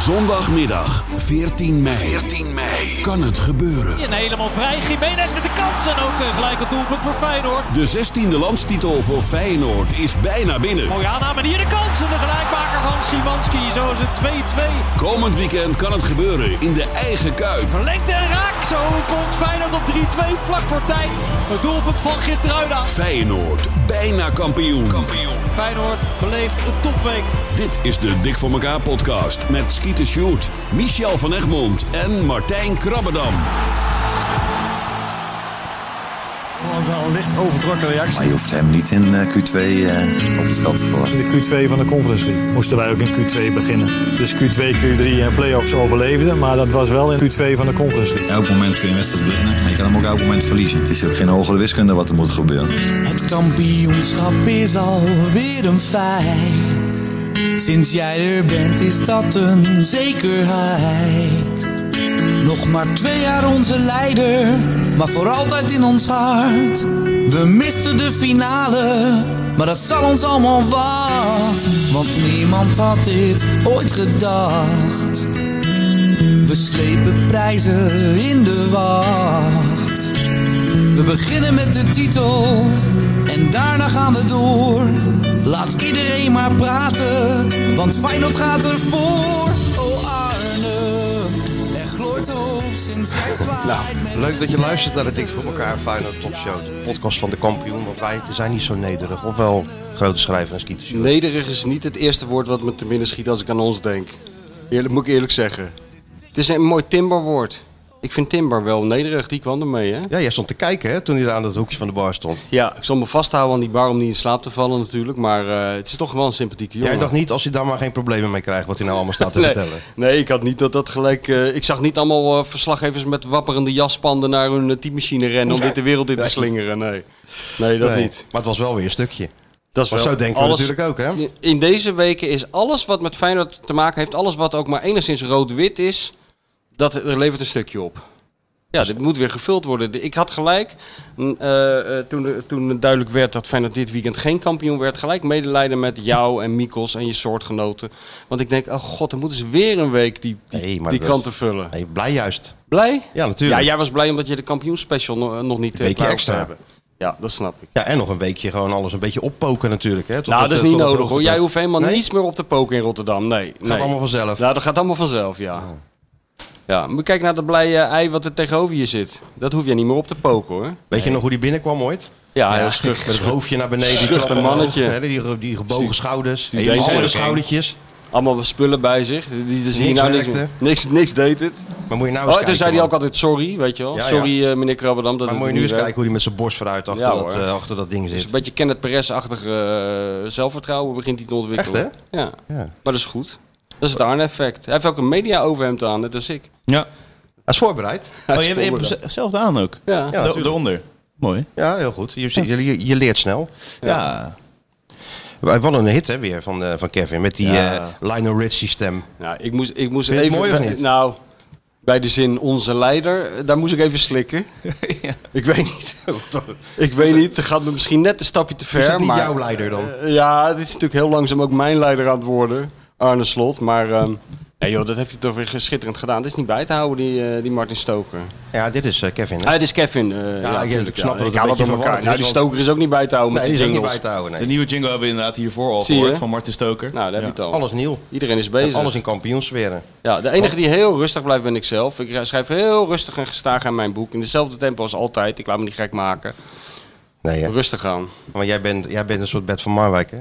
Zondagmiddag 14 mei. 14 mei. Kan het gebeuren? En helemaal vrij. Jiménez met de kans en ook eh, gelijk het doelpunt voor Feyenoord. De 16e landstitel voor Feyenoord is bijna binnen. Mooie aanname en hier de kans en de gelijkmaker van Simanski. Zo is het 2-2. Komend weekend kan het gebeuren in de eigen kuip. Verlengd en raak. Zo komt Feyenoord op 3-2 vlak voor tijd. Het doelpunt van Geertruida. Feyenoord, bijna kampioen. Feyenoord beleeft een topweek. Dit is de Dik voor elkaar podcast met Skeeter Sjoerd, Michel van Egmond en Martijn Krabbedam. Gewoon wel een licht overtrokken reactie. Maar je hoeft hem niet in eh, Q2 eh, op het veld te verwachten. In de Q2 van de Conference League moesten wij ook in Q2 beginnen. Dus Q2, Q3 en play-offs overleefden. Maar dat was wel in Q2 van de Conference League. Elk moment kun je wedstrijd winnen, maar je kan hem ook elk moment verliezen. Het is ook geen hogere wiskunde wat er moet gebeuren. Het kampioenschap is alweer een feit. Sinds jij er bent is dat een zekerheid. Nog maar twee jaar onze leider, maar voor altijd in ons hart. We misten de finale, maar dat zal ons allemaal wat. Want niemand had dit ooit gedacht. We slepen prijzen in de wacht. We beginnen met de titel en daarna gaan we door. Laat iedereen maar praten, want Feyenoord gaat ervoor. Oh Arne, er gloort hoop sinds jij zwaait met Nou, Leuk dat je de luistert naar de Dik voor zegen. elkaar Feyenoord Top Show. De podcast van de kampioen, want wij zijn niet zo nederig. Of wel grote schrijver en skieters. Nederig is niet het eerste woord wat me te binnen schiet als ik aan ons denk. Eerlijk, moet ik eerlijk zeggen. Het is een mooi timberwoord. Ik vind timber wel nederig, die kwam ermee hè? Ja, jij stond te kijken hè, toen hij daar aan het hoekje van de bar stond. Ja, ik zal me vasthouden aan die bar om niet in slaap te vallen natuurlijk. Maar eh, het is toch wel een sympathieke jongen. Jij dacht niet, als hij daar maar geen problemen mee krijgt, wat hij nou allemaal staat te nee, vertellen. nee, ik had niet dat dat gelijk... eh, ik zag niet allemaal eh, verslaggevers met wapperende jaspanden naar hun eh, typemachine rennen om dit de wereld in te slingeren. Nee, nee dat Nee, niet. Maar het was wel weer een stukje. Dat is Maar wel zo denken we alles- natuurlijk ook, hè? In deze weken is alles wat met Feyenoord te maken heeft, alles wat ook maar enigszins rood-wit is, dat er levert een stukje op. Ja, dit moet weer gevuld worden. De- Ik had gelijk, mm, eh, eh, toen, de- toen het duidelijk werd dat Feyenoord dit weekend geen kampioen werd, gelijk medelijden met jou en Mikos en je soortgenoten. Want ik denk, oh god, dan moeten ze weer een week die, die, Nee, maar die dat- kranten vullen. Nee, blij juist. Blij? Ja, natuurlijk. Ja, jij was blij omdat je de kampioenspecial no- nog niet Weekje eh, klaar extra. extra hebben. Ja, dat snap ik. Ja, en nog een weekje gewoon alles een beetje oppoken natuurlijk. Hè, tot Nou, het, dat is eh, niet tot het nodig hoor. hoogtepunt. Jij hoeft helemaal Nee? niets meer op te poken in Rotterdam. Nee. Het gaat allemaal vanzelf. Oh. Nou, dat gaat allemaal vanzelf, ja. Ja, moet je kijken naar dat blije ei wat er tegenover je zit. Dat hoef je niet meer op te poken, hoor. Weet je nog hoe die binnenkwam ooit? Ja, heel stug. Met het hoofdje naar beneden. die Schuchter trap omhoog, mannetje. hè, Die, die gebogen schouders. die Die deze alle ook, hè? schoudertjes. Allemaal spullen bij zich. Die, die, die zien Niks nou niks, werkte. niks, niks deed het. Maar moet je nou Oh, eens toen kijken, zei hij man. ook altijd sorry, weet je wel. Ja, ja. sorry, eh, meneer Krabberdam. Dat Maar het moet je nu niet eens werkt. kijken hoe hij met zijn borst vooruit achter, Ja, dat, hoor. eh, achter dat ding Dus zit. een beetje Kenneth Perez-achtig eh, zelfvertrouwen begint hij te ontwikkelen. Echt, hè? Oh, Ja. Ja. maar dat is goed. Dat is het Arne-effect. Hij heeft ook een media-overhemd aan, net als ik. Ja. Hij is voorbereid. Oh, je hebt, je hebt hem zelf aan ook. Ja. Ja, natuurlijk. eronder. Mooi. Ja, heel goed. Je, je, je- je leert snel. Ja. Wij hadden een hit hè, weer van, eh, van Kevin met die eh Ja. Lionel Richie stem. Nou, ik moest, ik moest Vind je het even. mooi of niet? Nou, bij de zin onze leider, daar moest ik even slikken. Ik weet niet. ik weet niet. Het gaat me misschien net een stapje te ver. Is het niet maar, jouw leider dan? Eh, ja, het is natuurlijk heel langzaam ook mijn leider aan het worden, Arne Slot. Maar ehm, nee, joh, dat heeft hij toch weer schitterend gedaan. Het is niet bij te houden, die, eh, die Martin Stoker. Ja, dit is eh, Kevin. hè? Ah, het is Kevin. eh, ja, ik tuurlijk, snap dat het ik een beetje haal dat door elkaar. verwarrend Nou, is, die want- Stoker is ook niet bij te houden nee, die met is ook zijn niet jingles. bij te houden. De Nee. nieuwe jingle hebben we inderdaad hiervoor al Zie je? gehoord van Martin Stoker. Nou, daar heb je het al. Alles nieuw. Iedereen is bezig. Alles in kampioensferen. Ja, de enige die heel rustig blijft ben ik zelf. Ik schrijf heel rustig en gestaag aan mijn boek. In dezelfde tempo als altijd. Ik laat me niet gek maken. Nee, hè. Rustig aan. maar jij bent, jij bent een soort Bert van Marwijk. Hè?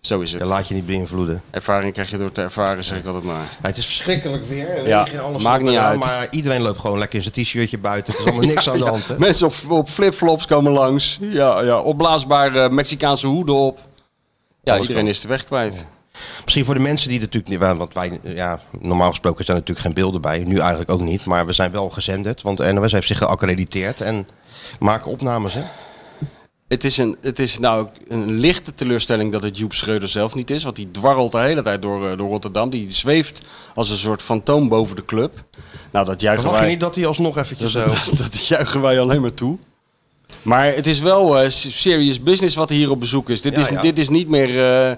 Zo is Je het. laat je niet beïnvloeden. Ervaring krijg je door te ervaren, zeg ik altijd maar. Ja, het is verschrikkelijk weer. hè. Ja, Regen, alles maakt erop en niet eraan, uit. Maar iedereen loopt gewoon lekker in zijn t-shirtje buiten. Er is allemaal niks aan de hand. Hè? Mensen op, op flipflops komen langs. Ja, ja. Opblaasbare Mexicaanse hoeden op. Ja, iedereen is de weg kwijt. Misschien voor de mensen die er natuurlijk niet waren, want wij, ja, normaal gesproken zijn er natuurlijk geen beelden bij. Nu eigenlijk ook niet, maar we zijn wel gezenderd, want de NOS heeft zich geaccrediteerd en maken opnames. Hè? Het is, een, het is nou een lichte teleurstelling dat het Joep Schreuder zelf niet is. Want die dwarrelt de hele tijd door, eh, door Rotterdam. Die zweeft als een soort fantoom boven de club. Nou, dat juichen Verwacht je wij... niet dat hij alsnog eventjes eh, zo... Dat, dat juichen wij alleen maar toe. Maar het is wel eh, serious business wat hier op bezoek is. Dit, Ja, is, ja. dit is niet meer eh, eh,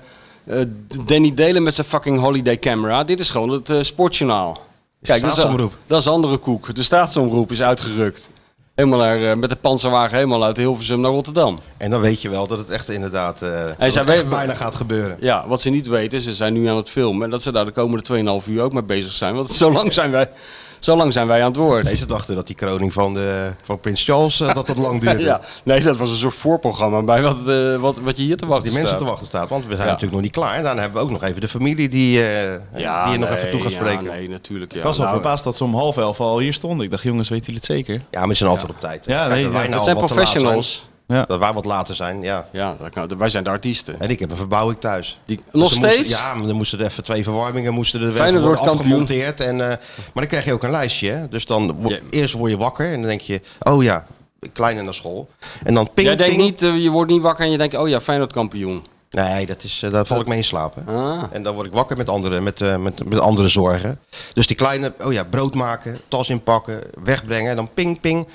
Danny Delen met zijn fucking holiday camera. Dit is gewoon het eh, sportjournaal. Kijk, dat is, staatsomroep. dat is andere koek. De staatsomroep is uitgerukt. Helemaal naar, eh, met de panzerwagen helemaal uit Hilversum naar Rotterdam. En dan weet je wel dat het echt inderdaad eh, dat zij het echt weet- bijna gaat gebeuren. Ja, wat ze niet weten, ze zijn nu aan het filmen. En dat ze daar de komende 2,5 uur ook mee bezig zijn. Want zo lang zijn wij, zo lang zijn wij aan het woord. Nee, ze dachten dat die kroning van, de, van Prins Charles, eh, dat dat lang duurde. ja. Nee, dat was een soort voorprogramma bij wat, eh, wat, wat je hier te wachten Die mensen staat. te wachten staat, want we zijn Ja. natuurlijk nog niet klaar. En dan hebben we ook nog even de familie die, eh, die je nog Ah, nee, even toe gaat ja, spreken. nee, natuurlijk. Ja. Ik was wel Nou, verbaasd dat ze om half elf al hier stonden. Ik dacht, jongens, weten jullie het zeker? Ja, maar ze zijn altijd op tijd. Ja, Kijk, nee, dat wij ja. nou dat zijn wat te laat professionals. zijn, Dat wij wat later zijn, ja. Ja, dat kan- wij zijn de artiesten. En ik heb een verbouwing thuis. Die, Dus nog er moesten- steeds? ja, maar dan moesten er even twee verwarmingen moesten er Feyenoord even worden wordt kampioen. afgemonteerd. En, eh, maar dan krijg je ook een lijstje. Hè? Dus dan wo- Ja. eerst word je wakker en dan denk je, oh ja, kleine naar school. En dan ping, Jij denkt ping. niet, eh, je wordt niet wakker en je denkt, oh ja, Feyenoord kampioen. Nee, dat is, eh, daar val ik mee in slaap. hè. Ah. En dan word ik wakker met andere, met, eh, met, met andere zorgen. Dus die kleine, oh ja, brood maken, tas inpakken, wegbrengen. En dan ping, ping.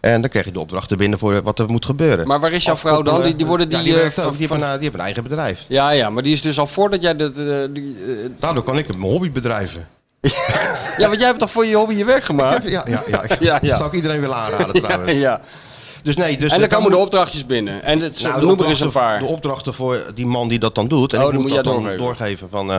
En dan krijg je de opdrachten binnen voor eh, wat er moet gebeuren. Maar waar is jouw vrouw dan? Die, die worden die... ja, die, eh, werkt ook. van- Die hebben een, die hebben een eigen bedrijf. ja, ja, maar die is dus al voordat jij dat... eh, die, eh, Daardoor Nou, kan ik mijn hobby bedrijven. ja, want jij hebt toch voor je hobby je werk Ja, gemaakt? ja, ja. Ja, ja. Zou ik iedereen willen aanraden trouwens. ja. Dus nee, dus En dan dat komen de moet- opdrachtjes binnen. En het Nou, noem er eens een paar. De opdrachten voor die man die dat dan doet. En Oh, ik dan moet, dat moet jij dan doorgeven. doorgeven. van, eh,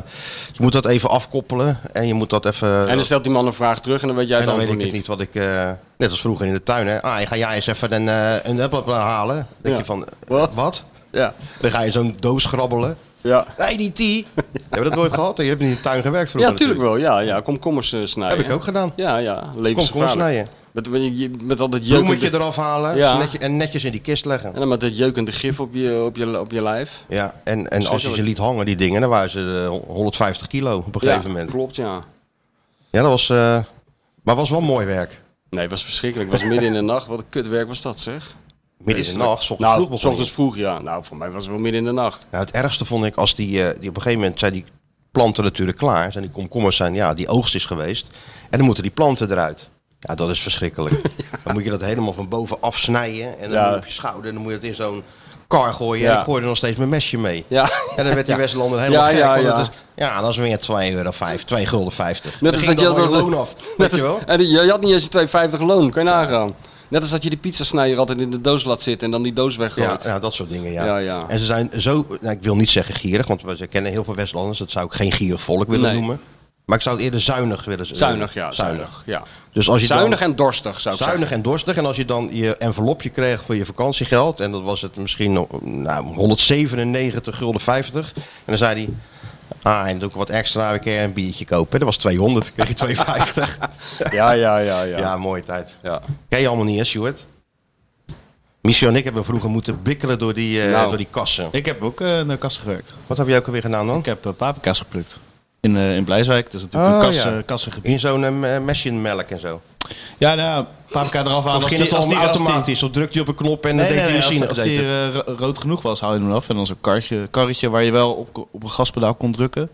je moet dat even afkoppelen. En je moet dat even... eh, En dan stelt die man een vraag terug en dan weet jij En het dan weet antwoord ik het niet. niet wat ik. eh, net als vroeger in de tuin, hè. Ah, ik ga jij eens even een, eh, een appel halen. Dan denk Ja. je van. eh, Wat? Wat? Ja, Dan ga je zo'n doos grabbelen. ja. Nee, niet die. Hebben we dat nooit gehad? Je hebt niet in de tuin gewerkt vroeger. ja tuurlijk wel. Ja, ja. komkommers eh, snijden. Heb ik ook gedaan. Ja, ja. Komkommers Levensgevaarlijk. snijden. Met, met, met al dat Bloemetje jeukende... eraf halen Ja. ze netje- en netjes in die kist leggen. En dan met dat jeukende gif op je, op je, op je lijf. Ja, en, en als je ze Verschrikkelijk. liet hangen, die dingen, dan waren ze eh, 150 kilo op een gegeven ja, moment. klopt, ja. Ja, dat was. eh, maar was wel mooi werk. Nee, het was verschrikkelijk. Het was midden in de nacht. Wat een kutwerk was dat, zeg. Midden in de nacht, 's ochtends Nou, vroeg s begon je. ochtends vroeg, ja. Nou, voor mij was het wel midden in de nacht. Nou, het ergste vond ik als die, eh, die op een gegeven moment zijn die planten natuurlijk klaar. Zijn die komkommers zijn, ja, die oogst is geweest. En dan moeten die planten eruit. Ja, dat is verschrikkelijk. Dan moet je dat helemaal van boven afsnijden. En dan Ja. moet je op je schouder. En dan moet je het in zo'n kar gooien. En Ja. ik gooi er nog steeds mijn mesje mee. Ja. En dan werd die Ja. Westlander helemaal Ja, gek. ja, want dat ja. is- ja, dat is weer 2 euro, 5, 2 gulden 50. Net Dan als ging dat je dan dat- van loon af. Weet je wel? En je, je had niet eens een 2,50 loon. Kan je nagaan. Net als dat je die pizzasnijder altijd in de doos laat zitten en dan die doos Ja, weggooit. ja, dat soort dingen, ja. Ja, ja. En ze zijn zo, nou, ik wil niet zeggen gierig, want we kennen heel veel Westlanders. Dat zou ik geen gierig volk willen Nee. noemen. Maar ik zou het eerder zuinig willen z- Zuinig, ja. Dus, eh, Zuinig. Zuinig, ja. Dus als je Zuinig dan, en dorstig, zou ik zuinig zeggen. en dorstig. En als je dan je envelopje kreeg voor je vakantiegeld. En dat was het misschien nog, nou, 197 gulden 50. En dan zei hij... Ah, en doe ik wat extra, een keer een biertje kopen. Dat was 200, dan kreeg je 250. Ja, ja, ja, ja. ja. mooie tijd. Ja. Ken je allemaal niet, hè, Stuart? Michel en ik hebben vroeger moeten bikkelen door die, eh, Nou. door die kassen. Ik heb ook eh, naar kassen gewerkt. Wat heb jij ook alweer gedaan dan? Ik heb eh, paprika's geplukt. In, eh, in Blijswijk, dat is natuurlijk Oh, een kas, ja. eh, kassengebied. In zo'n eh, mesjenmelk en zo. Ja, nou, ja, paprika eraf halen. Of ging het die- dan die- als die- automatisch? Of drukte je op een knop en dan Nee, deed nee, die nee, als, machine als het die eten? eh, ro- rood genoeg was, haalde je hem af. En dan zo'n karretje, karretje waar je wel op, ko- op een gaspedaal kon drukken.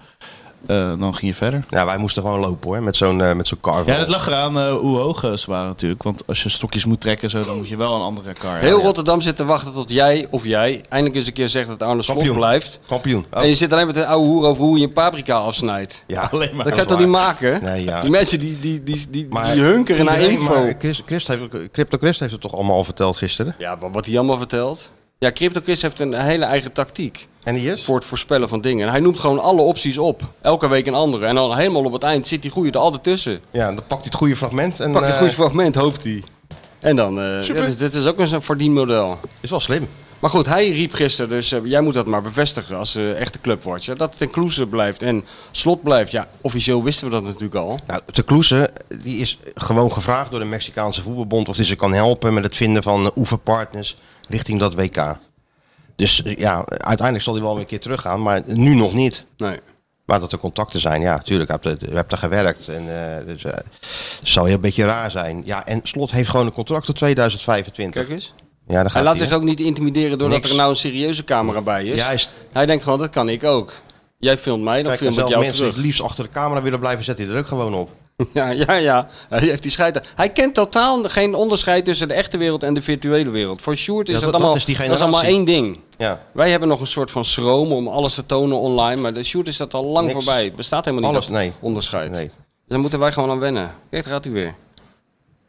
Eh, dan ging je verder. Nou, wij moesten gewoon lopen hoor, met zo'n eh, met zo'n kar. Ja, dat lag eraan eh, hoe hoog eh, ze waren natuurlijk. Want als je stokjes moet trekken, zo, dan moet je wel een andere kar Heel hebben. Rotterdam zit te wachten tot jij of jij eindelijk eens een keer zegt dat Arne Slot Kampioen. blijft. Kampioen. Oh, En je zit alleen met de oude hoer over hoe je een paprika afsnijdt. ja, alleen maar. Dat kan je is toch niet waar. maken? Nee, ja. Die mensen die, die, die, die, Maar die hunkeren naar iedereen- info. maar Chris, Christ heeft, Crypto Christ heeft het toch allemaal al verteld gisteren? Ja, maar wat hij allemaal vertelt. Ja, CryptoKiss heeft een hele eigen tactiek En die is? voor het voorspellen van dingen. En hij noemt gewoon alle opties op. Elke week een andere. En dan helemaal op het eind zit die goede er altijd tussen. Ja, dan pakt hij het goede fragment. En, Pakt een eh, goed fragment, hoopt hij. En dan, eh Super. dit, is, dit is ook een verdienmodel. is wel slim. Maar goed, hij riep gisteren, dus eh, jij moet dat maar bevestigen als eh, echte clubwatcher. Dat Ten Kloeze blijft en Slot blijft. Ja, officieel wisten we dat natuurlijk al. Nou, Te Kloeze, die is gewoon gevraagd door de Mexicaanse voetbalbond of hij ze kan helpen met het vinden van eh, oefenpartners richting dat WK. Dus eh, ja, uiteindelijk zal hij wel weer een keer teruggaan, maar nu nog niet. Nee. Maar dat er contacten zijn, ja, tuurlijk. eh, Je hebt, je hebt er gewerkt. En, eh, dus, eh, zou je een beetje raar zijn. Ja, en Slot heeft gewoon een contract tot 2025. Kijk eens. ja, dan gaat Hij laat hij, zich ook niet intimideren doordat Niks. er nou een serieuze camera bij hè? is. Juist. Hij denkt gewoon, dat kan ik ook. Jij filmt mij, dan Kijk, en film ik zelfs jou mensen die terug. het liefst achter de camera willen blijven, zet hij er ook gewoon op. Ja, ja, ja. Hij heeft die scheid. Hij kent totaal geen onderscheid tussen de echte wereld en de virtuele wereld. Voor Sjoerd is Ja, dat, dat- dat allemaal, is die dat is allemaal één generatie. ding. Ja, Wij hebben nog een soort van schroom om alles te tonen online. Maar de shoot is dat al lang Niks. voorbij. Het Bestaat helemaal niet Alles, dat nee. onderscheid. nee. Dus daar moeten wij gewoon aan wennen. Kijk, daar gaat hij weer.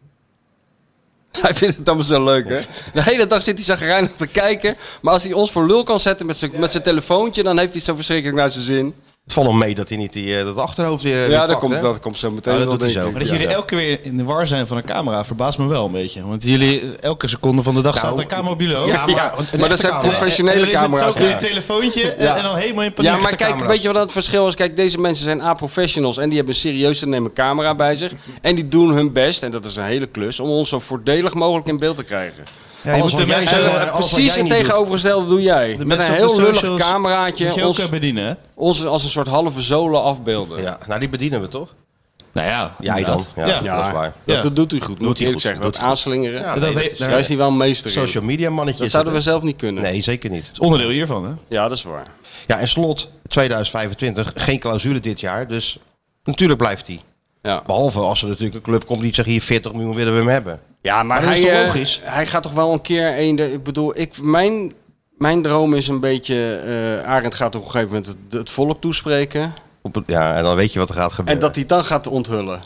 Hij vindt het allemaal zo leuk, hè? De hele dag zit hij zagrijnig te kijken. Maar als hij ons voor lul kan zetten met zijn, met zijn telefoontje... dan heeft hij het zo verschrikkelijk naar zijn zin. Het valt hem mee dat hij niet die, eh, dat achterhoofd weer weer ja, dat pakt, hè? komt, dat komt zo meteen Ja, Oh, dat wel, doet hij zo. denk ik. Maar dat jullie elke keer in de war zijn van een camera verbaast me wel een beetje. Want jullie, eh, elke seconde van de dag staat er een camera op jullie hoofd. Ja, maar, Nou, Ja, een maar dat echte zijn camera. professionele En dan is het camera's, Zo met ja. een telefoontje eh, en- Ja. en dan helemaal in paniek. Ja, maar met de kijk, camera's. weet je wat het verschil is? Kijk, deze mensen zijn A-professionals en die hebben een serieus te nemen camera bij zich. En die doen hun best, en dat is een hele klus, om ons zo voordelig mogelijk in beeld te krijgen. Ja, je Alles moet wat de jij mensen- zegt, eh, eh, alles wat jij Precies het niet doet. tegenovergestelde doe jij. De Met een mensen op heel de lullig socials Moet je cameraatje ook ons, eh, bedienen, hè? ons als een soort halve zolen afbeelden. Ja, nou die bedienen we toch? Nou ja, Jij dan. inderdaad. Ja, Ja. dat is waar. Dat, Ja. dat doet hij goed, moet hij ik goed, zeggen. doet Dat hij aanslingeren, Ja, Dat nee, heeft- dat is- daar- daar is hij wel een meester in. Social media mannetje. Dat is zouden we het, zelf niet kunnen. hè? Nee, zeker niet. is onderdeel hiervan, hè? Ja, dat is waar. Ja, en slot 2025, geen clausule dit jaar. Dus natuurlijk blijft hij. Ja. Behalve als er natuurlijk een club komt die zegt hier 40 miljoen willen we hem hebben. Ja, maar, Maar dat hij, is toch eh, logisch? hij gaat toch wel een keer een. de- Ik bedoel, ik, mijn, mijn droom is een beetje. eh Arend gaat op een gegeven moment het, het volk toespreken. Op het- ja, en dan weet je wat er gaat En gebeuren. dat hij dan gaat onthullen.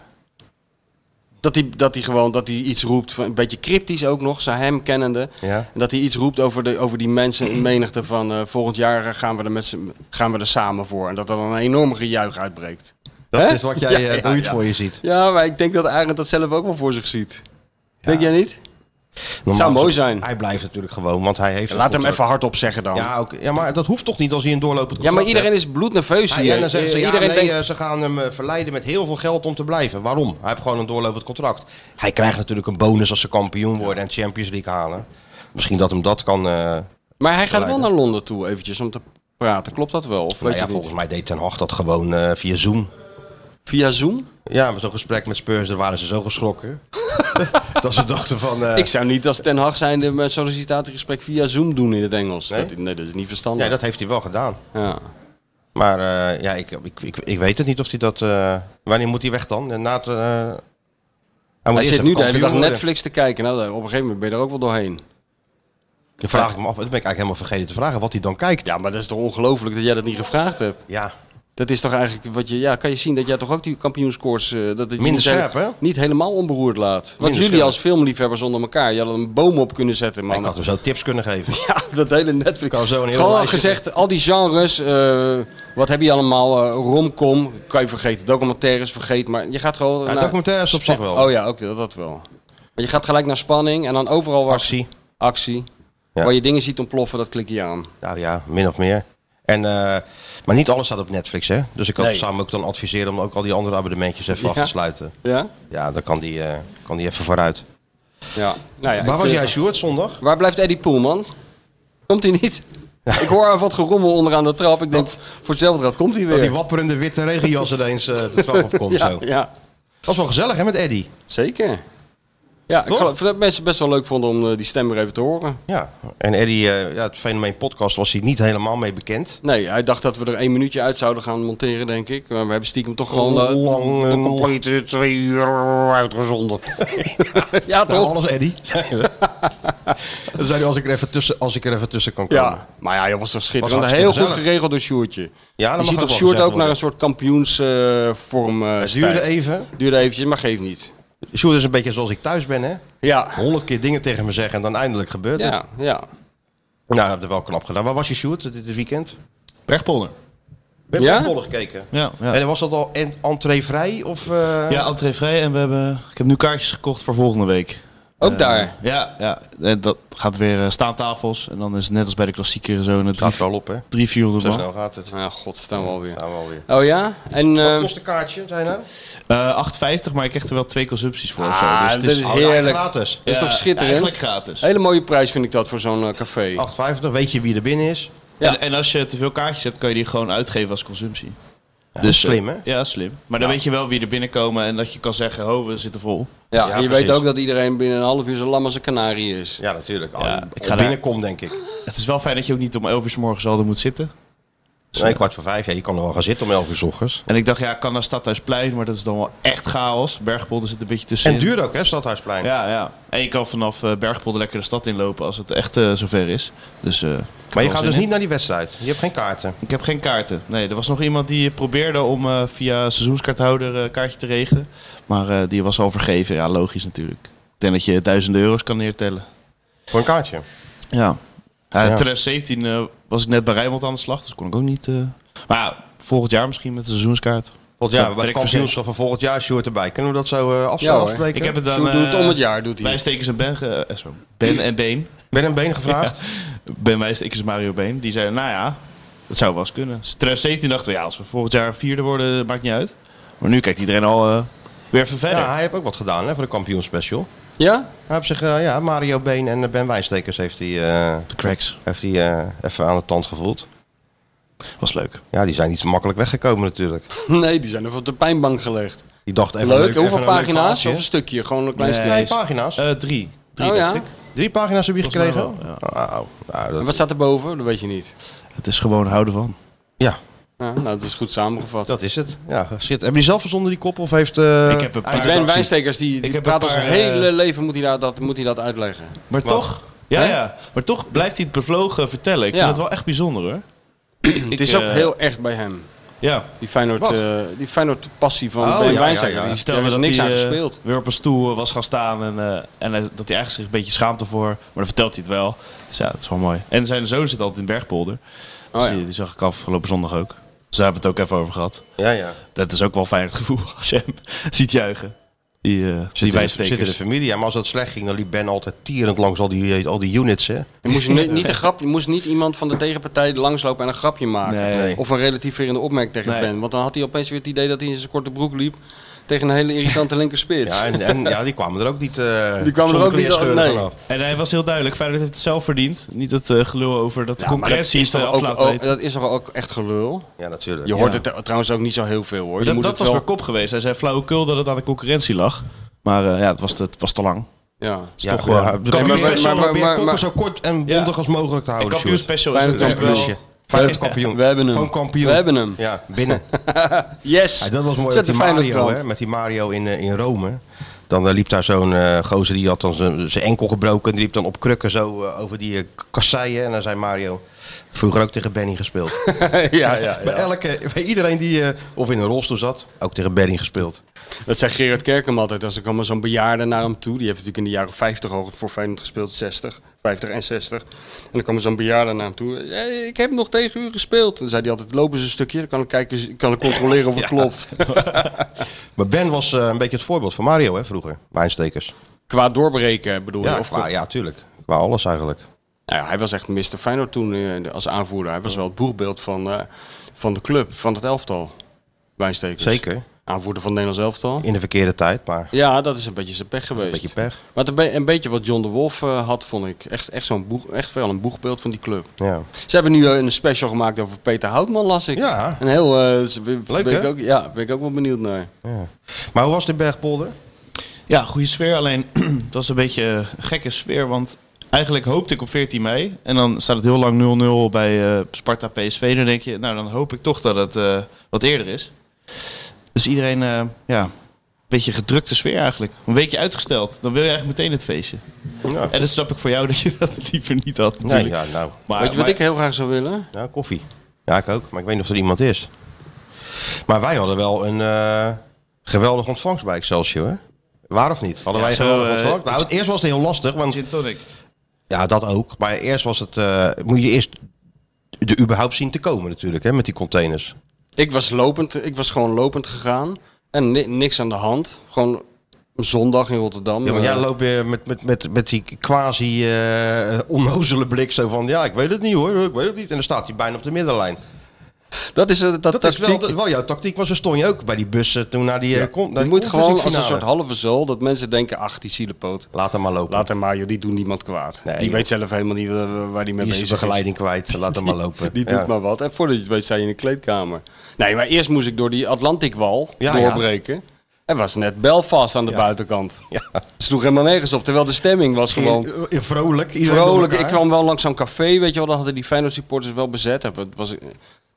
Dat hij, dat hij gewoon dat hij iets roept, van, een beetje cryptisch ook nog, ze hem kennende. Ja. En dat hij iets roept over, de, over die mensen in menigte van eh, volgend jaar eh, gaan we, er met z'n- gaan we er samen voor. En dat er dan een enorme gejuich uitbreekt. Dat Hè? is wat jij Ja, eh, ja, nooit ja. voor je ziet. Ja, maar ik denk dat Arend dat zelf ook wel voor zich ziet. Denk jij niet? Normaal mooi gez- zijn. Hij blijft natuurlijk gewoon, want hij heeft... een Laat hem contract. even hardop zeggen dan. Ja, ook, ja, maar dat hoeft toch niet als hij een doorlopend Ja, maar contract iedereen is bloednerveus heeft? hier. Nou, Ja, en dan zeggen ze, ja, iedereen nee, denkt, eh, ze gaan hem eh, verleiden met heel veel geld om te blijven. Waarom? Hij heeft gewoon een doorlopend contract. Hij krijgt natuurlijk een bonus als ze kampioen worden en Champions League halen. Misschien dat hem dat kan... eh, maar hij gaat wel Leiden. naar Londen toe eventjes om te praten. Klopt dat wel? Of weet Nou ja, je het niet? volgens mij deed Ten Hag dat gewoon eh, via Zoom. Via Zoom? Ja, met zo'n gesprek met Spurs, daar waren ze zo geschrokken. dat ze dachten van... eh, Ik zou niet als Ten Hag zijnde mijn sollicitatiegesprek via Zoom doen in het Engels. Nee? Dat, nee, dat is niet Ja, verstandig. dat heeft hij wel gedaan. Ja. Maar eh, ja, ik, ik, ik, ik weet het niet of hij dat... eh, wanneer moet hij weg dan? Na het, eh, hij moet Hij eerst zit even nu de hele kampioen dag worden. Netflix te kijken. Nou, op een gegeven moment ben je er ook wel doorheen. Dan vraag ik me af, dat ben ik eigenlijk helemaal vergeten te vragen, wat hij dan kijkt. Ja, maar dat is toch ongelooflijk dat jij dat niet gevraagd hebt? Ja, Dat is toch eigenlijk wat je... Ja, kan je zien dat jij toch ook die kampioenscores... eh, dat het je Minder niet, hele- scherp, hè? Niet helemaal onberoerd laat. Want Minder jullie scherp. als filmliefhebbers onder elkaar... Je had een boom op kunnen zetten, man. ik had hem zo tips kunnen geven. Ja, dat hele Netflix. Kan zo een heel Gewoon lijstje- gezegd, al die genres, eh, wat heb je allemaal? eh, romcom, kan je vergeten. Documentaires, vergeet. Maar je gaat gewoon... Ja, naar- documentaires op Spa- zich wel. Oh ja, ook dat, dat wel. Maar je gaat gelijk naar spanning en dan overal waar... Actie. Actie. Ja. Waar je dingen ziet ontploffen, dat klik je aan. Ja, ja, min of meer. En, eh, maar niet alles staat op Netflix, hè? Dus ik had Nee. samen ook dan adviseren om ook al die andere abonnementjes even Ja. af te sluiten. Ja? Ja, dan kan die, eh, kan die even vooruit. Ja. Nou ja ik Waar was vind- jij, Sjoerd, zondag? Waar blijft Eddie Poelman? Komt hij niet? Ik hoor wat gerommel onderaan de trap. Ik denk, voor hetzelfde geld komt hij weer. Dat die wapperende witte regenjas ineens eh, de trap op komt. ja, zo. ja, Dat was wel gezellig, hè, met Eddy? Zeker. Ja, ik Toch? geloof dat mensen het best wel leuk vonden om eh, die stem weer even te horen. Ja, en Eddy, eh, ja, het fenomeen podcast was hij niet helemaal mee bekend. Nee, hij dacht dat we er één minuutje uit zouden gaan monteren, denk ik. Maar we hebben stiekem toch gewoon... eh, Lang, de eh, complete twee uur uitgezonden. ja, Nou, toch? alles Eddy. Dan zei hij, als ik er even tussen, als ik er even tussen kan komen. Ja, maar ja, dat was toch schitterend. Was Heel hartstikke goed gezellig. geregeld door Sjoerdje. Ja, dat je mag ziet ook toch wel Sjoerd gezegd ook naar een worden. soort kampioensvorm eh Het duurde stijgt. even. Duurde eventjes, maar geeft niet. Sjoerd is een beetje zoals ik thuis ben, hè? Ja, Honderd keer dingen tegen me zeggen en dan eindelijk gebeurt het. ja, ja. Nou, dat heb ik wel knap gedaan. Waar was je, Sjoerd, dit, dit weekend? Brechtpolder. Ben Ja? je ja? gekeken? Ja, ja. En was dat al en- entreevrij? Of, eh, Ja, entree vrij en we hebben, Eh, ik heb nu kaartjes gekocht voor volgende week. Ook Eh, daar. Ja, ja, en dat gaat weer eh, staantafels. En dan is het net als bij de klassieker zo'n Het gaat 300 wel op, hè? 400 Zo man. snel gaat het. Nou, ja, god, staan we alweer. Nou, wel weer. Oh ja? En... Wat eh, kost een kaartje, zei hij nou? Eh, 8,50, maar ik kreeg er wel twee consumpties voor. of zo. Ah, Dus het dat is ja, heerlijk. gratis. is toch schitterend? Eigenlijk gratis. Hele mooie prijs vind ik dat voor zo'n eh, café. 8,50, weet je wie er binnen is? Ja. En, en als je te veel kaartjes hebt, kan je die gewoon uitgeven als consumptie. Dus, eh, slim, hè? Ja, slimmen. Maar dan weet je wel wie er binnenkomen en dat je kan zeggen, ho, we zitten vol. Ja, en je weet precies. ook dat iedereen binnen een half uur zo lam als een kanarie is. Ja, natuurlijk. Ja, Al- ik al ga daar- binnenkom, denk ik. Het is wel fijn dat je ook niet om 11 uur 's morgens al er moet zitten. Nee, kwart voor vijf. Ja, je kan er wel gaan zitten om elf uur 's ochtends. En ik dacht, ja, ik kan naar Stadhuisplein, maar dat is dan wel echt chaos. Bergpolder zit een beetje tussen. En duur ook, hè, Stadhuisplein. Ja, ja. En je kan vanaf eh, Bergpolder lekker de stad inlopen als het echt eh, zover is. Dus, eh, ik heb Maar wel je gaat zin dus in. niet naar die wedstrijd. Je hebt geen kaarten. Ik heb geen kaarten. Nee, er was nog iemand die probeerde om eh, via seizoenskaarthouder eh, kaartje te regelen. Maar eh, die was al vergeven. Ja, logisch natuurlijk. Ik denk dat je duizenden euro's kan neertellen. Voor een kaartje. Ja. In Ja. 2017 eh, was ik net bij Rijnmond aan de slag, dus kon ik ook niet. eh, Maar ja, volgend jaar misschien met de seizoenskaart. Volgend jaar, Ja, bij ben het ik kampioenschap van volgend jaar, Sjoerd erbij. Kunnen we dat zo eh, afs- Ja, hoor. afspreken? Ik heb het aan Zo doet eh, om het jaar, doet hij. Wijstekers en Ben, ge- eh, sorry, ben en Been. Ben en Been gevraagd. Ben Wijstekers en Mario Been. Die zeiden, nou ja, dat zou wel eens kunnen. Dus 2017 dachten we, ja, als we volgend jaar vierde worden, maakt niet uit. Maar nu kijkt iedereen al eh, weer even verder. Ja, hij heeft ook wat gedaan hè, voor de kampioenspecial. Ja? Hij heeft zich, eh, ja, Mario Been en eh, Ben Wijstekers heeft hij eh, De cracks. heeft hij, eh, even aan de tand gevoeld. Was leuk. Ja, die zijn niet zo makkelijk weggekomen natuurlijk. Nee, die zijn even op de pijnbank gelegd. Die dacht even Leuk, leuk, even hoeveel een leuk pagina's? verhaaltje. Of een stukje, gewoon een klein Nee. stukje. Nee, pagina's. Eh, drie. Drie, Oh dacht ja? ik. Drie pagina's heb je volgens mij gekregen? wel, Nou, nou, En dat, wat staat erboven? Dat weet je niet. Het is gewoon houden van. ja, Ja, nou, dat is goed samengevat. dat is het. Ja, shit. Hebben die zelf verzonnen die kop of heeft... eh, Ik heb een paar- uit- Ben Wijstekers, die, die heb praat een al zijn paar, eh, hele leven, moet hij, dat, dat, moet hij dat uitleggen. Maar Wat? toch, ja, ja, maar toch blijft hij het bevlogen vertellen. Ik Ja. vind het wel echt bijzonder hoor. het is eh, ook heel echt bij hem. Ja. Die Feyenoord, Wat? eh, die Feyenoord passie van Oh, Ben ja, ja, Wijnstekers. ja. Die Die daar is niks hij, aan eh, gespeeld. weer op een stoel eh, was gaan staan en, eh, en hij- dat hij eigenlijk zich een beetje schaamt ervoor. Maar dan vertelt hij het wel. Dus ja, het is wel mooi. En zijn zoon zit altijd in Bergpolder. Dus Oh, ja. die, die zag ik afgelopen zondag ook. Dus daar hebben we het ook even over gehad. Ja, ja. Dat is ook wel fijn het gevoel als je hem ziet juichen. Die, eh, die Zit in, de, wijstekers. zit in de familie. Ja, maar als dat slecht ging, dan liep Ben altijd tierend langs al die, eh, al die units. Hè. Je moest, ni- niet een grap, je moest niet iemand van de tegenpartij langslopen en een grapje maken. Nee. Of een relatief weer in de opmerking tegen Nee. Ben. Want dan had hij opeens weer het idee dat hij in zijn korte broek liep tegen een hele irritante linkerspits. Ja, en, en ja, die kwamen er ook niet. eh, Die kwamen er ook zonder niet- kleerscheuren nee. vanaf. En hij was heel duidelijk. Feyenoord heeft het zelf verdiend. Niet het eh, gelul over dat de Ja, maar concurrentie is dat, is af toch ook, laten ook- weten. dat is toch ook echt gelul? Ja, natuurlijk. Je hoort het eh, trouwens ook niet zo heel veel hoor. Je Dat, moet dat het was wel... mijn kop geweest. Hij zei flauwekul dat het aan de concurrentie lag. Maar eh, ja, het was te, het was te lang. Ja. Het is Ja, toch gewoon... ja, Ja, maar, maar- special maar- probeer maar- koppen maar- zo kort en Ja. bondig als mogelijk te houden. kampioen Sjoerd. special is Feyenoord natuurlijk kampioen. wel... Feyenoord kampioen. We hebben hem. Gewoon kampioen. We hebben hem. Ja, binnen. Yes! Ja, dat was mooi Zet met de die Feyenoord Mario, krant. hè, met die Mario in, eh, in Rome. Dan eh, liep daar zo'n eh, gozer, die had dan zijn zijn enkel gebroken. Die liep dan op krukken zo eh, over die eh, kasseien. En dan zei Mario, vroeger ook tegen Benny gespeeld. ja, ja, Bij, ja. elke, bij iedereen die eh, of in een rolstoel zat, ook tegen Benny gespeeld. Dat zei Gerard Kerkem altijd. Als ik allemaal zo'n bejaarde naar hem toe. Die heeft natuurlijk in de jaren 50 al voor Feyenoord gespeeld. 60, 50 en 60. En dan kwam er zo'n bejaarde naar hem toe. "Hey, ik heb nog tegen u gespeeld. Dan zei hij altijd, lopen ze een stukje. Dan kan ik, kijken, kan ik controleren of het klopt. Maar Ben was eh, een beetje het voorbeeld van Mario hè, vroeger. Wijnstekers. Qua doorbreken bedoel je? Ja, of qua, ja, tuurlijk. Qua alles eigenlijk. Nou ja, hij was echt Mr. Feyenoord toen eh, als aanvoerder. Hij was wel het boegbeeld van, eh, van de club, van het elftal. Wijnstekers. Zeker. Aanvoerder van het Nederlands elftal. In de verkeerde tijd, maar Ja, dat is een beetje zijn pech een geweest. beetje pech. Maar het een, be- een beetje wat John de Wolf eh, had, vond ik. Echt, echt, zo'n boeg, echt wel een boegbeeld van die club. Ja. Ze hebben nu eh, een special gemaakt over Peter Houtman, las ik. Ja. Een heel... eh, ze- ben, Leuk, ben ik hè? ook, Ja, ben ik ook wel benieuwd naar. Maar hoe was dit Bergpolder? Ja, goede sfeer. Alleen, het was een beetje een gekke sfeer. Want eigenlijk hoopte ik op 14 mei. En dan staat het heel lang 0-0 bij eh, Sparta PSV. Dan denk je, nou dan hoop ik toch dat het eh, wat eerder is. Dus iedereen, eh, ja, een beetje gedrukte sfeer eigenlijk. Een weekje uitgesteld. Dan wil je eigenlijk meteen het feestje. Ja. En dat snap ik voor jou dat je dat liever niet had Nee, natuurlijk. ja, nou, Maar, Weet je wat ik heel graag zou willen? nou, koffie. Ja, ik ook. Maar ik weet niet of er iemand is. Maar wij hadden wel een eh, geweldig ontvangst bij Excelsior. Hè? Waar of niet? Hadden Ja, wij zo, geweldig eh, ontvangst? Nou, het eerst was het heel lastig. Want Gin tonic. Ja, dat ook. Maar eerst was het. eh, moet je eerst de überhaupt zien te komen, natuurlijk, hè, met die containers. Ik was lopend, ik was gewoon lopend gegaan. En ni- niks aan de hand. Gewoon een zondag in Rotterdam. Ja, want jij eh, loopt weer met, met, met, met die quasi eh, onnozele blik zo van. Ja, ik weet het niet hoor, ik weet het niet. En dan staat hij bijna op de middenlijn. Dat is eh, dat, Dat is tactiek. wel, dat is wel jouw tactiek, maar zo stond je ook bij die bussen toen naar die... eh, kon- naar je die Conference moet gewoon League als een soort finale. halve zool dat mensen denken, ach, die zielepoot. Laat hem maar lopen. Laat hem maar, joh, die doen niemand kwaad. Nee, die joh. weet zelf helemaal niet eh, waar die die mee is de bezig is. begeleiding kwijt, laat hem maar lopen. Die doet Ja. maar wat. En voordat je het weet, sta je in de kleedkamer. Nee, maar eerst moest ik door die Atlantikwal Ja, doorbreken. En was net Belfast aan de buitenkant. Ja. Sloeg helemaal nergens op. Terwijl de stemming was gewoon Eh, eh, Vrolijk. iedereen vrolijk. door Ik elkaar. kwam wel langs zo'n café, weet je wel. Daar hadden die Feyenoord supporters wel bezet. Daar was,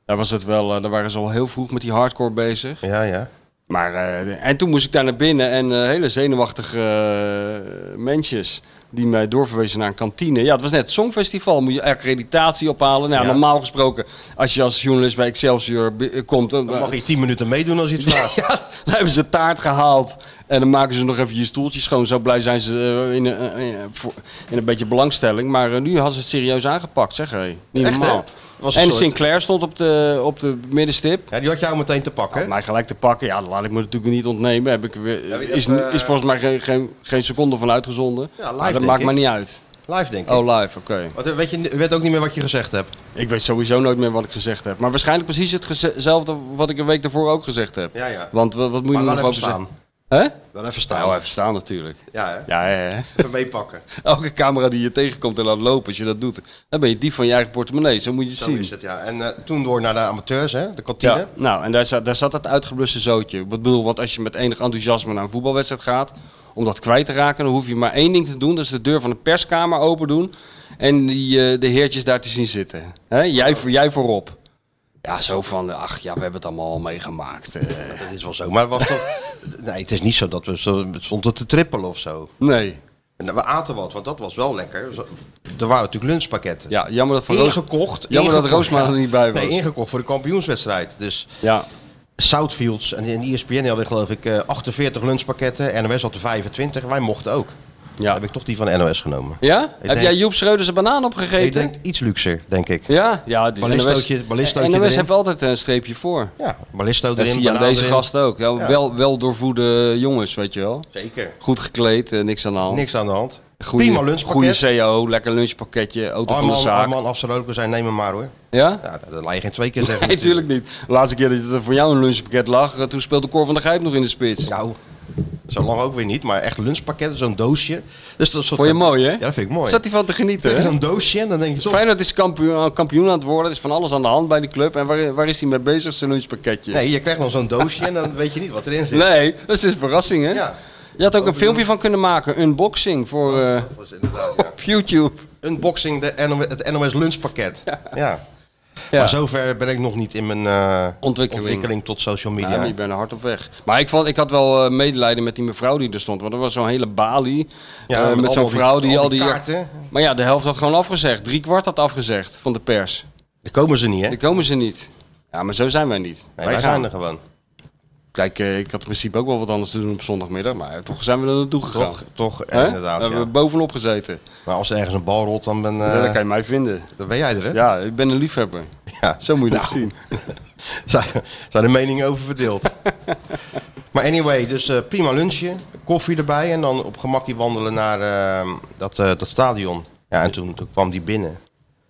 daar, was het wel, eh, daar waren ze al heel vroeg met die hardcore bezig. Ja, ja. Maar, eh, en toen moest ik daar naar binnen en eh, hele zenuwachtige eh, mensjes die mij doorverwezen naar een kantine. Ja, het was net het Songfestival. Moet je accreditatie ophalen. Nou, Ja. normaal gesproken, als je als journalist bij Excelsior bi- eh, komt... Dan, Dan mag je tien minuten meedoen als je iets vraagt. ja, dan hebben ze taart gehaald en dan maken ze nog even je stoeltjes schoon. Zo blij zijn ze eh, in, een- eh, eh, voor- in een beetje belangstelling. Maar eh, nu hadden ze het serieus aangepakt, zeg hé. Niet Echt, hè? normaal. Was een En soort- Sinclair stond op de, op de middenstip. Ja, die had jou meteen te Om pakken. mij gelijk te pakken, ja, dat laat ik me natuurlijk niet ontnemen. Heb ik weer, Ja, is, even, eh, is volgens mij geen, geen, geen seconde van uitgezonden. Ja, live, maar Ah, dat denk maakt ik. maar niet uit. Live, denk ik. Oh, live, oké. Want, eh, weet je, je weet ook niet meer wat je gezegd hebt. Ik weet sowieso nooit meer wat ik gezegd heb. Maar waarschijnlijk precies het geze- hetzelfde wat ik een week daarvoor ook gezegd heb. Ja, ja. Want wa- wat Maar moet je wel er even nog staan. over zeggen? Hè? Wel even Nou, staan. even staan natuurlijk. Ja, hè? Ja, hè, Oh. hè. Even meepakken. Elke camera die je tegenkomt en laat lopen, als je dat doet, dan ben je dief van je eigen portemonnee. Zo moet je het Zo zien. is het, ja. En eh, toen door naar de amateurs, hè? De kantine. Ja, nou, en daar zat, daar zat dat uitgebluste zootje. Ik bedoel, want als je met enig enthousiasme naar een voetbalwedstrijd gaat, om dat kwijt te raken, dan hoef je maar één ding te doen. Dat is de deur van de perskamer open doen en die, eh, de heertjes daar te zien zitten. Hè? Jij, voor, jij voorop. Ja, zo van, ach ja, we hebben het allemaal al meegemaakt. eh. Dat is wel zo. Maar was dat... nee, het is niet zo dat we zo, stonden te trippelen of zo. nee. En we aten wat, want dat was wel lekker. Zo- Er waren natuurlijk lunchpakketten. Ja, jammer dat Van Roos... Ingekocht. Jammer dat ingekocht, Roosma ja. er niet bij was. Nee, ingekocht voor de kampioenswedstrijd. Dus Ja, Southfields en, E en ESPN hadden geloof ik eh, 48 lunchpakketten. NOS had er 25. Wij mochten ook. ja. Heb ik toch die van NOS genomen. ja? Heb denk- jij Joep Schreuders een banaan opgegeten? Ik denk iets luxer, denk ik. Ja, ja. die Ballistootje- NOS ballistootje NOS erin. heeft altijd een streepje voor. Ja, ballisto Dat erin. zie je aan banaan deze erin. gast ook. Ja, Ja. Wel, wel doorvoede jongens, weet je wel. Zeker. Goed gekleed, eh, niks aan de hand. Niks aan de hand. Goeie- Prima lunchpakket. Goede CO, lekker lunchpakketje, auto van de Arman, zaak. Arman Afsarolko zei neem hem maar hoor. Ja? Ja, dat, dat laat je geen twee keer zeggen. Nee, natuurlijk niet. De laatste keer dat er voor jou een lunchpakket lag, eh, toen speelde Cor van der Gijp nog in de spits. Nou, zo lang ook weer niet, maar echt lunchpakketten, zo'n doosje. Dus dat soort- Vond je mooi, hè? Ja, dat vind ik mooi. Zat hij van te Heb genieten, je hè? Zo'n doosje en dan denk je toch... Feyenoord is kampioen, eh, kampioen aan het worden. Er is van alles aan de hand bij die club. En waar, waar is hij mee bezig, zijn lunchpakketje? Nee, je krijgt dan zo'n doosje en dan weet je niet wat erin zit. Nee, dat is dus een verrassing, hè? Ja, Oh, Je had ook een filmpje van kunnen maken. Unboxing voor, eh, dat was inderdaad. ja. op YouTube. Unboxing de NOS, het NOS lunchpakket. Ja. Eh, Ja. Maar zover ben ik nog niet in mijn eh, Ontwikkeling. ontwikkeling tot social media. Ja, maar je bent er hard op weg. Maar ik, vond, ik had wel eh, medelijden met die mevrouw die er stond. Want er was zo'n hele balie. Ja, eh, met met zo'n allemaal die- vrouw die al al die die... kaarten. Maar ja, de helft had gewoon afgezegd. Drie kwart had afgezegd van de pers. Daar komen ze niet, hè? Dan komen ze niet. Ja, maar zo zijn wij niet. Nee, wij zijn er gewoon. Kijk, eh, ik had in principe ook wel wat anders te doen op zondagmiddag. Maar eh, toch zijn we er naartoe gegaan. Toch, toch Hè? inderdaad. We Ja. hebben bovenop gezeten. Maar als er ergens een bal rolt, dan ben, eh, Ja, dat kan je mij vinden. dan ben jij er, hè? Ja, ik ben een liefhebber. Ja. Nou. Zo moet je dat zien. Zijn, zijn de meningen over verdeeld. maar anyway, dus eh, prima lunchje, koffie erbij en dan op gemakkie wandelen naar eh, dat, eh, dat stadion. Ja, en toen, toen kwam die binnen.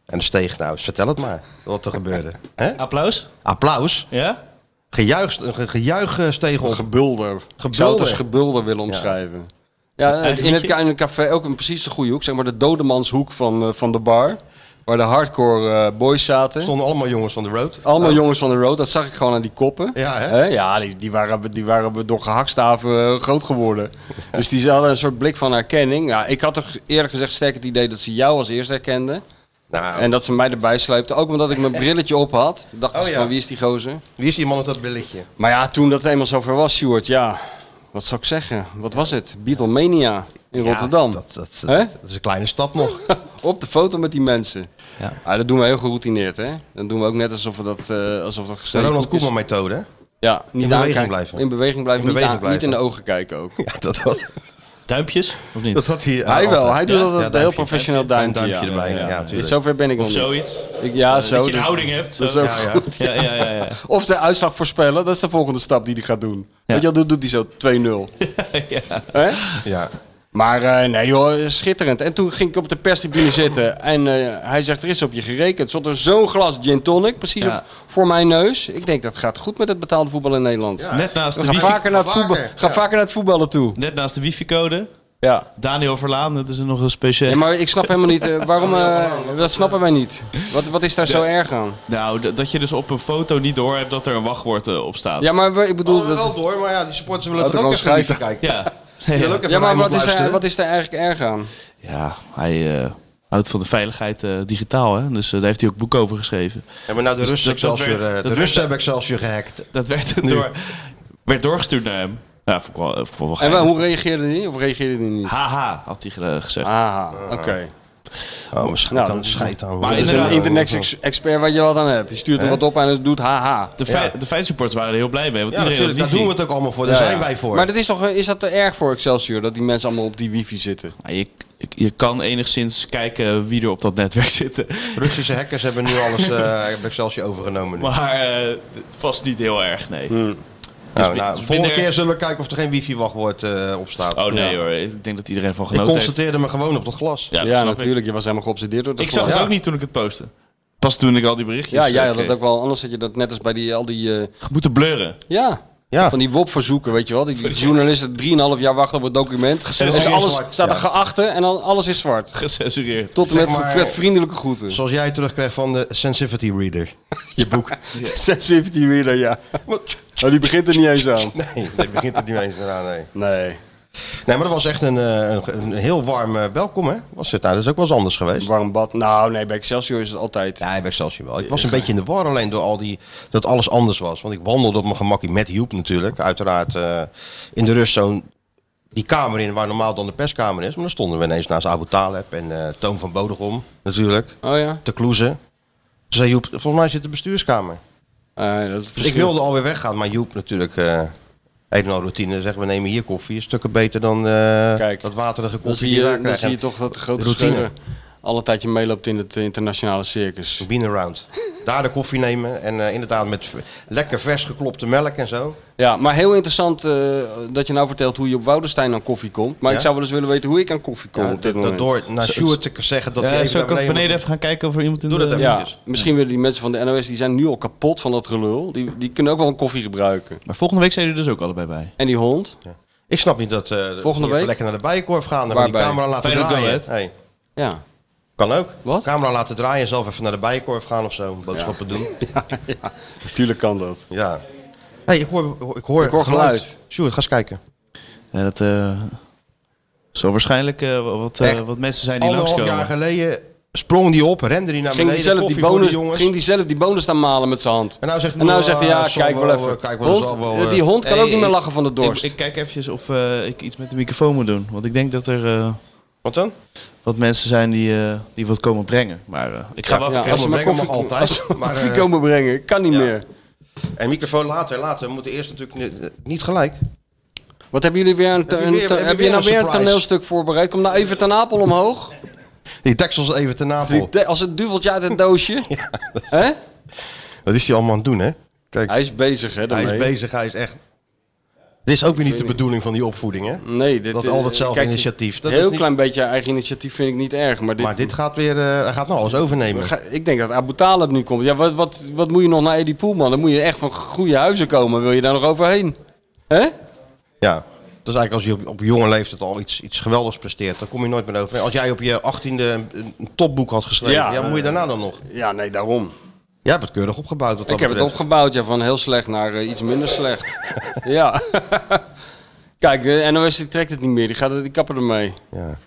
En de steeg nou, eens, vertel het maar, wat er gebeurde. Hè? Applaus? Applaus, Ja? gejuich, een ge- gejuich eh, steeg op. Gebulder. Ik zou het als gebulder willen omschrijven. Ja, eh, Eigen in, het, liedje? in een café ook een precies de goede hoek. Zeg maar de dodemanshoek van, eh, van de bar. Waar de hardcore eh, boys zaten. stonden allemaal jongens van de road. Allemaal Oh, jongens van de road. Dat zag ik gewoon aan die koppen. Ja, hè? Ja, die, die, waren, die waren door gehakstaven eh, groot geworden. dus die hadden een soort blik van herkenning. Ja, ik had toch eerlijk gezegd sterk het idee dat ze jou als eerste herkenden. Nou, En dat ze mij erbij sleepten. Ook omdat ik mijn brilletje op had. Dacht Oh, ze ja. van wie is die gozer? Wie is die man met dat billetje? Maar ja, toen dat eenmaal zover was, Stuart, ja, wat zou ik zeggen? Wat was het? Beatlemania in Ja, Rotterdam. Dat, dat, Hè? dat is een kleine stap nog. Op de foto met die mensen. Ja. Ja. dat doen we heel geroutineerd, hè? Dan doen we ook net alsof we dat, eh alsof dat De gesteld Ronald Koeman methode. hè? Ja, niet beweging aankijken. blijven. In beweging blijven, In niet, beweging aan- niet in de blijven. ogen kijken ook. Ja, dat was, Duimpjes? Of niet? dat had hij. hij wel, hij doet Ja, dat ja, heel duimpje. professioneel Duimpje duimpje. erbij, ja, in natuurlijk. zover ben ik nog of niet. zoiets? Ik, ja, zo. dat je een dus- houding hebt. Dat is zo. ook ja, ja. goed. ja, ja, ja, ja. Of de uitslag voorspellen, dat is de volgende stap die hij gaat doen. Weet je, wel, dat doet hij zo 2-0. Hè? Ja. Maar eh, nee joh, schitterend. En toen ging ik op de perstribune zitten en eh, hij zegt, er is op je gerekend. Er stond er zo'n glas gin tonic, precies Ja. op- voor mijn neus. Ik denk, dat gaat goed met het betaalde voetbal in Nederland. Net naast de Ga, wifi- vaker naar het Vaker, voetbal, ga ja. vaker naar het voetballen toe. Net naast de wifi-code. Ja. Daniel Verlaan, dat is nog een speciaal. Ja, maar ik snap helemaal niet, eh, waarom, eh, dat snappen wij niet. Wat, wat is daar zo erg aan? Nou, d- dat je dus op een foto niet door hebt dat er een wachtwoord eh, op staat. Ja, maar we- ik bedoel... Hadden Oh, we wel Dat, door, maar ja, die supporters willen Laten er we ook gewoon even niet schrijven. kijken. Ja. Die willen ook even ja, maar naar wat iemand is, daar, luisteren. wat is daar eigenlijk erg aan? Ja, hij eh, houdt van de veiligheid eh, digitaal, hè? Dus eh, daar heeft hij ook boek over geschreven. Ja, maar nou, de Dus Russen dat- dat Excelsior, werd- eh, dat de werd- Russen hebben Excelsior gehackt. Dat werd, door, werd doorgestuurd naar hem. Ja, vond ik wel, vond ik wel En geinig. wel, hoe reageerde hij? Of reageerde hij niet? Haha, had hij ge- gezegd. Ah, oké. Oh, maar Nou, schijt aan. dat is- schijt aan. Maar Dus inderdaad- een internet-expert wat je wat aan hebt. Je stuurt er wat op en het doet haha. De, fei- de feinsupporters waren er heel blij mee. Want Ja, iedereen natuurlijk, daar had wifi. doen we het ook allemaal voor. Daar zijn wij voor. Maar dat is, toch, eh, is dat te erg voor Excelsior, dat die mensen allemaal op die wifi zitten? Maar je, je kan enigszins kijken wie er op dat netwerk zitten. Russische hackers hebben nu alles eh hebben Excelsior overgenomen. Nu. Maar eh, vast niet heel erg, nee. Hmm. nou, nou, dus volgende minder- keer zullen we kijken of er geen wifi-wachtwoord eh, op staat. Oh nee hoor, ik denk dat iedereen van ik genoten heeft. constateerde me gewoon op het glas. Ja, Ja, dat snap ik. natuurlijk. Je was helemaal geobsedeerd door dat Ik zag het geluid. ook niet toen ik het postte. Pas toen ik al die berichtjes Ja, jij had eh, dat kreeg. ook wel. Anders had je dat net als bij die, al die... eh, Moeten blurren. ja. Ja. Van die WOP-verzoeken, weet je wel. Die, die journalisten 3,5 jaar wachten op het document. En dan is is alles, zwart, staat er ja. geachte en dan alles is zwart. Gecensureerd. Tot en Zeg met maar- Fred vriendelijke groeten. Zoals jij terugkreeg van de Sensitivity Reader. Je boek. Sensitivity Reader, ja. Wat? Maar die begint er niet eens aan. nee, dat begint er niet eens meer aan. Nee. Nee. nee, maar dat was echt een, eh, een, een heel warm eh, welkom, hè? Was het nou? Dat is ook wel eens anders geweest. Warm bad. Nou, nee, bij Excelsior is het altijd. Ja, bij Excelsior wel. Ik was een beetje in de war alleen door al die, dat alles anders was. Want ik wandelde op mijn gemakkie met Joep natuurlijk. Uiteraard eh, in de rust zo'n die kamer in waar normaal dan de perskamer is. Maar dan stonden we ineens naast Abu Taleb en eh, Toon van Bodegom natuurlijk. Oh ja? Te kloezen. Toen zei Joep, volgens mij zit de bestuurskamer. Eh, dat Dus ik wilde alweer weggaan, maar Joep natuurlijk... eh een en al routine, zeggen we nemen hier koffie, is stukken beter dan eh, Kijk, dat waterige Dan koffie zie die je je, daar dan krijgt. zie je toch dat de grote Routine. scheuren alle tijdje meeloopt in het eh, internationale circus. Bean around. Daar de koffie nemen en eh, inderdaad met v- lekker vers geklopte melk en zo. Ja, maar heel interessant eh, dat je nou vertelt hoe je op Woudenstein aan koffie komt. Maar Ja? ik zou wel eens willen weten hoe ik aan koffie kom Ja, op dit dat- moment. dat door naar Sjoerd te zeggen dat hij Ja, even zo naar kan ik beneden beneden moet. even gaan kijken of er iemand in Doe de... dat even. ja, eventjes. misschien willen die mensen van de NOS, die zijn nu al kapot van dat gelul. Die, die kunnen ook wel een koffie gebruiken. Maar volgende week zijn jullie dus ook allebei bij. En die hond? Ik snap niet dat eh, dat we even week? lekker naar de bijenkorf gaan en die Waarbij? camera laten Feyenoord Go draaien. Ahead. Hey, Ja. kan ook. Wat? Camera laten draaien en zelf even naar de bijenkorf gaan of zo. Boodschappen doen. Tuurlijk kan dat. Ja. Hey, ik hoor, ik hoor, Ik hoor geluid. Sjoerd, ga eens kijken. Ja, dat eh, zal waarschijnlijk eh, wat, eh, Echt? wat mensen zijn die Anderhalf jaar langskomen. geleden sprong die op, rende die naar Ging beneden. die, zelf die koffie voor de bonus, jongens. ging die zelf die bonus dan malen met zijn hand? En nou zegt, En nou Noah, zegt hij, ja, zal kijk wel even. Kijk wel, Hond, zal wel, eh, die hond kan Hey, ook niet meer ik- lachen van de dorst. Ik, ik kijk eventjes of eh, ik iets met de microfoon moet doen. Want ik denk dat er eh, Wat dan? wat mensen zijn die, eh, die wat komen brengen. Maar eh, ik ga Ja, wel even ja. kijken. Als ze maar brengen mag altijd, als ze maar maar, koffie eh, komen brengen, kan niet meer. En microfoon later, later. We moeten eerst natuurlijk ni- niet gelijk. Wat hebben jullie weer een, je een- weer- heb je heb je weer nou een weer een surprise? toneelstuk voorbereid? Kom nou even ten Apel omhoog. Die deksels even ten Die navel. de- als het duveltje uit het doosje. Hè? Wat is hij allemaal aan het doen, hè? Kijk, Hij is bezig, hè? hij is daarmee. bezig, hij is echt... Dit is ook weer niet de bedoeling van die opvoeding, hè? Nee, dit, Dat eh, al datzelfde kijk, initiatief. Dat is heel niet- klein beetje eigen initiatief vind ik niet erg. Maar dit, Maar dit gaat weer... eh, hij gaat nou alles overnemen. Ga- Ik denk dat Abu Talib nu komt. Ja, wat, wat, wat moet je nog naar Eddie Poelman? Dan moet je echt van goede huizen komen. Wil je daar nog overheen? Hè? Ja. Dat is eigenlijk als je op, op jonge leeftijd al iets, iets geweldigs presteert. Dan kom je nooit meer over. Als jij op je achttiende een, een topboek had geschreven. Ja, Ja, moet je daarna dan nog? Ja, nee, daarom. Jij hebt het keurig opgebouwd. Wat dat Ik heb het betreft. opgebouwd, ja, van heel slecht naar eh, iets minder slecht. ja. Kijk, de NOS die trekt het niet meer. Die, gaat, het- die kappen ermee. Ja.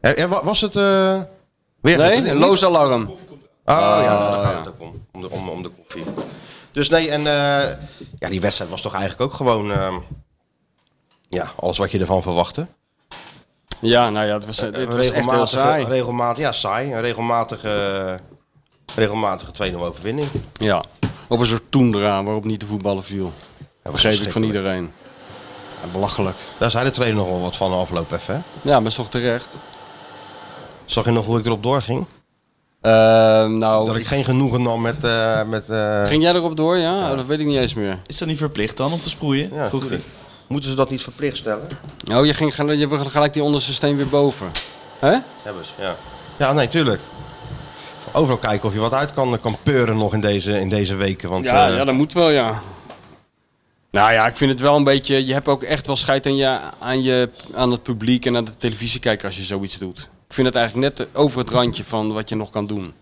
En, en wa- was het... eh, weer Nee, niet? een Ah, loos alarm. Oh ja, nou, daar gaat het ook om. Om de, om, om de koffie. Dus nee, en eh, ja, die wedstrijd was toch eigenlijk ook gewoon eh, ja, alles wat je ervan verwachtte. Ja, nou ja, het was, het Een was echt heel saai. regelmatig, ja, saai. Een regelmatige, regelmatige 2-0 overwinning. Ja. Op een soort toendra waarop niet te voetballen was viel. Begreep ik van verschrikkelijk. iedereen. Ja, belachelijk. Daar zei de trainer nog wel wat van de afloop even. Hè? Ja, maar is toch terecht? Zag je nog hoe ik erop doorging? Ehm, nou, Dat ik geen genoegen nam met... eh, met eh, Ging jij erop door? Ja, Oh, dat weet ik niet eens meer. Is dat niet verplicht dan om te sproeien? Ja, Vroeg hij. tuurlijk. Moeten ze dat niet verplicht stellen? Oh, je ging gel- je wil gelijk die onderste steen weer boven. Hè? Hebben ze, ja. Ja, nee, tuurlijk. Overal kijken of je wat uit kan, kan peuren nog in deze, in deze weken. Want, Ja, eh, ja, dat moet wel, ja. Nou ja, ik vind het wel een beetje. Je hebt ook echt wel scheid aan, je, aan, je, aan het publiek en aan de televisiekijker als je zoiets doet. Ik vind het eigenlijk net over het randje van wat je nog kan doen. met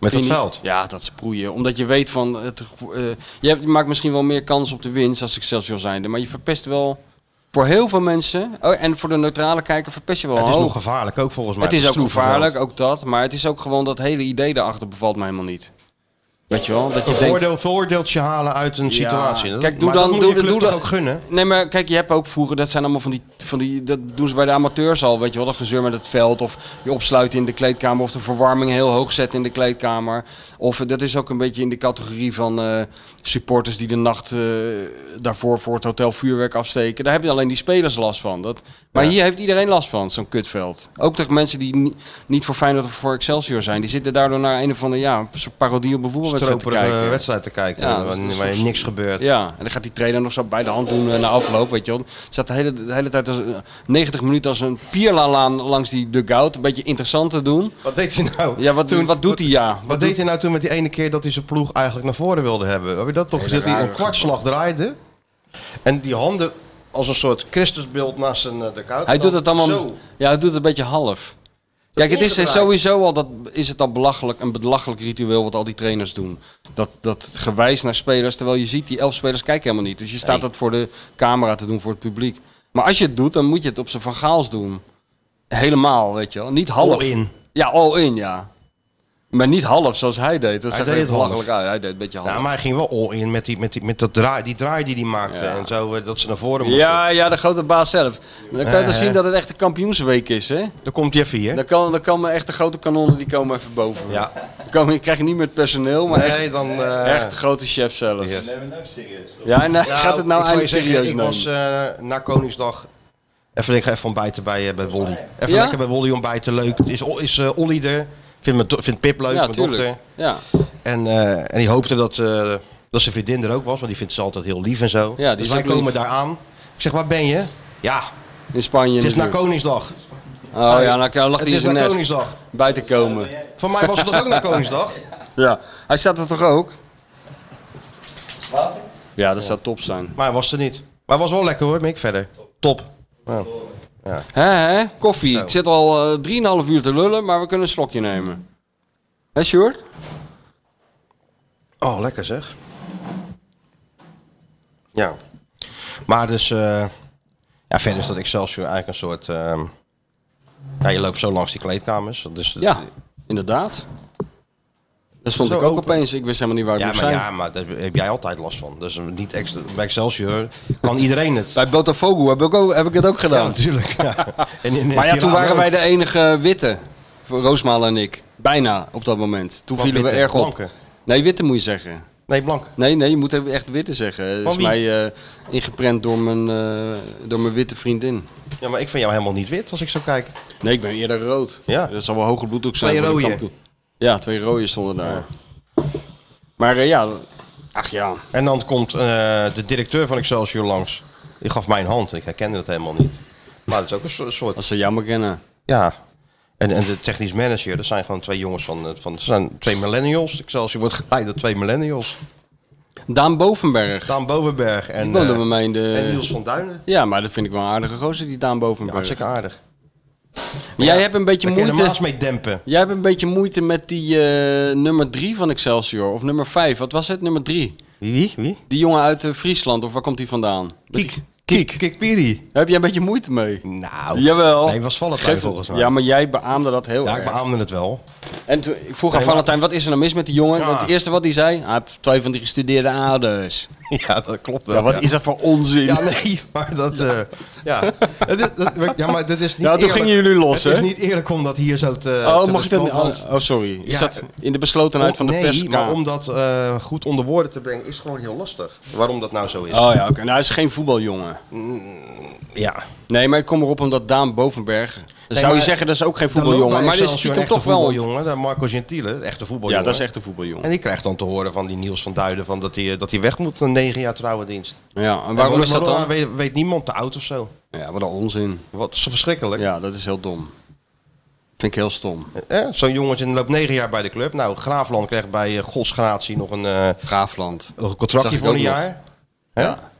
dat Vind je niet? veld. Ja, dat sproeien. Omdat je weet van. Het, eh, je, hebt- je maakt misschien wel meer kans op de winst als Excelsior zijnde. Maar je verpest wel. Voor heel veel mensen. Oh, en voor de neutrale kijker verpest je wel Het is hoog. nog gevaarlijk ook volgens mij. het is ook stroeve gevaarlijk, veld. ook dat. Maar het is ook gewoon dat hele idee daarachter bevalt me helemaal niet. Weet je wel? Dat je Een denkt, voordeel, voordeeltje halen uit een situatie. Dat- Kijk, doe maar dan, dat moet doe, je club doe toch dan- ook gunnen. Nee, maar kijk, je hebt ook vroeger, dat zijn allemaal van die, van die, dat doen ze bij de amateurs al, weet je wel, dat gezeur met het veld of je opsluiten in de kleedkamer of de verwarming heel hoog zetten in de kleedkamer. Of eh, dat is ook een beetje in de categorie van eh, supporters die de nacht eh, daarvoor voor het hotel vuurwerk afsteken. Daar heb je alleen die spelers last van. Dat, maar hier heeft iedereen last van, zo'n kutveld. Ook tegen mensen die ni- niet voor Feyenoord of voor Excelsior zijn. Die zitten daardoor naar een of andere, ja, een soort parodie op een voetbalwedstrijd te Stroperige kijken. eh, wedstrijd te kijken Ja, dat waar, is- waar niks gebeurt. Ja, en dan gaat die trainer nog zo bij de hand doen eh, na afloop, weet je wel. Zat de hele, de hele tijd, als, eh, 90 minuten als een pierlalaan langs die dugout. Een beetje interessant te doen. Wat deed hij nou? Ja, wat, Toen- wat doet hij ja? Wat deed hij nou toen met die ene keer dat hij zijn ploeg eigenlijk naar voren wilde hebben? Heb je dat toch gezien? Dat hij een kwartslag draaide. En die handen als een soort Christusbeeld naast zijn eh, de koud. Hij doet het allemaal, Zo. ja, hij doet het een beetje half. Kijk, het is eh, omgedraaid. sowieso al, dat, is het al belachelijk, een belachelijk ritueel wat al die trainers doen. Dat, dat gewijs naar spelers, terwijl je ziet die elf spelers kijken helemaal niet. Dus je staat dat voor de camera te doen, voor het publiek. Maar als je het doet, dan moet je het op zijn Van Gaals doen. Helemaal, weet je wel. Niet half. All in. Ja, all in, ja. Maar niet half zoals hij deed. Dat Hij deed zag er het half. belachelijk uit. Hij deed een beetje half. Ja, maar hij ging wel all in met die, met die, met dat draai, die draai die hij maakte. Ja. En zo eh, dat ze naar voren moesten. Ja, ja, de grote baas zelf. Dan kan je toch Eh. zien dat het echt een kampioensweek is, hè? Daar komt Jeffy, hè? Dan kan, dan kan echt de grote kanonnen, die komen even boven. Ja. Dan komen, je krijgt niet meer het personeel, maar echt, Nee, dan... eh, echt de grote chef zelf. yes. Ja, en eh, Nou, gaat ik zou je het nou zeggen, eindelijk serieus Ik nemen? was eh, na Koningsdag... Even, ik ga even ontbijten bij, eh, bij Wolly. Even Ja? lekker bij Wolly ontbijten, leuk. Is, is eh, Olly er? Vindt, mijn do- vindt Pip leuk, ja, mijn dochter. tuurlijk. Ja. En, eh, en die hoopte dat, eh, dat zijn vriendin er ook was, want die vindt ze altijd heel lief en zo. Ja, die dus is wij ook lief. komen daar aan. Ik zeg, waar ben je? Ja, In Spanje het is na natuurlijk. Koningsdag. Oh ja, nou, dan het lag hij in is zijn na nest. Koningsdag. Bij te komen. Van mij was het toch ook na Koningsdag? Ja. Hij staat er toch ook? Ja, dat zou top zijn. Maar hij was er niet. Maar hij was wel lekker hoor, Mick, verder. Top. Ja. Hè, hè? Koffie. Zo. Ik zit al eh 3,5 uur te lullen, maar we kunnen een slokje nemen. Hè, Sjoerd? Oh, lekker zeg. Ja. Maar dus, eh, ja, verder is dat Excelsior eigenlijk een soort... ehm, ja, je loopt zo langs die kleedkamers. Dus, Ja, inderdaad. Daar stond Zo ik ook open. opeens. Ik wist helemaal niet waar ik Ja, moest maar, zijn. ja, maar daar heb jij altijd last van. Dus niet extra, bij Excelsior kan iedereen het. Bij Botafogo heb ik, ook, heb ik het ook Ja, gedaan. natuurlijk. Ja. En in- in maar ja, toen Tirana waren ook. wij de enige witte. Voor Roosmalen en ik. Bijna op dat moment. Toen Wat vielen we witte? erg op. Blanke? Nee, witte moet je zeggen. Nee, Blank. Nee, nee, je moet even echt witte zeggen. Dat is wie? mij eh, ingeprent door mijn, eh, door mijn witte vriendin. Ja, maar ik vind jou helemaal niet wit als ik zo kijk. Nee, ik ben eerder rood. Ja. Dat zal wel hoger bloeddruk zijn. Twee voor de rode. kampioen. Ja, twee rode stonden daar. Maar eh, ja, ach ja. En dan komt eh, de directeur van Excelsior langs. Die gaf mij een hand en ik herkende dat helemaal niet. Maar dat is ook een soort... soort Als ze jou maar kennen. ja. En, en de technisch manager, dat zijn gewoon twee jongens van... eh, van dat zijn twee millennials. Excelsior wordt geleid door twee millennials. Daan Bovenberg. Daan Bovenberg en, Die woonde eh, bij mij in de- en Niels van Duinen. Ja, maar dat vind ik wel een aardige gozer, die Daan Ja, Bovenberg. hartstikke aardig. Jij hebt een beetje Daar kun je de moeite... maas mee dempen. Jij hebt een beetje moeite met die eh, nummer 3 van Excelsior. Of nummer 5. Wat was het? Nummer 3. Wie, wie, wie? Die jongen uit eh, Friesland. Of waar komt die vandaan? Met die- Kiek. Kiek Piri. Daar Heb jij een beetje moeite mee? Nou. Jawel. Nee, was Valentijn Geef- volgens mij. Ja, maar jij beaamde dat heel Ja, erg. ik beaamde het wel. En toen, ik vroeg aan Nee, maar- Valentijn, wat is er nou mis met die jongen? Ja. Want Het eerste wat hij zei, hij heeft twee van die gestudeerde ouders. Ja, dat klopt wel. Ja, wat ja. is dat voor onzin? Ja, nee, maar dat... eh, ja. Het is, dat- ja, maar dat is niet Ja, toen eerlijk. gingen jullie los, Het hè? is niet eerlijk om dat hier zo te... oh, te mag ik dat niet? bespreken, Oh, want- oh, sorry. Is Ja, dat in de beslotenheid van de nee, pers? maar om dat eh, goed onder woorden te brengen is gewoon heel lastig. Waarom dat nou zo is. Mm, Oh ja, oké. Nou, hij is geen voetbaljongen. Ja. Nee, maar ik kom erop omdat Daan Bovenberg... Dan zou je maar- zeggen, dat is ook geen Dan loopt voetbaljongen. bij Maar dit is Excelsior een stiekem echte toch wel... voetbaljongen, de Marco Gentile, de echte voetbaljongen. Ja, dat is echt een voetbaljongen. En die krijgt dan te horen van die Niels van Duiden van dat hij dat hij weg moet na negen jaar trouwendienst. Ja, en waarom En is dat waarom- dan? Weet, weet niemand te oud of zo. Ja, wat een onzin. Wat zo verschrikkelijk. Ja, dat is heel dom. Vind ik heel stom. Eh, Zo'n jongetje loopt negen jaar bij de club. Nou, Graafland kreeg bij eh, Godsgratie nog een, eh, Graafland. nog een Zag contractje ik voor een ook nog. jaar. Hè? Ja.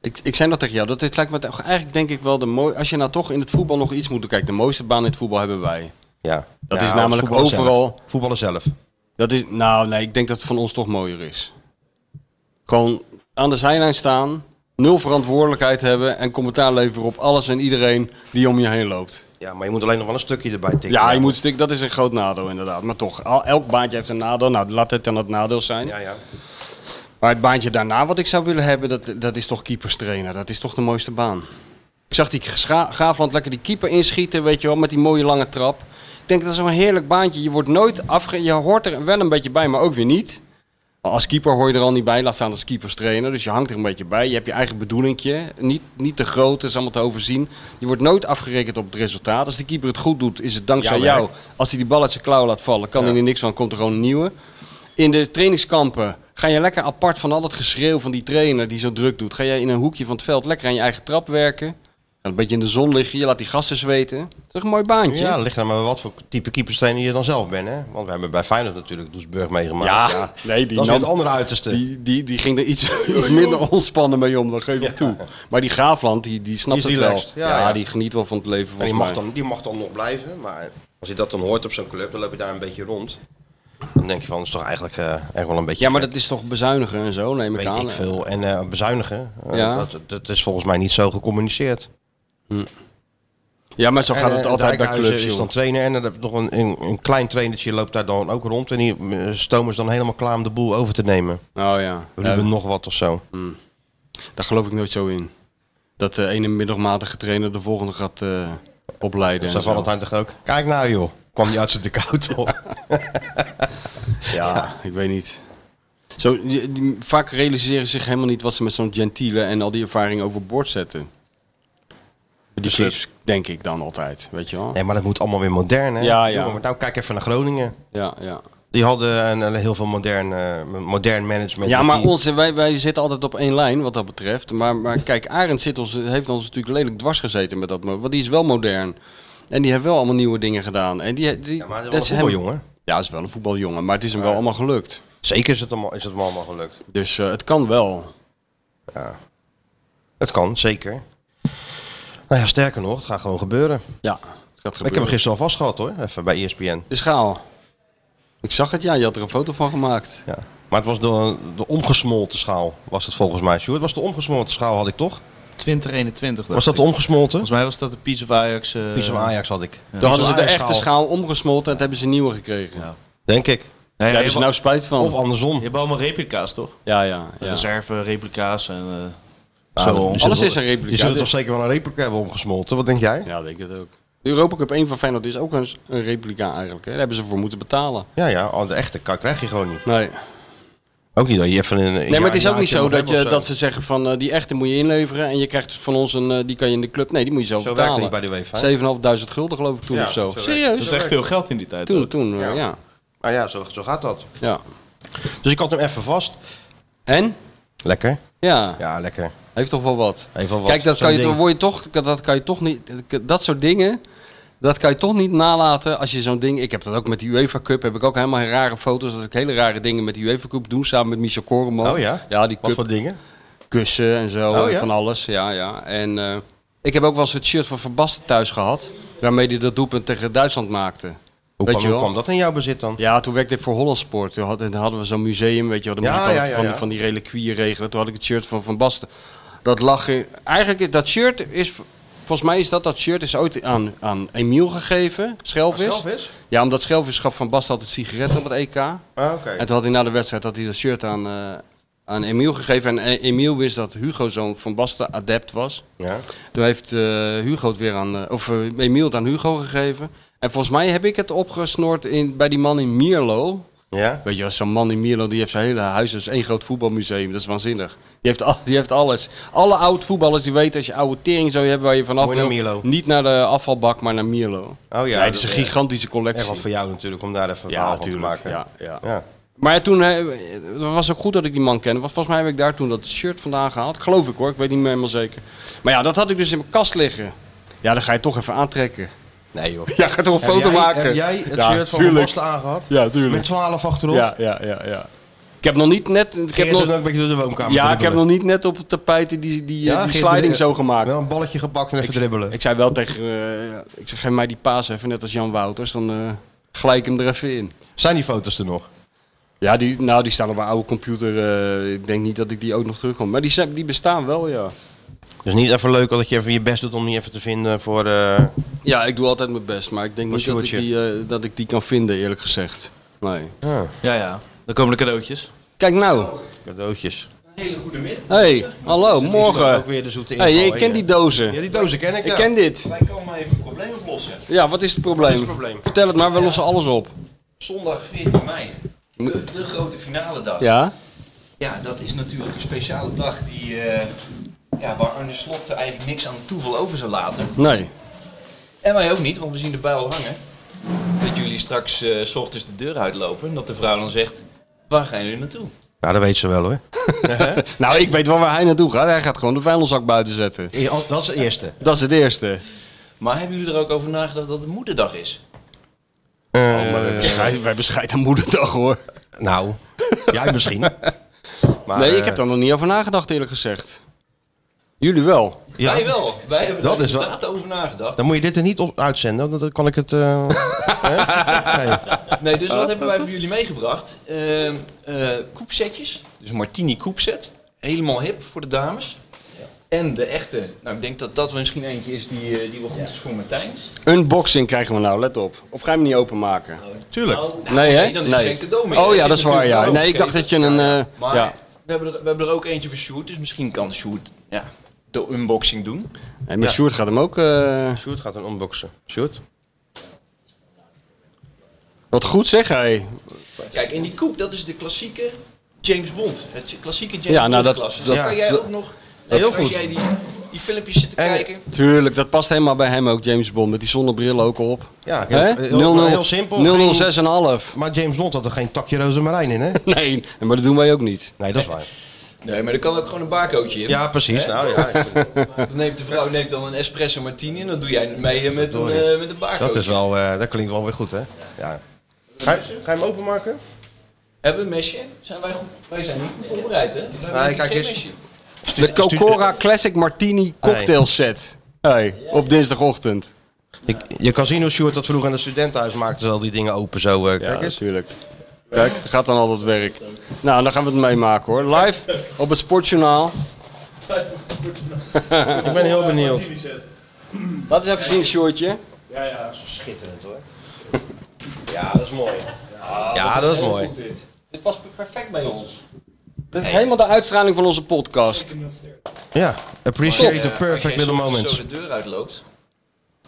Ik, ik zei dat tegen jou. Dat dit lijkt me toch- eigenlijk denk ik wel de mooi. Als je nou toch in het voetbal nog iets moet doen. Kijk, de mooiste baan in het voetbal hebben wij. Ja. Dat Ja, is namelijk voetballen zelf. overal- Voetballen zelf. Dat is, nou nee, ik denk dat het van ons toch mooier is. Gewoon aan de zijlijn staan, nul verantwoordelijkheid hebben en commentaar leveren op alles en iedereen die om je heen loopt. Ja, maar je moet alleen nog wel een stukje erbij tikken. Ja, je moet stik, dat is een groot nadeel inderdaad. Maar toch, al- elk baantje heeft een nadeel. Nou, laat het dan het nadeel zijn. Ja, ja. Maar het baantje daarna wat ik zou willen hebben, dat, dat is toch keeperstrainer. Dat is toch de mooiste baan. Ik zag die Scha- Graafland lekker die keeper inschieten, weet je wel, met die mooie lange trap. Ik denk dat is wel een heerlijk baantje. Je wordt nooit afge... Je hoort er wel een beetje bij, maar ook weer niet. Maar als keeper hoor je er al niet bij, laat staan als keeperstrainer. Dus je hangt er een beetje bij. Je hebt je eigen bedoelingje. Niet, niet te groot, dat is allemaal te overzien. Je wordt nooit afgerekend op het resultaat. Als de keeper het goed doet, is het dankzij Jouw werk. jou. Als hij die bal uit zijn klauw laat vallen, kan hij er niks van, komt er gewoon een nieuwe. In de trainingskampen ga je lekker apart van al dat geschreeuw van die trainer die zo druk doet. Ga jij in een hoekje van het veld lekker aan je eigen trap werken. Ga Een beetje in de zon liggen, je laat die gasten zweten. Dat is toch een mooi baantje? Ja, ligt er maar wat voor type keeperstrainer je dan zelf bent. Hè? Want we hebben bij Feyenoord natuurlijk Doesburg meegemaakt. Ja, nee, die dat is weer nam- het andere uiterste. Die, Die, die, die ging er iets, iets minder ontspannen mee om, dat geef ik toe. Maar die Graafland, die, die snapt Die is het wel. relaxed, Ja, ja, ja. die geniet wel van het leven en volgens die mag, mij. dan, die mag dan nog blijven. Maar als je dat dan hoort op zo'n club, dan loop je daar een beetje rond. Dan denk je van, dat is toch eigenlijk eh, echt wel een beetje Ja, maar gek. dat is toch bezuinigen en zo, neem ik Weet aan. ik veel. En eh, bezuinigen, eh, Ja. dat, dat is volgens mij niet zo gecommuniceerd. Ja, maar zo gaat En, het eh, altijd bij Dijkhuizen clubs, is joh. dan trainer en dan heb je nog een, een, een klein trainertje loopt daar dan ook rond. En die eh, stomen ze dan helemaal klaar om de boel over te nemen. Oh ja, We Ja, Hmm. hebben nog wat of zo. daar geloof ik nooit zo in. Dat de ene middagmatige trainer de volgende gaat eh, opleiden. Dus en daar zo. Valentijn dacht ook, kijk nou joh. Kwam die uit zijn koud op. Ja, ik weet niet. Zo, die- die- vaak realiseren ze zich helemaal niet wat ze met zo'n gentiele en al die ervaring overboord zetten. Die Precies. clubs, denk ik dan altijd, weet je wel. Nee, maar dat moet allemaal weer modern, hè? Ja, ja. Jongen, maar nou, kijk even naar Groningen. Ja, ja. Die hadden een, een heel veel modern, eh, modern management. ja met maar die- onze, wij, wij zitten altijd op één lijn wat dat betreft. Maar, maar kijk, Arend zit ons, heeft ons natuurlijk lelijk dwars gezeten met dat. mo- Want die is wel modern. En die heeft wel allemaal nieuwe dingen gedaan. En die, die, Ja, maar dat dat is hem- wel jongen. Ja, is wel een voetbaljongen. Maar het is hem wel allemaal gelukt. Zeker is het, allemaal, is het hem allemaal gelukt. Dus eh, het kan wel. Het kan, zeker. Nou ja, sterker nog, het gaat gewoon gebeuren. Ja, het gaat gebeuren. Ik heb hem gisteren al vast gehad, hoor. Even bij E ESPN. De schaal. Ik zag het, ja. Je had er een foto van gemaakt. Ja. Maar het was de, de omgesmolten schaal, was het volgens mij, Sjoerd. Het was de omgesmolten schaal, had ik toch? 2021. Was dat de omgesmolten? Volgens mij was dat de Piece of Ajax. eh, Piece of Ajax had ik. Toen hadden ze de Ajax-schaal. echte schaal omgesmolten en toen hebben ze een nieuwe gekregen. Ja. Denk ik. Nee, Daar je, hebben ze hebt, nou spijt Of van. je andersom. hebt allemaal replica's, toch? Ja, ja. Ja. ja. Reserve, replica's en... eh, Ja, zo dat- om. Alles is een Je replica. zult toch zeker wel een replica hebben omgesmolten, wat denk jij? Ja, denk het ook. De Europa Cup 1 van Feyenoord is ook een, een replica eigenlijk. Hè. Daar hebben ze voor moeten betalen. Ja, ja, al de echte ka- krijg je gewoon niet. Nee, Ook niet dat je even een. nee maar het is ook niet zo dat, je, dat ze zeggen van eh, die echte moet je inleveren en je krijgt dus van ons een, eh, die kan je in de club. Nee, die moet je zelf Zo werkt het betalen. niet bij de UEFA. 7.500 gulden geloof ik toen Ja, of zo. zo werkt- Serieus? Dat is echt veel geld in die tijd. Toen, ook. toen, eh, ja. ja. Ah ja, zo, zo gaat dat. Dus ik had hem even vast. En? Lekker. Ja, Ja, lekker. heeft toch wel wat. Heeft wel wat. Kijk, dat Zo'n kan, je, ding. toch- word je toch, dat kan je toch niet. Dat soort dingen. Dat kan je toch niet nalaten als je zo'n ding. Ik heb dat ook met die UEFA Cup. Heb ik ook helemaal rare foto's. Dat ik hele rare dingen met die UEFA Cup doe. Samen met Michel Koreman. Oh ja? Ja, die Wat cup voor dingen? kussen en zo. Oh, en ja? Van alles. Ja, ja. En eh, ik heb ook wel eens het shirt van Van Basten thuis gehad. Waarmee hij dat doelpunt tegen Duitsland maakte. Hoe, Weet kwam, je hoe wel? kwam dat in jouw bezit dan? Ja, toen werkte ik voor Holland Sport. Toen had- toen hadden we zo'n museum, weet je wel. Dan moest Ja, ik altijd ja, ja, van, ja. van die reliquieën regelen. Toen had ik het shirt van Van Basten. Dat lag in... Eigenlijk, is- dat shirt is... Volgens mij is dat dat shirt is ooit aan, aan Emiel gegeven, Schelvis. Schelvis? Ja, omdat Schelvis gaf Van Basten altijd sigaretten op het EK. Ah, oké. En toen had hij na de wedstrijd dat, hij dat shirt aan, eh, aan Emiel gegeven. En eh, Emiel wist dat Hugo zo'n Van Basten adept was. Ja. Toen heeft eh, Hugo het weer aan, eh, of eh, Emiel het aan Hugo gegeven. En volgens mij heb ik het opgesnoord in, bij die man in Mierlo. Ja? Weet je, wel, zo'n man in Mierlo, die heeft zijn hele huis. Dat is één groot voetbalmuseum. Dat is waanzinnig. Die heeft, al, die heeft alles. Alle oud-voetballers die weten, als je oude tering zou hebben waar je vanaf Mooi naar wil, Mierlo. Niet naar de afvalbak, maar naar Mierlo. Oh ja, Nee, het is een dat, eh, gigantische Echt collectie. wat voor jou natuurlijk om daar even een ja, verhaal van te natuurlijk. maken. Ja, ja. Ja. Maar toen eh, het was ook goed dat ik die man kende. Want volgens mij heb ik daar toen dat shirt vandaan gehaald. Geloof ik hoor, ik weet niet meer helemaal zeker. Maar ja, dat had ik dus in mijn kast liggen. Ja, dan ga je toch even aantrekken. Nee joh. Ja, ga toch een Heb foto jij- maken. Heb jij het Ja, shirt van tuurlijk. Boston aangehad? Ja, tuurlijk. Met 12 achterop? Ja, ja, ja, ja. Ik heb nog niet net... Ik heb Gerrit nog, doet ook een beetje door de woonkamer ja, ik dribbelen. heb nog niet net op het tapijt die, die, die, Ja, die Geert, sliding eh, zo gemaakt. Wel een balletje gepakt en even Ik- dribbelen. Ik zei wel tegen... eh, ik zeg, geef mij die paas even, net als Jan Wouters. Dan eh gelijk hem er even in. Zijn die foto's er nog? Ja, die, nou, die staan op mijn oude computer. eh, ik denk niet dat ik die ook nog terugkom. Maar die, zijn- die bestaan wel, ja. Dus niet even leuk dat je even je best doet om die even te vinden voor... eh, Ja, ik doe altijd mijn best. Maar ik denk Wat niet dat ik, shirtje? die, eh, dat ik die kan vinden, eerlijk gezegd. Nee. Ja, ja. Dan komen de cadeautjes. Kijk nou. cadeautjes. Hey, hallo, Is morgen. ook weer de zoete Hey, inval, ik ken hè? die dozen. Ja, die dozen ken ik, Ik ja. ken dit. Wij komen maar even een probleem oplossen. Ja, wat is het probleem? is het probleem? Vertel het maar, we lossen alles op. Zondag 14 mei. De, de grote finale dag. Ja. Ja? dat is natuurlijk een speciale dag die, eh, ja, waar Arne Slot eigenlijk niks aan het toeval over zou laten. Nee. En wij ook niet, want we zien de buil hangen. Dat jullie straks eh, s ochtends de deur uitlopen en dat de vrouw dan zegt, waar gaan jullie naartoe? Nou, dat weet ze wel hoor. Nou, ik weet wel waar hij naartoe gaat. Hij gaat gewoon de vuilniszak buiten zetten. E- als- Dat is de eerste. Dat is het eerste. Maar hebben jullie er ook over nagedacht dat het moederdag is? Eh, Oh, maar wij bescheiden, wij bescheiden moederdag hoor. Nou, jij misschien. Maar, nee, ik eh, heb daar nog niet over nagedacht eerlijk gezegd. Jullie wel. ja, Wij wel. Wij hebben Dat er is wel- inderdaad over nagedacht. Dan moet je dit er niet op uitzenden, want dan kan ik het... eh, hè? Nee. Nee, dus wat hebben wij voor jullie meegebracht? Eh eh, koepsetjes. Dus een martini koepset. Helemaal hip voor de dames. En de echte. Nou, ik denk dat dat wel misschien eentje is die, eh, die wel goed is voor Martijn. Unboxing krijgen we nou, let op. Of ga je hem niet openmaken? Tuurlijk. Nee, hè? Nou, dan is Nee. er geen cadeau meer. Oh ja, Dit dat is waar, natuurlijk ja. wel Nee, ik oké. dacht dat je een... eh, Maar ja. we, hebben er, we hebben er ook eentje voor Sjoerd. Dus misschien kan Sjoerd ja, de unboxing doen. Nee, maar Sjoerd gaat hem ook... eh, Sjoerd gaat een unboxen. Sjoerd? Wat goed zeg, hij. Kijk, en die koep, dat is de klassieke James Bond. Het klassieke James Ja, nou, dat- Bond klas. Dus dat- dan kan jij dat- ook nog... Heel als goed. jij die, die filmpjes zit te En- kijken... Tuurlijk, dat past helemaal bij hem ook, James Bond. Met die zonnebril ook op. Ja, heel, Hè? heel, 00 heel simpel. 006 en half. Maar James Bond had er geen takje rozemarijn in, hè? Nee, maar dat doen wij ook niet. Nee, dat is waar. Nee, maar er kan ook gewoon een barcodeje in. Ja, precies. Nou, ja, Dan neemt de vrouw neemt dan een espresso martini en dan doe jij mee eh, met een, Sorry. eh, met een barcode. dat, is wel, eh, dat klinkt wel weer goed, hè? Ja. Ga, je- ga je hem openmaken? Hebben we een mesje? Zijn wij, goed, wij zijn niet goed voorbereid, hè? Wij hebben Nee, niet kijk geen eens. mesje. De Cocora Classic Martini Cocktail Set. Hey, op dinsdagochtend. Ik- je kan zien hoe Sjoerd dat vroeger in het studentenhuis maakte. Ze al die dingen open zo. eh, Ja, kijk eens. natuurlijk. Kijk, het gaat dan al dat werk. Nou, dan gaan we het meemaken hoor. Live op het Sportjournaal. Ik ben heel benieuwd. Laat eens even zien, Sjoerdje. Ja, ja. Schitterend hoor. Ja, dat is mooi. Ja, dat is mooi. Dit past perfect bij ons. Dit is helemaal de uitstraling van onze podcast. Ja, Eh, appreciate the als jij perfect little soms moments. zo de deur uitloopt,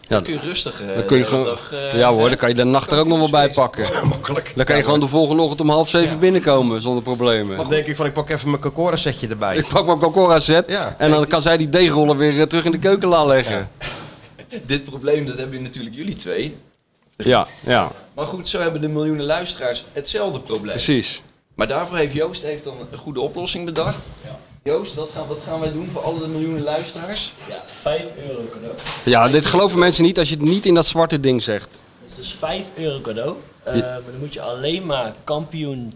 Ja, dan kun je rustig... eh, dan kun je de gewoon, dag, eh, ja hoor, hè? dan kan je de nacht er ook nog wel bij pakken. Makkelijk. Dan kan je gewoon de volgende ochtend om half zeven binnenkomen zonder problemen. Dan denk ik van, ik pak even mijn Cocora setje erbij. Ik pak mijn Cocora set Ja. en dan kan zij die deegrollen weer eh, terug in de keukenla leggen. Dit probleem, dat hebben natuurlijk jullie twee. Ja, ja, Maar goed, zo hebben de miljoenen luisteraars hetzelfde probleem. precies. Maar daarvoor heeft Joost heeft dan een goede oplossing bedacht. Joost, wat gaan, wat gaan wij doen voor alle de miljoenen luisteraars? Ja, 5 euro cadeau. Ja, dit geloven mensen niet als je het niet in dat zwarte ding zegt. Dus dat is 5 euro cadeau. Eh, maar dan moet je alleen maar kampioen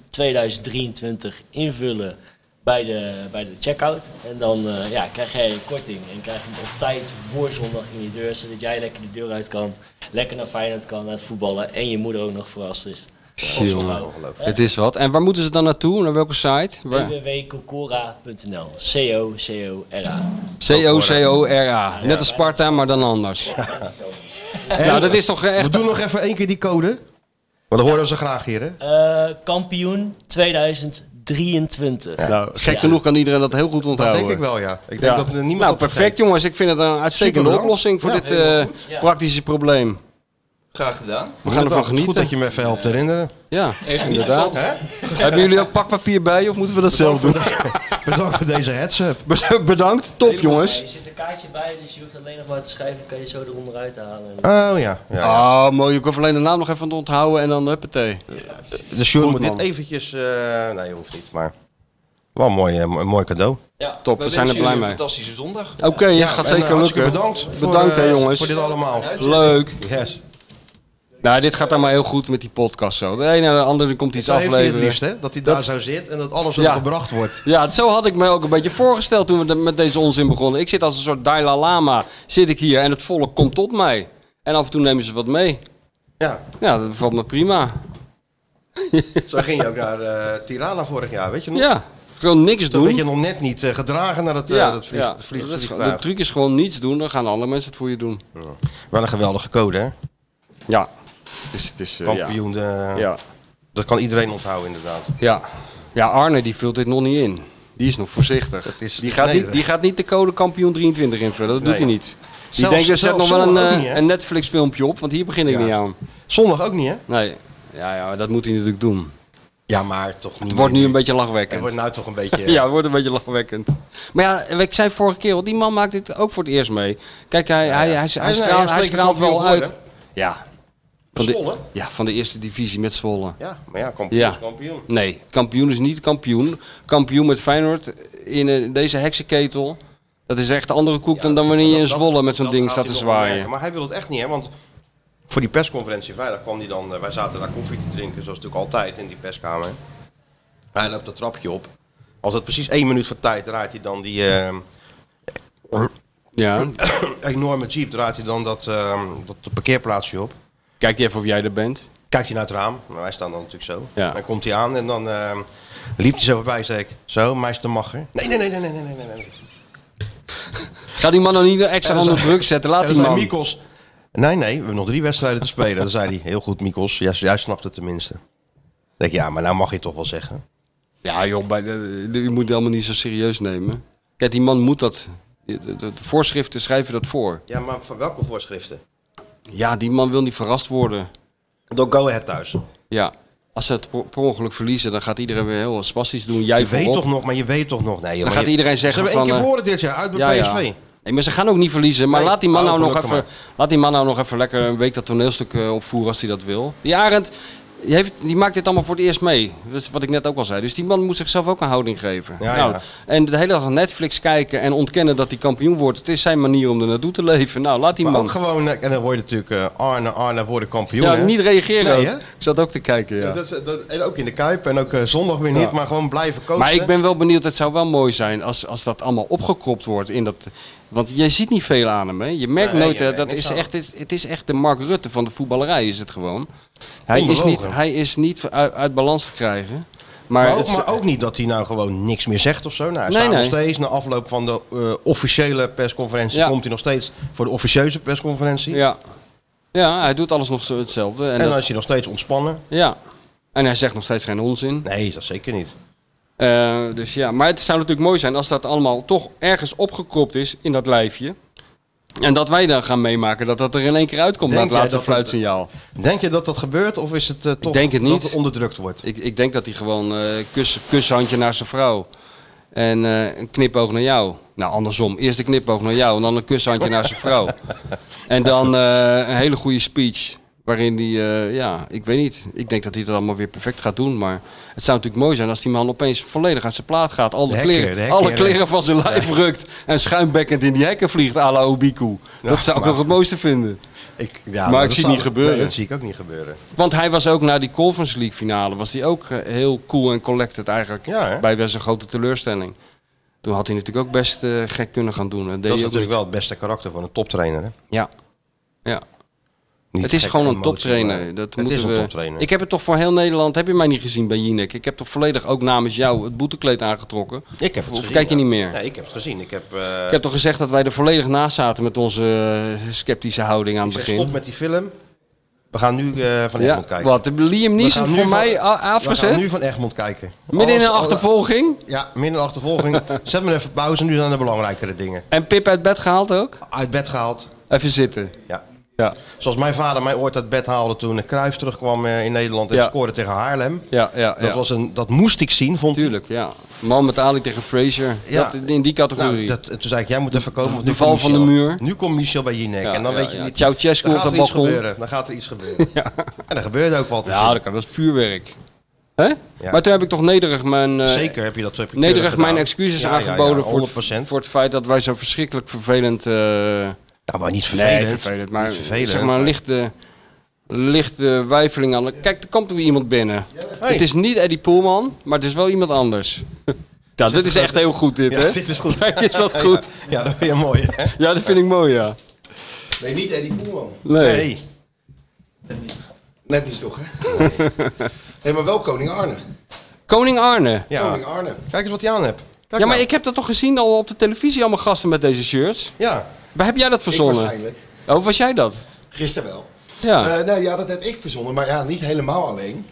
2023 invullen bij de, bij de checkout. En dan eh, ja, krijg jij een korting. En krijg je hem op tijd voor zondag in je deur. Zodat jij lekker de deur uit kan. Lekker naar Feyenoord kan, naar het voetballen. En je moeder ook nog verrast is. Het is wat. En waar moeten ze dan naartoe? Naar welke site? Waar- www.cocora.nl C-O-C-O-R-A. C-O-C-O-R-A. Net als Sparta, maar dan anders. Nou, dat is toch We echt... doen nog even één keer die code. Want dat horen ze graag hier, hè? Eh, kampioen 2023. Nou, gek genoeg kan iedereen dat heel goed onthouden. Dat denk ik wel, ja. Ik denk Ja. dat er niemand nou, dat perfect jongens. Ik vind het een uitstekende Superbelangrijk. oplossing voor Ja, dit eh, praktische probleem. Graag gedaan. We gaan ervan genieten. Goed dat je me even helpt herinneren. Ja, Echt inderdaad. Hè? Hebben jullie ook pakpapier bij of moeten we dat zelf doen? Bedankt voor deze heads-up. Bedankt, top Ja, jongens. je zit een kaartje bij, dus je hoeft alleen nog maar te schrijven. kan je zo eronder uit halen. En- Eh. Oh ja. ja. Oh, mooi. Ik hoef alleen de naam nog even te onthouden en dan huppatee. De Sjoerd Goed, moet man. dit eventjes... eh, nee, hoeft niet, maar... Wel een mooi, eh, een mooi cadeau. Ja, Top, we wij zijn er wensen blij jullie mee. Een fantastische zondag. Oké, ja, gaat en, eh, zeker hartstikke lukken. Bedankt. voor, Bedankt, hè, eh, jongens. Voor dit allemaal. Leuk. Yes. Nou, dit gaat dan maar heel goed met die podcast zo. De ene naar de andere komt iets Zo heeft hij het afleveren. liefst, hè? Dat hij daar zo zit en dat alles Ja. ja. gebracht wordt. Ja, zo had ik me ook een beetje voorgesteld toen we de- met deze onzin begonnen. Ik zit als een soort Dalai Lama, zit ik hier en het volk komt tot mij. En af en toe nemen ze wat mee. Ja, Ja, dat bevalt me prima. zo ging je ook naar eh, Tirana vorig jaar, weet je nog? Ja, gewoon niks Toen werd je doen. nog net niet eh, gedragen naar dat, eh, Ja, dat vlieg, ja. dat vlieg- Dat is gewoon- de vliegtuig. truc is gewoon niets doen, dan gaan andere mensen het voor je doen. Wel een geweldige code, hè? Ja, dus het is... eh, ja. Kampioen. eh, Ja. Dat kan iedereen onthouden, inderdaad. Ja. ja, Arne die vult dit nog niet in. Die is nog voorzichtig. Dat is- die, gaat nee, niet, dat- die gaat niet de code kampioen 23 invullen, dat doet Nee. hij niet. Die Zelfs- denkt, er zet nog zelfs wel een, zondag ook eh, niet, hè? een Netflix filmpje op, want hier begin ik Ja. niet aan. Zondag ook niet, hè? Nee, ja, ja, dat moet hij natuurlijk doen. Ja, maar toch niet. Het wordt nu meer. een beetje Het lachwekkend. wordt nou toch een beetje... Ja, het wordt een beetje lachwekkend. Maar ja, ik zei vorige keer al, die man maakt dit ook voor het eerst mee. Kijk, hij, hij, hij, hij, is straalt, een hij straalt wel kampioen uit. geworden. Ja. Van de, Zwolle? ja, van de eerste divisie met Zwolle. Ja, maar ja, kampioen Ja. is kampioen. Nee, kampioen is niet kampioen. Kampioen met Feyenoord in eh, deze heksenketel. Dat is echt een andere koek dan, dan wanneer je in Dat- Zwolle met zo'n dat ding gaat staat te hij nog zwaaien. merken. Maar hij wil het echt niet, hè? Want voor die persconferentie vrijdag kwam hij dan... eh, wij zaten daar koffie te drinken, zoals natuurlijk altijd in die perskamer. Hij loopt dat trapje op. Als het precies één minuut voor tijd draait hij dan die... eh, Ja. enorme jeep draait hij dan dat, eh, dat parkeerplaatsje op. Kijk even of jij er bent. kijkt hij naar het raam. Nou, wij staan dan natuurlijk zo. Ja. Dan komt hij aan en dan ehm, liep hij zo voorbij en zei ik, zo, meester Macher. Nee, nee, nee, nee, nee, nee, nee, nee, nee. Ga die man dan niet extra En dan onder zei- druk zetten. En Laat dan die zei man. Mikos, nee, nee, we hebben nog drie wedstrijden te spelen. Dan zei hij, heel goed Mikos, jij, jij snapt het tenminste. Ik denk, ja, maar nou mag je het toch wel zeggen. Ja joh, bij de- de- u moet het helemaal niet zo serieus nemen. Kijk, die man moet dat... De, de- de voorschriften schrijven dat voor. Ja, maar van welke voorschriften? Ja, die man wil niet verrast worden. Door Go Ahead thuis. Ja. Als ze het per per ongeluk verliezen, dan gaat iedereen weer heel spastisch doen. Jij Je weet voorop. toch nog, maar je weet toch nog. Nee, joh, maar gaat je- iedereen Ze zeggen hebben één van, keer eh, verloren dit jaar, uit bij PSV. Nee, maar ze gaan ook niet verliezen. Maar Nee. laat, die man Oh, nou nog even, gelukkig laat die man nou nog even lekker een week dat toneelstuk eh, opvoeren als hij dat wil. Die Arend, die, heeft, die maakt dit allemaal voor het eerst mee. Dat is wat ik net ook al zei. Dus die man moet zichzelf ook een houding geven. Ja, nou, ja. En de hele dag Netflix kijken en ontkennen dat hij kampioen wordt. Het is zijn manier om er naartoe te leven. Nou, laat die Maar man... ook gewoon, eh, en dan word je natuurlijk eh, Arne, Arne worden kampioen. ja, hè? niet reageren. Nee, ook. hè? ik zat ook te kijken, ja. Dat, is- dat, en ook in de Kuip en ook eh, zondag weer niet, Ja. maar gewoon blijven coachen. Maar ik ben wel benieuwd, het zou wel mooi zijn als, als dat allemaal opgekropt wordt. In dat, want je ziet niet veel aan hem. Hè? Je merkt Nee, nooit, je hè, merkt dat niks is aan echt, het, is- het is echt de Mark Rutte van de voetballerij, is het gewoon. Hij is niet, Onbewogen. hij is niet uit, uit balans te krijgen. Maar, Maar ook, het is- maar ook niet dat hij nou gewoon niks meer zegt of zo. Nou, hij Nee, staat nog nee. steeds, na afloop van de eh, officiële persconferentie, Ja. komt hij nog steeds voor de officieuze persconferentie. ja. ja, hij doet alles nog zo hetzelfde. En En dan dat- is hij nog steeds ontspannen. ja. En hij zegt nog steeds geen onzin. Nee, dat zeker niet. Eh, dus ja, maar het zou natuurlijk mooi zijn als dat allemaal toch ergens opgekropt is in dat lijfje. En dat wij dan gaan meemaken dat dat er in één keer uitkomt Denk na het jij laatste dat dat- fluitsignaal. Denk je dat dat gebeurt of is het eh, toch denk het niet. dat het onderdrukt wordt? Ik, ik denk dat hij gewoon eh kus, kushandje naar zijn vrouw. En eh, een knipoog naar jou. Nou, andersom. Eerst een knipoog naar jou en dan een kushandje naar zijn vrouw. En dan eh, een hele goede speech. Waarin hij, eh, ja, ik weet niet. Ik denk dat hij dat allemaal weer perfect gaat doen. Maar het zou natuurlijk mooi zijn als die man opeens volledig uit zijn plaat gaat. Al de, De hekken, kleren, de hekken, alle ja. kleren van zijn lijf rukt. En schuimbekkend in die hekken vliegt à la Obiku. Dat Ja, zou ik maar- nog het mooiste vinden. Ik, ja, ik dat zie het zou- niet gebeuren. Nee, dat zie ik ook niet gebeuren. Want hij was ook na die Conference League finale was hij ook eh, heel cool en collected eigenlijk Ja, hè? bij best een grote teleurstelling. Toen had hij natuurlijk ook best eh, gek kunnen gaan doen. Dat, deed dat is hij ook natuurlijk niet. wel het beste karakter van een toptrainer. Hè? Ja. ja. Niet Het is gek gewoon een emotie, toptrainer. maar Dat het moeten is we... een toptrainer. Ik heb het toch voor heel Nederland, heb je mij niet gezien bij Jinek. Ik heb toch volledig ook namens jou het boetekleed aangetrokken. Ik heb het Of gezien, kijk je ja. niet meer? Nee, ik heb het gezien. Ik heb, eh, Ik heb toch gezegd dat wij er volledig naast zaten met onze eh, sceptische houding aan ik het zeg, begin. stop met die film. We gaan nu eh, van ja, Egmond kijken. wat? Liam We Neeson gaan nu voor van- mij a- We afgezet? gaan nu van Egmond kijken. Midden in Alles- een alle- achtervolging? Ja, midden in een achtervolging. Zet me even pauze, nu zijn de belangrijkere dingen. En Pip uit bed gehaald ook? Uit bed gehaald. Even zitten. Ja. Ja, Zoals mijn vader mij ooit uit bed haalde toen Kruif terugkwam eh, in Nederland en Ja. scoorde tegen Haarlem. ja, ja. Dat, was een, dat moest ik zien, vond ik. Tuurlijk, ja. Man met Ali tegen Fraser. Ja. Dat, in die categorie. Nou, dat, toen zei ik, jij moet even komen. want de nu komt val van de Michel. muur. Nu komt Michel bij Jinek. Ja, en dan ja, weet je ja. niet. Ceausescu dan op gaat dat er iets balkon. gebeuren. Nou, Dan gaat er iets gebeuren. En er gebeurde ook wat. ja, dat kan wel eens vuurwerk. Hè? Maar toen heb ik toch nederig mijn... eh, Zeker heb je dat. heb je Nederig gedaan. mijn excuses Ja, ja, ja, aangeboden voor, 100%. het, voor het feit dat wij zo verschrikkelijk vervelend... eh, Nou, maar niet vervelend. Nee, vervelend. Maar Niet vervelend, zeg maar een lichte, lichte wijfeling aan. Kijk, er komt er weer iemand binnen. Het is niet Eddie Poelman, maar het is wel iemand anders. Nou, dit is echt heel goed dit, Ja, hè? dit is goed. Kijk, is wat goed. Ja, ja, dat vind je mooi. Hè? Ja, dat vind ik mooi, ja. Nee, niet Eddie Poelman. Nee. Net niet toch, hè? Nee, maar wel koning Arne. Koning Arne. Ja. Koning Arne. Kijk eens wat hij aan hebt. Kijk Ja, maar nou. ik heb dat toch gezien al op de televisie, allemaal gasten met deze shirts. Ja. Waar heb jij dat Ik verzonnen? waarschijnlijk. Oh, was jij dat? Gisteren wel. Ja. Eh, nou ja, dat heb ik verzonnen, maar ja, niet helemaal alleen. Ik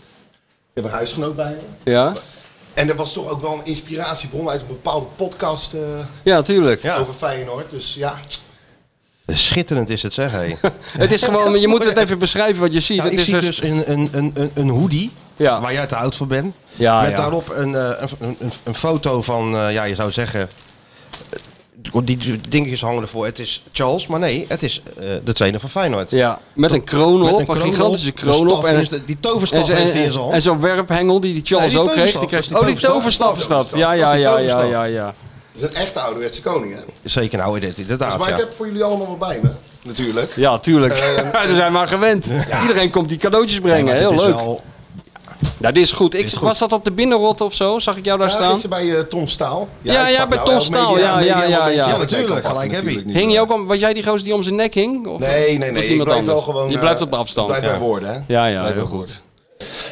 heb een huisgenoot bij me. ja? En er was toch ook wel een inspiratiebron uit een bepaalde podcast eh, Ja, tuurlijk. Ja. over Feyenoord. Dus ja, Schitterend is het, zeg. Hey. Het is gewoon, je moet het even beschrijven wat je ziet. Ja, het ik is zie dus een, een, een, een, een hoodie. Ja. Waar jij te oud voor bent. Ja, met ja. daarop een, eh, een, een, een foto van, eh, ja, je zou zeggen. eh, Die dingetjes hangen ervoor. Het is Charles, maar nee, het is eh, de trainer van Feyenoord. Ja, met een kroon op, Met een, kroon op, gigantische de kroon staf op. En, in zijn- die toverstaf en- heeft hij in en- zijn hand. En zo'n werphengel die die Charles Nee, die ook kreeg. Die toverstaf, kreeg dat is oh, die die toverstaf is dat. Ja, Dat ja, is die ja, ja, toverstaf. ja, ja. dat is een echte ouderwetse koning, hè? Zeker nou, dit, inderdaad. Dus maar ja. ik heb voor jullie allemaal wat bij me, natuurlijk. Ja, tuurlijk. Ze zijn maar gewend. Iedereen komt die cadeautjes brengen. Eh, Maar dit Heel is leuk. wel- Nou, dit is goed. Ik, Was dat op de binnenrot of zo? Zag ik jou daar Ja, staan? gisteren bij eh, Tom Staal. Ja, ik ja, pak nou bij Tom elk Staal, ja, ja, media- ja, Ja, ja. media- natuurlijk. media- Gelijk heb je. natuurlijk Hing niet, je ook om, was jij die gozer die om zijn nek hing? Of Nee, nee, was nee. iemand Ik blijf anders? wel gewoon... je eh, blijft op ik afstand. Blijf Ja, bij woorden, hè? ja, ja, Blijf heel bij woorden. goed.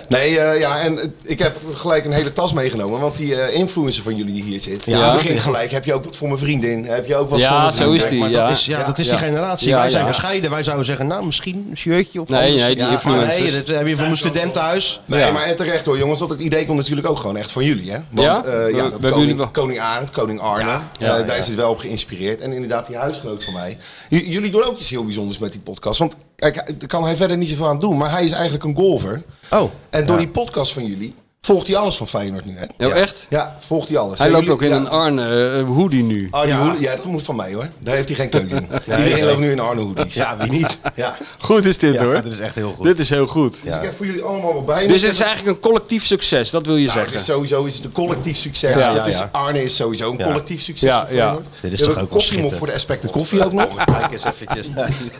Nee, eh, ja, en het- ik heb gelijk een hele tas meegenomen, want die eh, influencer van jullie die hier zit, ja. Ja. begint gelijk, heb je ook wat voor mijn vriendin, heb je ook wat Ja, voor mijn zo vriendin? is die, Maar Ja, dat dat is, ja, dat is die ja. generatie. Ja, wij zijn ja. gescheiden. Wij zouden zeggen, nou, misschien een shirtje of Nee, anders. nee, die Ja, Ah, influencers. Nee, dat heb je voor mijn studentenhuis. Nee, Ja. maar en terecht hoor jongens, want het idee komt natuurlijk ook gewoon echt van jullie, hè? Want, Ja? eh, We- we ja, hebben dat jullie wel- koning, koning Arend, koning Arne, eh, daar is het wel op geïnspireerd. En inderdaad die huisgenoot van mij. J- jullie doen ook iets heel bijzonders met die podcast, want kijk, daar kan hij verder niet zoveel aan doen, maar hij is eigenlijk een golfer. Oh, En door die podcast van jullie volgt hij alles van Feyenoord nu, hè? Oh, echt? Ja, volgt hij alles. Hij En loopt jullie- ook ja. Oh, in een Arne eh, hoodie nu. Arne Ja. ja. ja, dat moet van mij hoor. Daar heeft hij geen keuze in. Iedereen loopt nu in Arne hoodies. ja, wie niet? Ja. Goed is dit, Ja, hoor. dat is echt heel goed. Dit is heel goed. Dus ik heb voor jullie allemaal wat bij. Dus het Ik is heb- eigenlijk een collectief succes, dat wil je Nou, het is zeggen. sowieso is het een collectief succes. Ja, Dat is, ja. Arne is sowieso een Ja. collectief succes. Ja, voor ja. Feyenoord. Dit is We toch hebben ook koffie wel nog schitterend. voor de aspecten koffie ook nog. Kijk eens eventjes.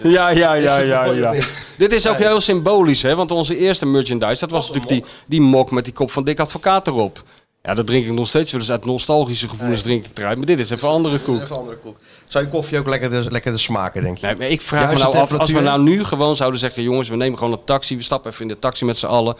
Ja, ja, ja, ja, ja. mooi? Dit is ook heel symbolisch, hè? Want onze eerste merchandise, dat was natuurlijk die, die mok met die kop van Dick Advocaat erop. Ja, dat drink ik nog steeds wel eens uit nostalgische gevoelens drink ik eruit. Maar dit is even een andere koek. Even andere koek. Zou je koffie ook lekker de, lekker de smaken, denk je? Nee, maar ik vraag Juist me nou de af, als we temperatuur. nou nu gewoon zouden zeggen... jongens, we nemen gewoon een taxi, we stappen even in de taxi met z'n allen...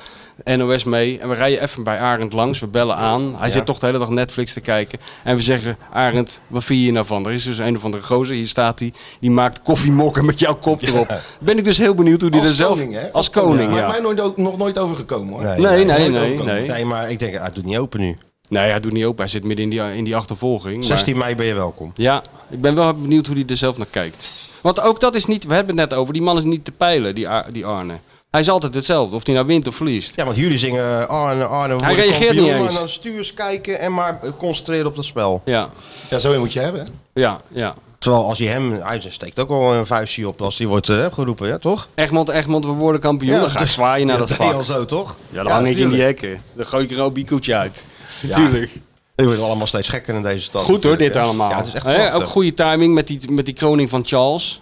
NOS mee en we rijden even bij Arend langs, we bellen aan. Hij zit toch de hele dag Netflix te kijken. En we zeggen, Arend, wat vind je hier nou van? Er is dus een of andere gozer, hier staat hij... die maakt koffiemokken met jouw kop erop. Ben ik dus heel benieuwd hoe die er Als zelf... koning, hè? Als koning, Maar ja. mij nooit, ook, nog nooit overgekomen hoor. Nee, nee, nooit nee, ook nee. Nee, maar ik denk, hij doet niet open nu. Nee, hij doet niet open, hij zit midden in die, in die achtervolging. maar- 16 mei ben je welkom. Ja, ik ben wel benieuwd hoe hij er zelf naar kijkt. Want ook dat is niet, we hebben het net over, die man is niet te peilen, die, Ar- die Arne. Hij is altijd hetzelfde, of hij nou wint of verliest. Ja, want jullie zingen eh, Arne, Arne, we worden reageert kampioen, niet maar eens. dan stuurs kijken en maar eh, concentreren op dat spel. Ja, Ja, zo een moet je hebben. hè? ja, ja. Terwijl als je hem uit steekt ook al een vuistje op als hij wordt eh, geroepen, hè, toch? Egmond, Egmond, we worden kampioen. dan ga ik dus- zwaaien naar Ja, dat deed je vak. al zo, toch? Ja, dan hang ik in die tuurlijk. hekken. Dan gooi ik er een biekeltje uit. Natuurlijk. Die worden allemaal steeds gekker in deze stad. Goed hoor, natuurlijk, dit hè. allemaal. Ja, het is echt Hè, prachtig. ook goede timing met die, met die kroning van Charles.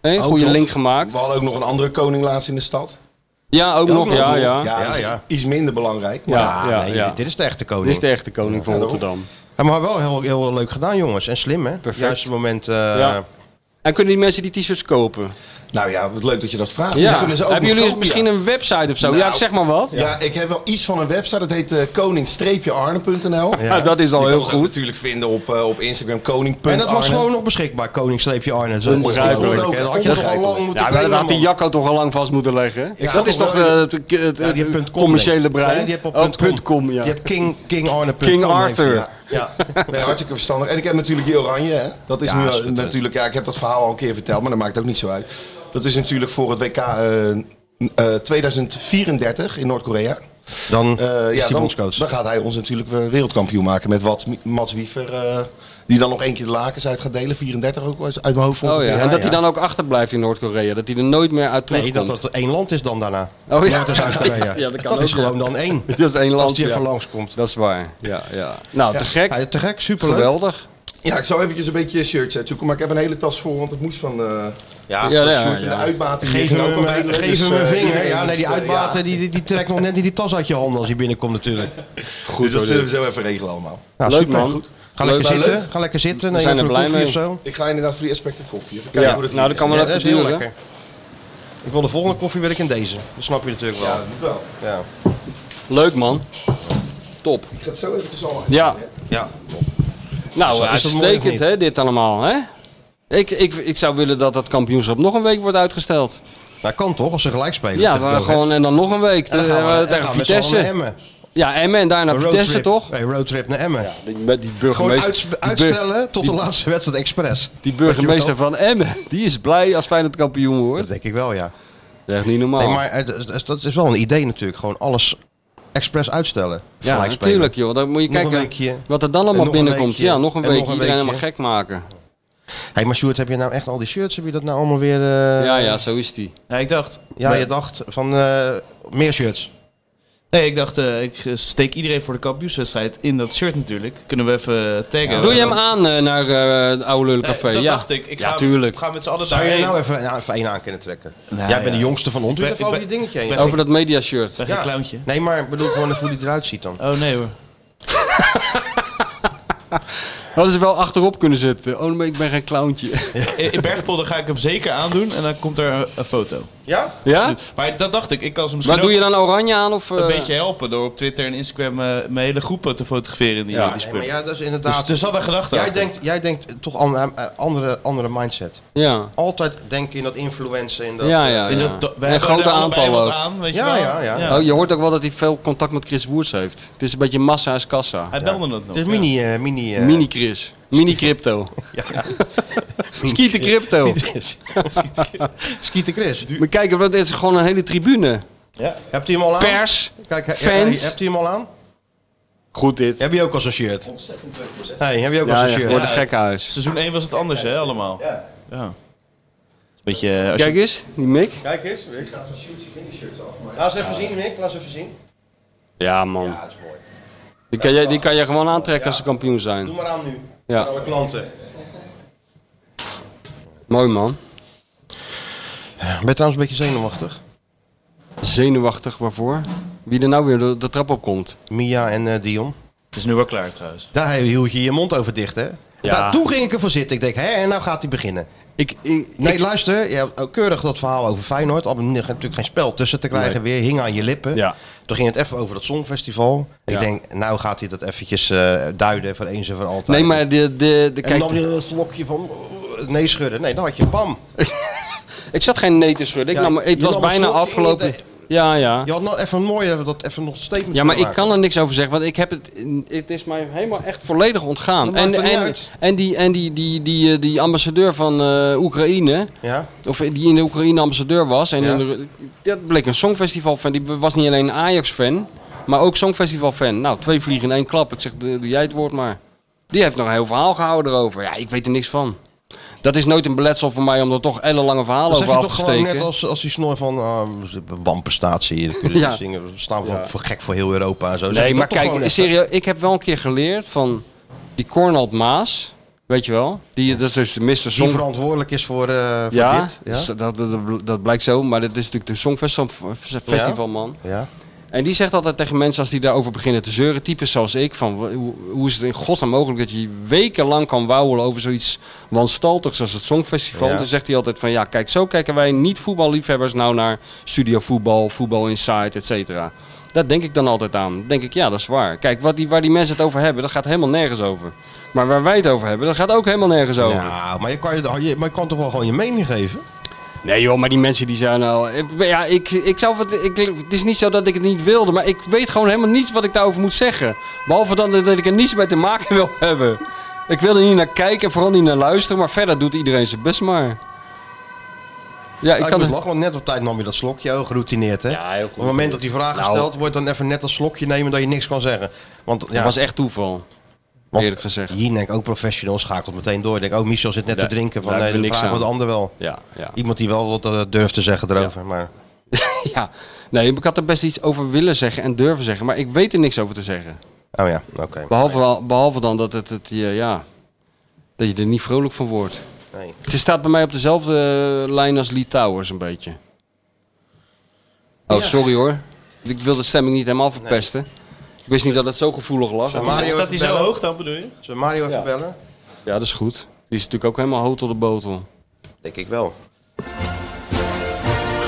Hè, goede nog. link gemaakt. We hadden ook nog een andere koning laatst in de stad. Ja, ook nog. Ja, ja. Ja, dat is ja. Iets minder belangrijk. Maar Ja, Ja, nee, ja. dit- dit is de echte koning. Dit is de echte koning van daarom. Rotterdam. Ja, maar wel heel, heel leuk gedaan, jongens. En slim, hè? Perfect. Juist het moment... eh, Ja. En kunnen die mensen die t-shirts kopen? Nou ja, wat leuk dat je dat vraagt. Die Ja. kunnen ze ook Hebben nog jullie kopen, misschien ja. een website of zo? ja, Nou, ik zeg maar wat. Ja, ik heb wel iets van een website. Dat heet eh, koning-arne.nl. Ja, dat is al Je heel kan het goed. natuurlijk vinden op, eh, op Instagram koning.arne. En dat was gewoon nog beschikbaar, koningsleepje Arne. Dat is Onbegrijpelijk. ongelooflijk, hè? Dat had je toch al lang Onbegrijpelijk. moeten Ja, maar dat claimen, had die man. Jacco toch al lang vast moeten leggen. snap dat is nog toch wel- eh, het, het, het, Ja, die heeft punt com, commerciële denk ik. brein? Nee, die heeft op Oh, punt com. punt com, ja. Je hebt King, King Arne. punt King com heeft hij, Arthur. ja. Ja. Nee, hartstikke verstandig. En ik heb natuurlijk die oranje. Hè? Dat is Ja, nu is goed, hè. natuurlijk... Ja, ik heb dat verhaal al een keer verteld, maar dat maakt ook niet zo uit. Dat is natuurlijk voor het WK eh, eh, 2034 in Noord-Korea. Dan Eh, is die dan, bondscoach. dan gaat hij ons natuurlijk weer wereldkampioen maken met wat Mi- Mats Wiever, eh, die dan nog één keer de lakens uit gaat delen. 34 ook uit mijn hoofd. Oh ja. ongeveer. en dat hij ja. dan ook achterblijft in Noord-Korea. Dat hij er nooit meer uit Nee, terugkomt. dat dat één land is dan daarna. Oh ja. Nooit als Zuid-Korea. Ja, dat kan is ook, ja. gewoon dan één. Het is één Als land. die ja. even langskomt. Dat is waar. Ja, ja. Nou, te gek. Ja, te gek, superleuk. Geweldig. Ja, ik zou eventjes een beetje shirts uitzoeken, maar ik heb een hele tas vol, want het moest van eh Ja, Ja, ja, ja, en de ja. uitbaten. Geef liggen ook hem, al een- bij de- geef dus, hem een eh, vinger. iedereen Ja, nee, moest, die eh, uitbaten die, die trekt nog net niet die tas uit je handen als je binnenkomt natuurlijk. Goed, dus dat zullen we zo even regelen allemaal. Nou, Leuk, super. man. Goed. Ga Leuk, lekker maar zitten. Ga lekker zitten. Neem zijn even er een blij koffie mee. of zo. Ik ga inderdaad voor die aspecten koffie. Even Ja. kijken hoe dat Nou, dat kan wel Ja, even dat is heel duren. lekker. Ik wil de volgende koffie wil ik in deze. Dat snap je natuurlijk wel. Ja, dat moet wel. Ja. Leuk, man. Top. Ik ga het zo eventjes allemaal Ja. Ja. Nou, Is dat- is dat mooi of uitstekend, niet? hè, dit allemaal, hè? Ik, ik, ik zou willen dat dat kampioenschap nog een week wordt uitgesteld. Nou, kan toch als ze gelijk spelen. Ja, tegen maar België. gewoon en dan nog een week. En dan Dan gaan we- gaan we en tegen gaan we met z'n allen naar Vitesse. Emmen. Ja, Emmen en daarna Een Vitesse, roadtrip. toch? Nee, roadtrip naar Emmen. Die, met die Gewoon burgemeester, uits- die bur- uitstellen tot de laatste wedstrijd expres. Die burgemeester van Emmen, die is blij als Feyenoord kampioen Dat wordt. denk ik wel, ja. Dat is echt niet normaal. Nee, maar eh, dat is- dat is wel een idee natuurlijk. Gewoon alles expres uitstellen. ja, Gelijk spelen. natuurlijk joh. Dan moet je Nog een kijken weekje. wat er dan En allemaal nog een binnenkomt. weekje. Ja, nog een En weekje. nog een Iedereen weekje. helemaal gek maken. hey, maar Sjoerd, heb je nou echt al die shirts? Heb je dat nou allemaal weer... eh, ja, ja, zo is die. Ja, ik dacht... ja, je dacht van eh, meer shirts. Nee, ik dacht, eh, ik eh, steek iedereen voor de kampioenswedstrijd in dat shirt natuurlijk. Kunnen we even taggen. Doe je hem aan eh, naar eh, het Oude Lullencafé? Nee, dat ja. dacht ik. Ik ja, ga, tuurlijk. ga met z'n allen Zou je daarheen. nou even, nou, even één aan kunnen trekken? Nou, Jij bent ja. de jongste van ons. Doe Ik ben- even over ik je ben- dingetje heen. ik ben- Over dat mediashirt. Ben Ja. geen clowntje. Nee, maar ik bedoel gewoon even hoe die eruit ziet dan. Oh nee hoor. Hadden ze wel achterop kunnen zetten. Oh, maar ik ben geen clowntje. In, in Bergpolder ga ik hem zeker aandoen en dan komt er een, een foto. Ja? ja? Maar dat dacht ik. Ik kan ze misschien Maar doe ook je dan oranje aan? Of, eh, een beetje helpen door op Twitter en Instagram eh, mijn hele groepen te fotograferen in die, Ja, die nee, spullen. maar ja, dat is Dus inderdaad... er zat een gedachte jij, achter. denkt, jij denkt toch aan aan- aan andere, andere mindset. Ja. Altijd denken in dat influencen. In dat, Ja, eh, ja, In ja. dat, we en hebben grote er allebei aantallen wat ook. aan, weet je Ja, wel. ja, ja. Oh, je hoort ook wel dat hij veel contact met Chris Woerts heeft. Het is een beetje massa is kassa. Hij belde het nog. Het is mini... eh, mini, eh, Mini Chris. Mini crypto. Skieten crypto. Skieten Chris. Maar kijk, dit is gewoon een hele tribune. Hebt u hem al aan? Pers. Kijk, he- Fans. he- hebt u hem al aan? Goed dit. Heb je ook al zo'n shirt? Ontzettend dus. leuk. Hey, heb je ook al Ja, zo'n ja, shirt? voor de gekkenhuis. Seizoen 1 was het anders, hè, allemaal. Ja. Beetje, eh, als Kijk eens, die Mick. Kijk eens, Mick. Ik ga van shirts en shirts af. Laat eens even zien, Mick. Laat eens even zien. Ja, man. Ja, dat is mooi. Die kan je, die kan je gewoon aantrekken als ze kampioen zijn. Doe maar aan nu. Ja. Voor alle klanten. Mooi, man. Eh, Ben je trouwens een beetje zenuwachtig? Zenuwachtig, waarvoor? Wie er nou weer de, de trap op komt. Mia en eh, Dion. Het is nu wel klaar trouwens. Daar hield je je mond over dicht, hè? Ja. Daar, toen ging ik ervoor zitten. Ik denk, hè, en nou gaat hij beginnen. Ik, ik, Nee, ik- luister. Je hebt ook keurig dat verhaal over Feyenoord. Al natuurlijk geen spel tussen te krijgen weer. Hing aan je lippen. Ja. Toen ging het even over dat Songfestival. Ja. Ik denk, nou gaat hij dat eventjes eh, duiden voor eens en voor altijd. nee, maar de, de, En de, kijk, dan weer een slokje van eh, nee schudden. Nee, dan had je bam. ik zat geen nee te schudden. Ik Ja, nam, het je was nam een bijna slokje in afgelopen. de- Ja, ja. Je had nog even een mooie, dat even nog steeds. Ja, maar ik kan er niks over zeggen, want ik heb het, het is mij helemaal echt volledig ontgaan. Dat maakt En, er niet en, uit. en, die, en die, die, die, eh, die ambassadeur van eh, Oekraïne, Ja, Of die in de Oekraïne ambassadeur was. En Ja. in de- dat bleek een songfestival-fan. Die was niet alleen een Ajax-fan, maar ook songfestival-fan. Nou, twee vliegen in één klap. Ik zeg, doe doe jij het woord maar. Die heeft nog een heel verhaal gehouden erover. Ja, ik weet er niks van. Dat is nooit een beletsel voor mij om er toch ellenlange verhalen dat zeg over je af te toch gewoon net steken. als, als die snor van eh wanprestatie. Dat kun je Ja. zingen. We staan voor, voor gek voor heel Europa en zo. Zeg je Nee, dat maar toch gewoon kijk, even? serieus, ik heb wel een keer geleerd van die Cornald Maas. Weet je wel? Die, dat is dus de Mr. Die Song. verantwoordelijk is voor, eh, voor Ja, dit. Ja? dat, dat, dat blijkt zo. Maar dat is natuurlijk de Songfestivalman. ja. En die zegt altijd tegen mensen als die daarover beginnen te zeuren, types zoals ik, van w- hoe, hoe is het in godsnaam mogelijk dat je wekenlang kan wauwelen over zoiets wanstaltigs als het Songfestival. Ja. Dan zegt hij altijd van ja, kijk, zo kijken wij niet-voetballiefhebbers nou naar Studio Voetbal, Voetbal Insight, et cetera. Daar denk ik dan altijd aan. Dan denk ik, ja, dat is waar. Kijk, wat die, waar die mensen het over hebben, dat gaat helemaal nergens over. Maar waar wij het over hebben, dat gaat ook helemaal nergens over. Nou, maar je, kan, je- je, maar je kan toch wel gewoon je mening geven? Nee joh, maar die mensen die zijn al... Ja, ik, ik zou het, ik, het is niet zo dat ik het niet wilde, maar ik weet gewoon helemaal niets wat ik daarover moet zeggen. Behalve dan dat ik er niets mee te maken wil hebben. Ik wil er niet naar kijken, en vooral niet naar luisteren, maar verder doet iedereen zijn best maar. Ja, Ah, ik ik kan moet het. lachen, want net op tijd nam je dat slokje, oh, geroutineerd hè? Ja, heel goed. Nou. Op het moment dat die vraag gesteld wordt, dan even net dat slokje nemen dat je niks kan zeggen. Want ja, Dat was echt toeval. want eerlijk gezegd. Hier denk ik ook professional schakelt meteen door. Denk, oh, Michel zit net Daar- te drinken. Van, daar nee, hebben dat we niks vragen we aan. de ander wel. Ja, ja. Iemand die wel wat eh, durft te zeggen erover. Maar ja. Nee, ik had er best iets over willen zeggen en durven zeggen, maar ik weet er niks over te zeggen. Oh ja, oké. Behalve, al- behalve dan dat, het, het, je- ja, dat je er niet vrolijk van wordt. Nee. Het staat bij mij op dezelfde eh, lijn als Lee Towers een beetje. Oh, sorry hoor. Ik wil de stemming niet helemaal verpesten. Ik wist niet dat het zo gevoelig lag. Staat maar- Mario Staat even hij zo bellen? hoog dan, bedoel je? Zullen we Mario even Ja. bellen? Ja, dat is goed. Die is natuurlijk ook helemaal hoog tot de botel. Denk ik wel.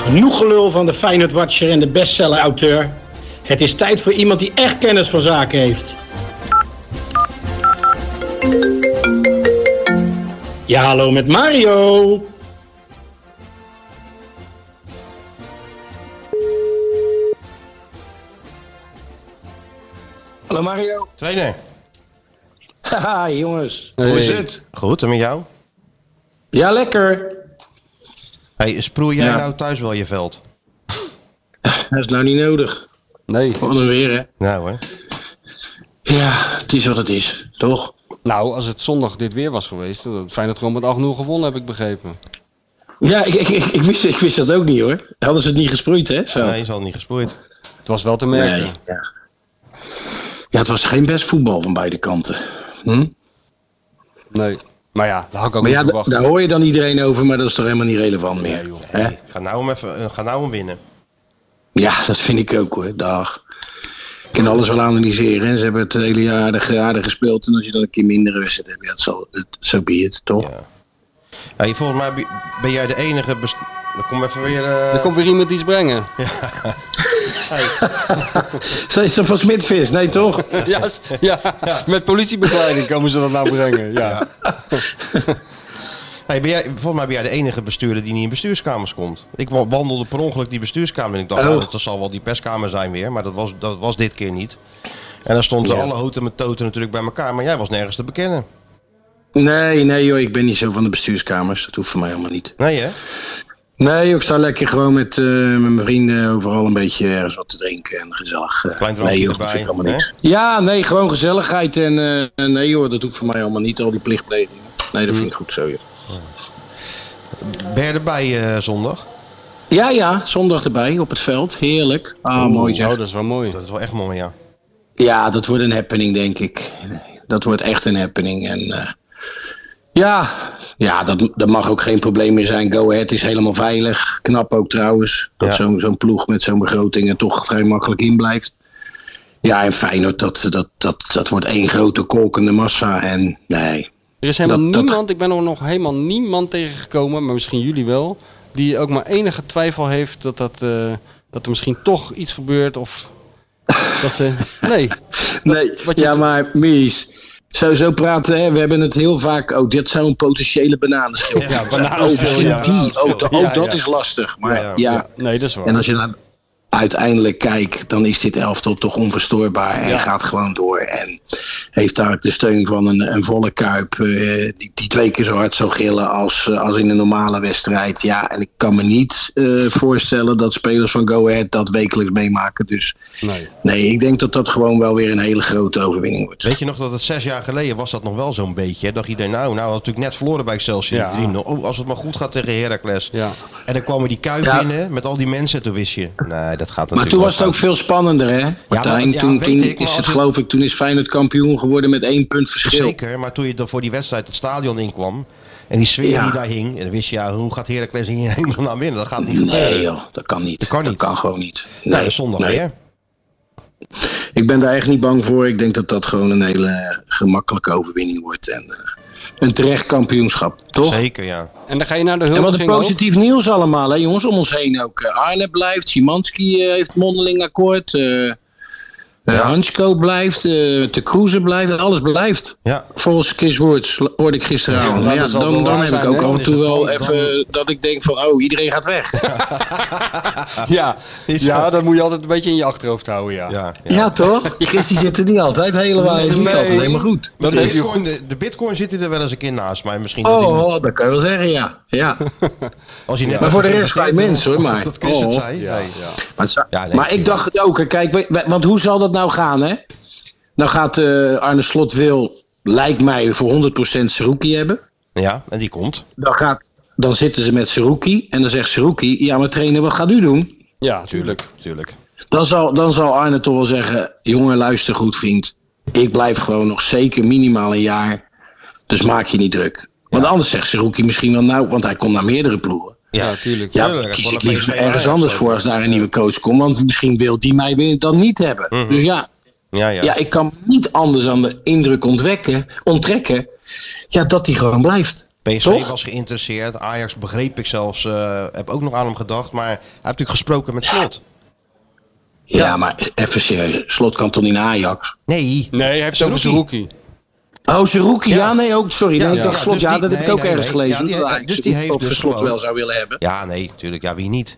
Genoeg gelul van de Feyenoord Watcher en de bestseller-auteur. Het is tijd voor iemand die echt kennis van zaken heeft. Ja, hallo met Mario. Hallo Mario. Trainer. Haha, jongens. Hey. Hoe is het? Goed, en met jou? Ja, lekker. Hey, sproei jij Ja. nou thuis wel je veld? Dat is nou niet nodig. Nee. Wat een weer, hè? Nou hoor. Ja, het is wat het is, toch? Nou, als het zondag dit weer was geweest, dan fijn dat gewoon met 8-0 gewonnen, heb ik begrepen. Ja, ik, ik, ik, ik wist, ik wist dat ook niet hoor. Hadden ze het niet gesproeid, hè? Zo. Nee, is al niet gesproeid. Het was wel te merken. Nee, ja. ja, het was geen best voetbal van beide kanten. Hm? Nee. Maar ja, dat had ik Maar ook niet ja, da- verwacht. daar hoor je dan iedereen over, maar dat is toch helemaal niet relevant meer. hè? Hey, ga nou hem even eh, ga nou hem winnen. Ja, dat vind ik ook hoor. Dag. Ik kan alles wel analyseren. Hè. Ze hebben het hele jaar aardig, aardig gespeeld. En als je dan een keer mindere wedstrijd hebt, ja, het zal, het, zo be het, toch? Ja. Hey, volgens mij be- ben jij de enige. best- Dan kom even weer. eh, Er komt weer iemand iets brengen. Zij is dan van Smitvis, nee toch? Ja, s- ja. met politiebegeleiding komen ze dat nou brengen. Ja. hey, ben jij, volgens mij ben jij de enige bestuurder die niet in bestuurskamers komt. Ik wa- wandelde per ongeluk die bestuurskamer. En ik dacht, Oh. nou, dat zal wel die perskamer zijn weer. Maar dat was, dat was dit keer niet. En daar stonden Ja. alle houten met toten natuurlijk bij elkaar. Maar jij was nergens te bekennen. Nee, nee joh, ik ben niet zo van de bestuurskamers. Dat hoeft voor mij helemaal niet. Nee, hè? Nee, joh, ik sta lekker gewoon met, eh, met mijn vrienden overal een beetje ergens wat te drinken en gezellig. eh. Klein drankje nee, joh, erbij, natuurlijk allemaal hè? niks. Ja, nee, gewoon gezelligheid en eh, nee joh, dat hoeft voor mij allemaal niet, al die plichtplegingen. Nee, dat vind ik goed zo joh. Mm. Ben jij erbij eh, zondag? Ja, ja, Ah, zondag erbij op het veld, heerlijk. Ah, mooi Oh, zeg. dat is wel mooi. Dat is wel echt mooi, ja. Ja, dat wordt een happening denk ik. Dat wordt echt een happening en eh, ja, ja dat, dat mag ook geen probleem meer zijn. Go Ahead is helemaal veilig, knap ook trouwens. Dat Ja. zo'n zo'n ploeg met zo'n begroting er toch vrij makkelijk in blijft. Ja, en Feyenoord, dat, dat, dat, dat wordt één grote kolkende massa. En nee, Er is helemaal Dat- dat- niemand, ik ben er nog helemaal niemand tegengekomen, maar misschien jullie wel, die ook maar enige twijfel heeft dat, dat, eh, dat er misschien toch iets gebeurt of dat ze... Nee, nee wat je ja, to- maar Mies, zo, zo praten, hè, we hebben het heel vaak. Oh, dit zou een potentiële bananenschil Ja, kunnen zijn. bananenschil, Oh, ja. misschien die. Oh, da- Ja, oh, dat ja. is lastig. Maar Ja. ja, nee, dat is waar. En als je dan uiteindelijk kijkt, dan is dit elftal toch onverstoorbaar en gaat gewoon door. En heeft daar de steun van een, een volle kuip eh, die, die twee keer zo hard zou gillen als, eh, als in een normale wedstrijd. Ja, en ik kan me niet eh, voorstellen dat spelers van Go Ahead dat wekelijks meemaken. Dus Nee. nee, ik denk dat dat gewoon wel weer een hele grote overwinning wordt. Weet je nog dat het zes jaar geleden was dat nog wel zo'n beetje? Hè? Dacht iedereen, nou, nou we hadden natuurlijk net verloren bij Excelsior. Ja. 3-0. Oh, als het maar goed gaat tegen Heracles. Ja. En dan kwamen die Kuip Ja. binnen met al die mensen. Toen wist je, nee, dat gaat natuurlijk Maar toen wel was het ook fout. veel spannender, hè? Martijn, ja, toen, weet toen is ik, maar als het, het- geloof ik, toen is Feyenoord kampioen geworden met één punt verschil. Zeker, maar toen je dan voor die wedstrijd het stadion inkwam... en die sfeer Ja. die daar hing... en dan wist je, ja, hoe gaat Heracles hier helemaal naar binnen? Dat gaat niet gebeuren. Nee joh, dat kan niet. Dat kan niet. gewoon niet. Nee, zondag nee. weer. Ik ben daar echt niet bang voor. Ik denk dat dat gewoon een hele gemakkelijke overwinning wordt. En eh, een terecht kampioenschap, toch? Zeker, ja. En dan ga je naar de En wat een huldiging ook? positief nieuws allemaal, hè, jongens, om ons heen ook. Eh, Arne blijft, Szymanski eh, heeft mondeling akkoord. eh eh, Hansko blijft, eh de Kroeze blijft, alles blijft. Ja, Volgens Chris Woerts l- hoorde ik gisteravond. Ja, Maar dat ja, zal dan, wel dan waar heb zijn, ik ook hè? af Dan en is toe het wel dan- even dat ik denk van, oh, iedereen gaat weg. ja. ja, dat moet je altijd een beetje in je achterhoofd houden, ja. Ja, Ja, toch? Christie zit er niet altijd helemaal, is niet Nee. altijd helemaal goed. De, Dat heeft hij bitcoin, goed. de, de bitcoin zit er wel eens een keer naast mij. Misschien dat Oh, hij- oh, dat kan je wel zeggen, ja. ja. als hij net Maar voor de even rest geïnvesteerd bij had, mensen, hoor, maar. Dat Chris het Oh. zei. Ja, nee. ja. Maar, het zou- Ja, nee, maar ik tuurlijk. dacht het ook, hè. kijk, we- we- want hoe zal dat nou gaan, hè? Nou gaat eh, Arne Slot wil, lijkt mij, voor 100% Seruki hebben. Ja, en die komt. Dan, gaat, dan zitten ze met Seruki en dan zegt Seruki, ja maar trainer, wat gaat u doen? Ja, tuurlijk. Tuurlijk. Dan zal, dan zal Arne toch wel zeggen, jongen luister goed vriend, ik blijf gewoon nog zeker minimaal een jaar, dus maak je niet druk. Want anders zegt Seruki misschien wel nou, want hij komt naar meerdere ploegen. Ja, tuurlijk. Ja, Tuurlijk, dan kies gewoon ik een liever PSV ergens Ajax anders lopen. voor als daar een nieuwe coach komt, want misschien wil die mij weer dan niet hebben. Dus ja, Mhm. Ja, ja. ja, ik kan niet anders aan de indruk ontwekken, onttrekken ja, dat hij gewoon blijft. PSV Toch? was geïnteresseerd. Ajax begreep ik zelfs. eh, heb ook nog aan hem gedacht. Maar hij heeft natuurlijk gesproken met Slot. Ja, maar even serieus. Slot kan toch niet naar Ajax? Nee. Nee, hij heeft het over zijn rookie. Oh, Zerouki. Ja. nee, ook. Sorry. Ja, nee, ik ja. dacht Slot. Dus ja, die- dat heb ik nee, ook nee, ergens nee. gelezen. Ja, die- dat hij- Ajax dus die of heeft dus Slot gewoon- wel zou willen hebben. Ja, nee, natuurlijk. Ja, wie niet?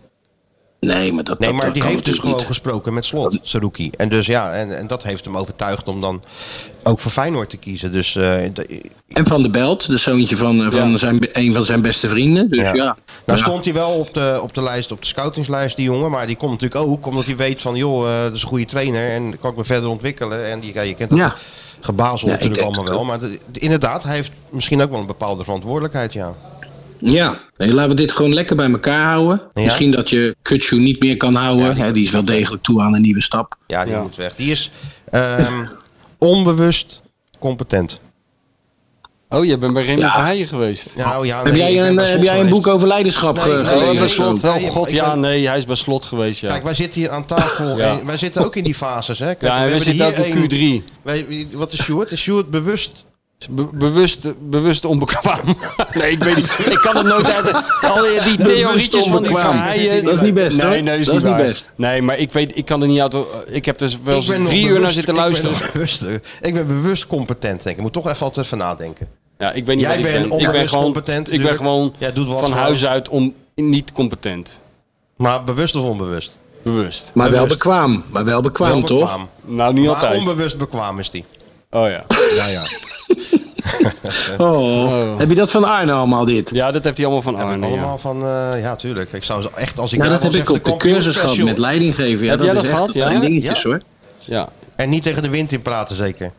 Nee, maar dat Nee, dat- maar dat die kan heeft dus gewoon natuurlijk niet. gesproken met Slot, Saruki. En dus ja, en, en dat heeft hem overtuigd om dan ook voor Feyenoord te kiezen. Dus eh, d- En Van de Belt, de zoontje van, eh, van Ja. zijn, be- een van zijn beste vrienden. Dus ja. ja. Nou stond hij wel op de, op de lijst, op de scoutingslijst, die jongen. Maar die komt natuurlijk ook omdat hij weet van, joh, eh, dat is een goede trainer. En kan ik me verder ontwikkelen. En die, ja, je kent dat Ja. gebazel Ja, ik natuurlijk denk allemaal het wel. Maar de- de- inderdaad, hij heeft misschien ook wel een bepaalde verantwoordelijkheid, ja. Nou, Ja. Nee, laten we dit gewoon lekker bij elkaar houden. Ja. Misschien dat je Kutsu niet meer kan houden. Ja, die- die, hè, die is wel degelijk toe aan een nieuwe stap. Ja, die moet weg. Die is ehm, onbewust competent. Oh, je bent bij Remy Ja. Verheijen geweest. Nou, ja, heb nee, ik jij ben een, eh, bij heb Slot jij een geweest. boek over leiderschap eh, Nee, nee, Oh, gelezen? nee, bij nee. slot. nee, Oh ik god, ben- ja, nee, hij is bij slot geweest, ja. Kijk, wij zitten hier aan tafel Ja. en wij zitten Oh. ook in die fases. Hè. Kijk, Ja, en we hebben zitten ook hier één- in Q3. Wij, wat is Sjoerd? Is Sjoerd bewust? Be- bewust, bewust onbekwaam. nee, ik weet niet. Ik kan het nooit uit. Al die- die theorietjes van die onbekwaam. verhaaien. Dat is niet best, Nee, hoor. nee, dat is, Dat niet, is niet waar. best. Nee, maar ik weet, ik kan er niet uit. Ik heb dus wel eens Ik ben nog drie uur naar bewust- zitten ik ben luisteren. nog bewust- eh, Ik ben, bewust competent, denk ik. Ik moet toch even altijd van nadenken. Ja, ik weet niet Jij wat ik bent ben. Ik ben onbewust gewoon, competent, ik ben natuurlijk. gewoon Jij doet wat van voor- huis uit om niet competent. Maar bewust of onbewust? Bewust. Maar wel Bewust. bekwaam. Maar wel bekwaam, Wel toch? bekwaam. Nou, niet Maar altijd. onbewust bekwaam is die. Oh ja. Ja, ja. Oh. Heb je dat van Arne allemaal dit? Ja, dat heeft hij allemaal van Arne. Allemaal ja. van, eh, ja, tuurlijk. Ik zou ze echt, als ik Nou, jou dat heb ik was, even op de kampioen cursus gehad special. met leidinggeven. Ja, Heb dat jij is dat echt, gehad? dat Ja? zijn dingetjes hoor. ja. En niet tegen de wind in praten, zeker.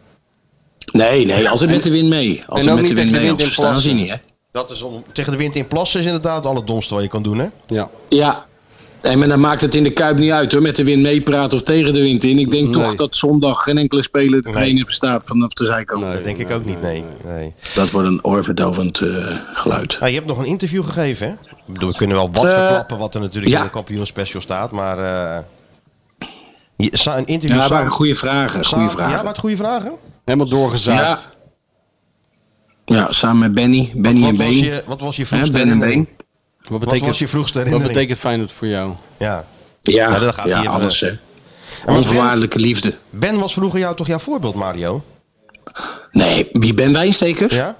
Nee, nee, altijd met de wind mee. Altijd ook met de niet tegen wind de mee. wind in anders staan ze plassen. niet, hè? Dat is om, tegen de wind in plassen is inderdaad het allerdomste wat je kan doen, hè? ja. Ja. Nee, maar dan maakt het in de Kuip niet uit hoor. Met de wind meepraten of tegen de wind in. Ik denk toch Nee. dat zondag geen enkele speler de trainer verstaat vanaf de zijkant. Dat denk ik ook niet, nee. nee. Dat wordt een oorverdovend eh, geluid. Nou, je hebt nog een interview gegeven, hè? Ik bedoel, we kunnen wel wat Eh, verklappen wat er natuurlijk ja. in de kampioenspecial staat, maar... eh, je, sa- een interview Ja, dat samen- waren goede vragen. sa- Goede Ja, vragen. wat goede vragen? Helemaal doorgezaagd. Ja. Ja, samen met Benny. Benny en Wat was Been. je, wat was je Hè, vroegste Ben en herinnering? Been. Wat Wat betekent, was je vroegste wat herinnering? betekent Feyenoord voor jou? Ja. Ja, Ja, dat gaat ja, hij even- alles hè. Ben- Onvoorwaardelijke liefde. Ben was vroeger jou toch jouw voorbeeld, Mario? Nee, wie Ben Wijnstekers? Ja?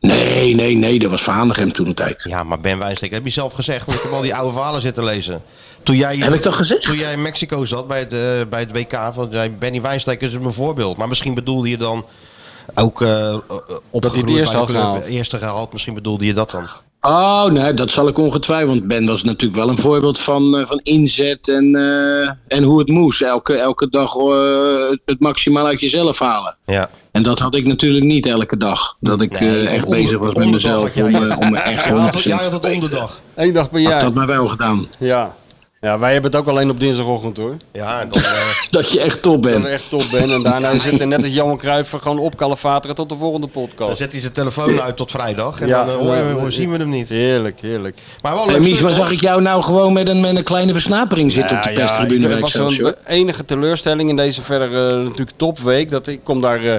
Nee, nee, nee, dat was Vanegem toen een tijd. Ja, maar Ben Wijnstek, heb je zelf gezegd, want ik heb al die oude verhalen zitten lezen. Toen jij, Heb ik dat gezegd? Toen jij in Mexico zat bij het, eh, bij het WK, van, zei Benny Wijnstek is mijn voorbeeld. Maar misschien bedoelde je dan ook eh op eerste had gehaald. eerste gehaald. Misschien bedoelde je dat dan. Oh, nee, dat zal ik ongetwijfeld. Want Ben was natuurlijk wel een voorbeeld van, eh, van inzet en, eh, en hoe het moest. Elke, elke dag eh, het- het maximaal uit jezelf halen. Ja. En dat had ik natuurlijk niet elke dag. Dat ik Nee, eh, echt onder- bezig was met onderdag mezelf had jij- om, eh, om echt Jij had, 100% jij had te het onderdag. Eén dag per Had jaar. dat maar wel gedaan. Ja. Ja, wij hebben het ook alleen op dinsdagochtend hoor. Ja, en dan, eh, Dat je echt top Dat we bent. echt top ben. En daarna zit er net als Jan Cruijver gewoon op kalefateren tot de volgende dan podcast. zet hij zijn telefoon uit tot vrijdag. En Ja. dan eh, horen we- hoor- zien we hem niet. Heerlijk, heerlijk. Maar wel Hey, een Mies, stuk, maar zag toch? ik jou nou gewoon met een, met een kleine versnapering zitten op de ik- pestribune er bij was een Excelsior? be- enige teleurstelling in deze verder eh, natuurlijk topweek. Dat ik kom daar eh,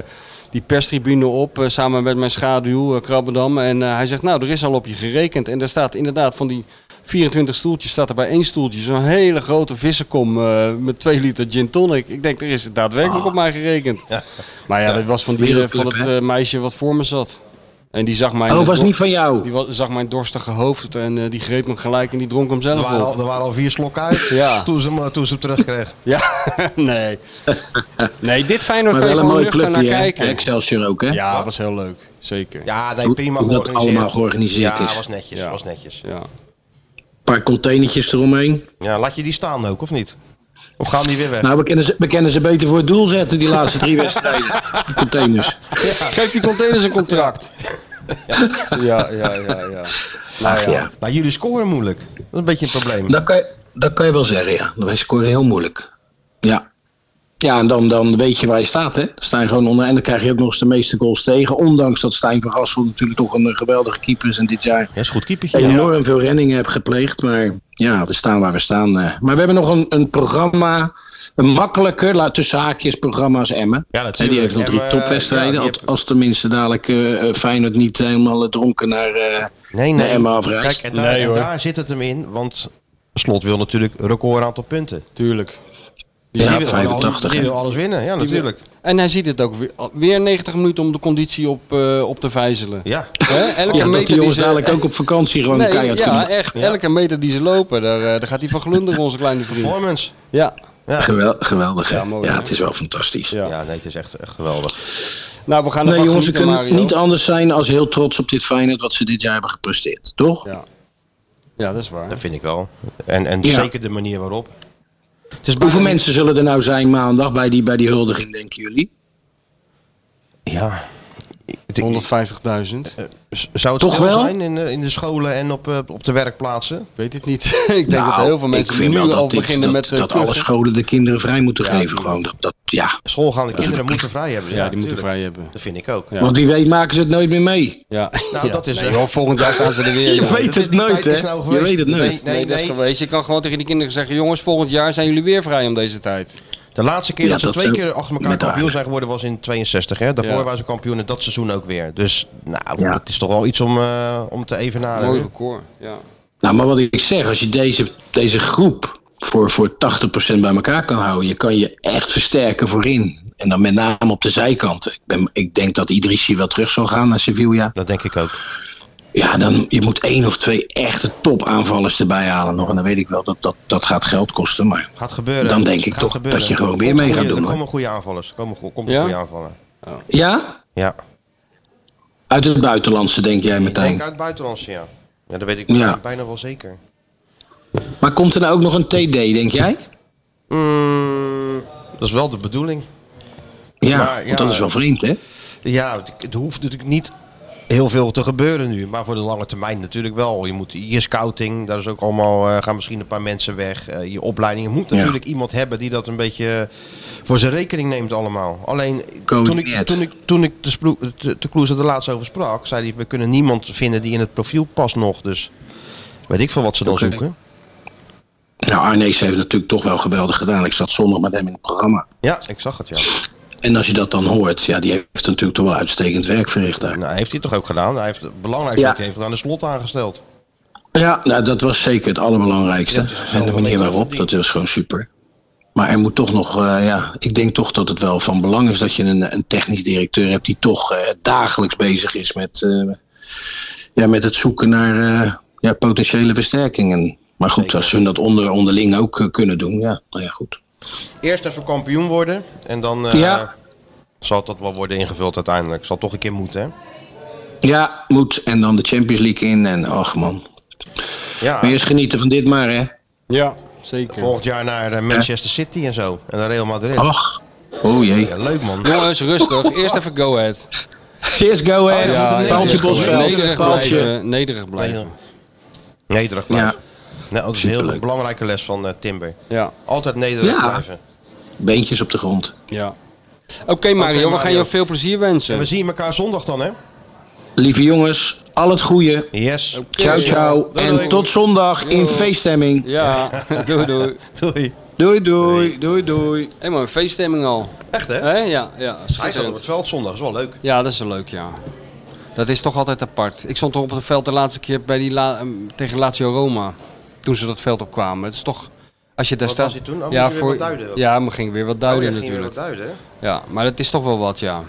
die perstribune op eh, samen met mijn schaduw eh, Krabbendam. En eh, hij zegt, nou, er is al op je gerekend. En daar staat inderdaad van die 24 stoeltjes, staat er bij één stoeltje zo'n hele grote vissenkom eh, met 2 liter gin tonic. Ik denk, er is daadwerkelijk op mij gerekend. Maar ja, dat was van, die, eh, van Ah. Wereldclub, het hè? eh, meisje wat voor me zat. En die zag mijn... Oh, was dor- niet van jou? Die wa- zag mijn dorstige hoofd en eh, die greep hem gelijk en die dronk hem zelf Er waren, op. al, er waren al vier slokken uit Ja. toen, ze hem, eh, toen ze hem terugkreeg. Ja, nee. Nee, dit Feyenoord Maar kan wel je een gewoon mooi nuchter naar clubje, hè? kijken. Excelsior ook, hè? Ja, dat was heel leuk. Zeker. Ja, nee, Hoe- prima hoe dat georganiseerd. allemaal georganiseerd ja, is. was netjes, Ja. was netjes. Ja. paar containertjes eromheen. Ja, laat je die staan ook, of niet? Of gaan die weer eh, weg? Nou, we kennen, ze, we kennen ze beter voor het doel zetten, die laatste drie wedstrijden. Die containers. Geef die containers een contract. Ja, ja, ja, ja. Ach, ja. Nou, jullie scoren moeilijk. Dat is een beetje een probleem. Dat, kan je, dat kan je wel zeggen, ja. Wij scoren heel moeilijk. Ja. Ja, en dan, dan weet je waar je staat, hè. Sta je gewoon onder. En dan krijg je ook nog eens de meeste goals tegen. Ondanks dat Stijn van Gassel natuurlijk toch een eh, geweldige keeper is en dit jaar Dat is een goed keepertje. ja. enorm veel renningen heb gepleegd. Maar ja, we staan waar we staan. eh. Maar we hebben nog een, een programma, een makkelijker, laat tussen haakjes, programma's Emmen. Ja, En natuurlijk. die heeft nog drie Emmen, topwedstrijden. ja, die als, als tenminste dadelijk eh eh, Feyenoord niet helemaal eh, dronken naar... eh, Nee, naar nee. Emmen afreist. Kijk, en daar, Nee, en hoor. daar zit het hem in, want Slot wil natuurlijk record aantal punten. Tuurlijk. ja, die, wil gewoon alles- 85, die hè? wil alles winnen, ja, natuurlijk. En hij ziet het ook weer, weer 90 minuten om de conditie op, eh, op te vijzelen. Ja. Hè? Elke Ja, dat die jongens ze- dadelijk ook op vakantie gewoon Nee, keihard ja, kunnen. echt. Elke meter die ze lopen, daar, eh, daar gaat hij van glunderen, onze kleine vriend. Performance. Ja. Gewel- geweldig, hè? Ja, Ja, mooi, hè? het is wel fantastisch. Ja. Ja, nee, het is echt, echt geweldig. Nou, we gaan Nee, ervan jongens, we genieten, kunnen Mario. niet anders zijn als heel trots op dit Feyenoord wat ze dit jaar hebben gepresteerd, toch? Ja. ja, dat is waar. Dat vind ik wel. En, en Ja. zeker de manier waarop. Het is Hoeveel bijna- mensen zullen er nou zijn maandag bij die, bij die huldiging, denken jullie? Oh, Ja. Ik- ik- 150.000? z- Zou het Toch stil wel? zijn in de, in de scholen en op, eh, op de werkplaatsen? Ik weet het niet. ik denk dat Nou, heel veel ik mensen vind nu wel dat al dit- dat, beginnen met eh, dat alle kuchen. scholen de kinderen vrij moeten Ja, geven. tuurlijk. Gewoon dat, dat ja. Schoolgaande kinderen moeten vrij hebben. Ja, die moeten tuurlijk. vrij hebben. Dat vind ik ook. Ja. Want die weet maken ze het nooit meer mee. Ja. Nou, Ja. dat is... Nee, eh, joh, volgend jaar staan ze er weer. Je weet joh. dat het is- die nooit, tijd hè? is nou Je geweest. weet het Nee, nooit. nee, Nee, dat is nee. geweest. Je kan gewoon tegen die kinderen zeggen: jongens, volgend jaar zijn jullie weer vrij om deze tijd. De laatste keer Ja, dat ze dat twee zou- keer achter elkaar met kampioen haar. zijn geworden was in 62. Hè? Daarvoor Ja. waren ze kampioen en dat seizoen ook weer. Dus nou, Ja. het is toch wel iets om, eh, om te evenaren. Mooi hoor. record. Ja. Nou, maar wat ik zeg, als je deze, deze groep voor, voor 80% bij elkaar kan houden, je kan je echt versterken voorin. En dan met name op de zijkanten. Ik, ben, ik denk dat Idrissi wel terug zal gaan naar Sevilla. Dat denk ik ook. Ja, dan je moet één of twee echte topaanvallers erbij halen nog. En dan weet ik wel dat dat, dat gaat geld kosten. Maar Gaat gebeuren. Dan denk ik Gaat toch gebeuren. dat je gewoon Er weer komt mee gaat goede- doen, Er hoor. komen goede aanvallers. Er komen, go- komen Ja? Oh. goede aanvallers. ja, Ja. uit het buitenlandse denk jij Ik denk meteen. uit het buitenlandse, ja. Ja, dat weet ik Ja. bijna wel zeker. Maar komt er nou ook nog een TD, denk jij? Mm, dat is wel de bedoeling. Ja, Maar, ja. want dat is wel vreemd, hè? Ja, het- het hoeft natuurlijk niet heel veel te gebeuren nu. Maar voor de lange termijn natuurlijk wel. Je moet je scouting, daar is ook allemaal, eh, gaan misschien een paar mensen weg. Eh, je opleiding. Je moet Ja. natuurlijk iemand hebben die dat een beetje voor zijn rekening neemt allemaal. Alleen toen ik, Coördineert. toen ik, toen ik de, sploe- de, de Kloes er laatst over sprak, zei hij, we kunnen niemand vinden die in het profiel past nog. Dus weet ik veel wat ze dan zoeken. Nou, Arnees heeft natuurlijk toch wel geweldig gedaan. Ik zat zondag met hem in het programma. Ja, ik zag het ja. En als je dat dan hoort, ja, die heeft natuurlijk toch wel uitstekend werk verricht daar. Nou, heeft hij toch ook gedaan. Hij heeft het belangrijkste Ja. wat hij heeft gedaan, de slot aangesteld. Ja, nou, dat was zeker het allerbelangrijkste. Ja, het is en de zelf manier alleen al waarop, verdiend. dat is gewoon super. Maar er moet toch nog, eh, ja, ik denk toch dat het wel van belang is dat je een, een technisch directeur hebt die toch eh, dagelijks bezig is met, eh, ja, met het zoeken naar eh, ja, potentiële versterkingen. Maar goed, als ze dat onder, onderling ook eh, kunnen doen, ja, nou ja, goed. Eerst even kampioen worden en dan eh, Ja. zal dat wel worden ingevuld uiteindelijk. Zal toch een keer moeten, hè? Ja, moet en dan de Champions League in en ach man. Ja, Maar eerst genieten van dit maar, hè. Ja, zeker. volgend jaar naar eh, Manchester City en zo. En naar Real Madrid. Ach, oh jee. Ja, leuk, man. Jongens, rustig. Eerst even go ahead. Eerst go ahead. Oh, ja, Paaltje ja, ja. Bosveld. nederig Paaltje. blijven. Nederig blijven. Nederig blijven. Nou, dat is een heel Superleuk. belangrijke les van eh, Timber. Ja, Altijd nederig Ja. blijven. Beentjes op de grond. ja. Oké Mario, we gaan Mario. je veel plezier wensen. En we zien elkaar zondag dan, hè? Lieve jongens, al het goede. Yes. Ciao, ciao. Doei, doei. En tot zondag in feeststemming. Ja, doei doei. Doei. Doei, doei, doei, doei. Helemaal een feeststemming al. Echt, hè? Hè? Ja, ja, Hij staat op het schitterend. veld zondag. is wel leuk. Ja, dat is wel leuk, ja. Dat is toch altijd apart. Ik stond toch op het veld de laatste keer bij die la- ehm, tegen Lazio Roma. Toen ze dat veld opkwamen. Het is toch... Als je daar Wat staat... was hij toen? Oh, moet je weer wat duiden? Ja, maar ging weer wat duiden Oh, ja, ging weer natuurlijk. wat duiden, hè? Ja, maar dat is toch wel wat, ja.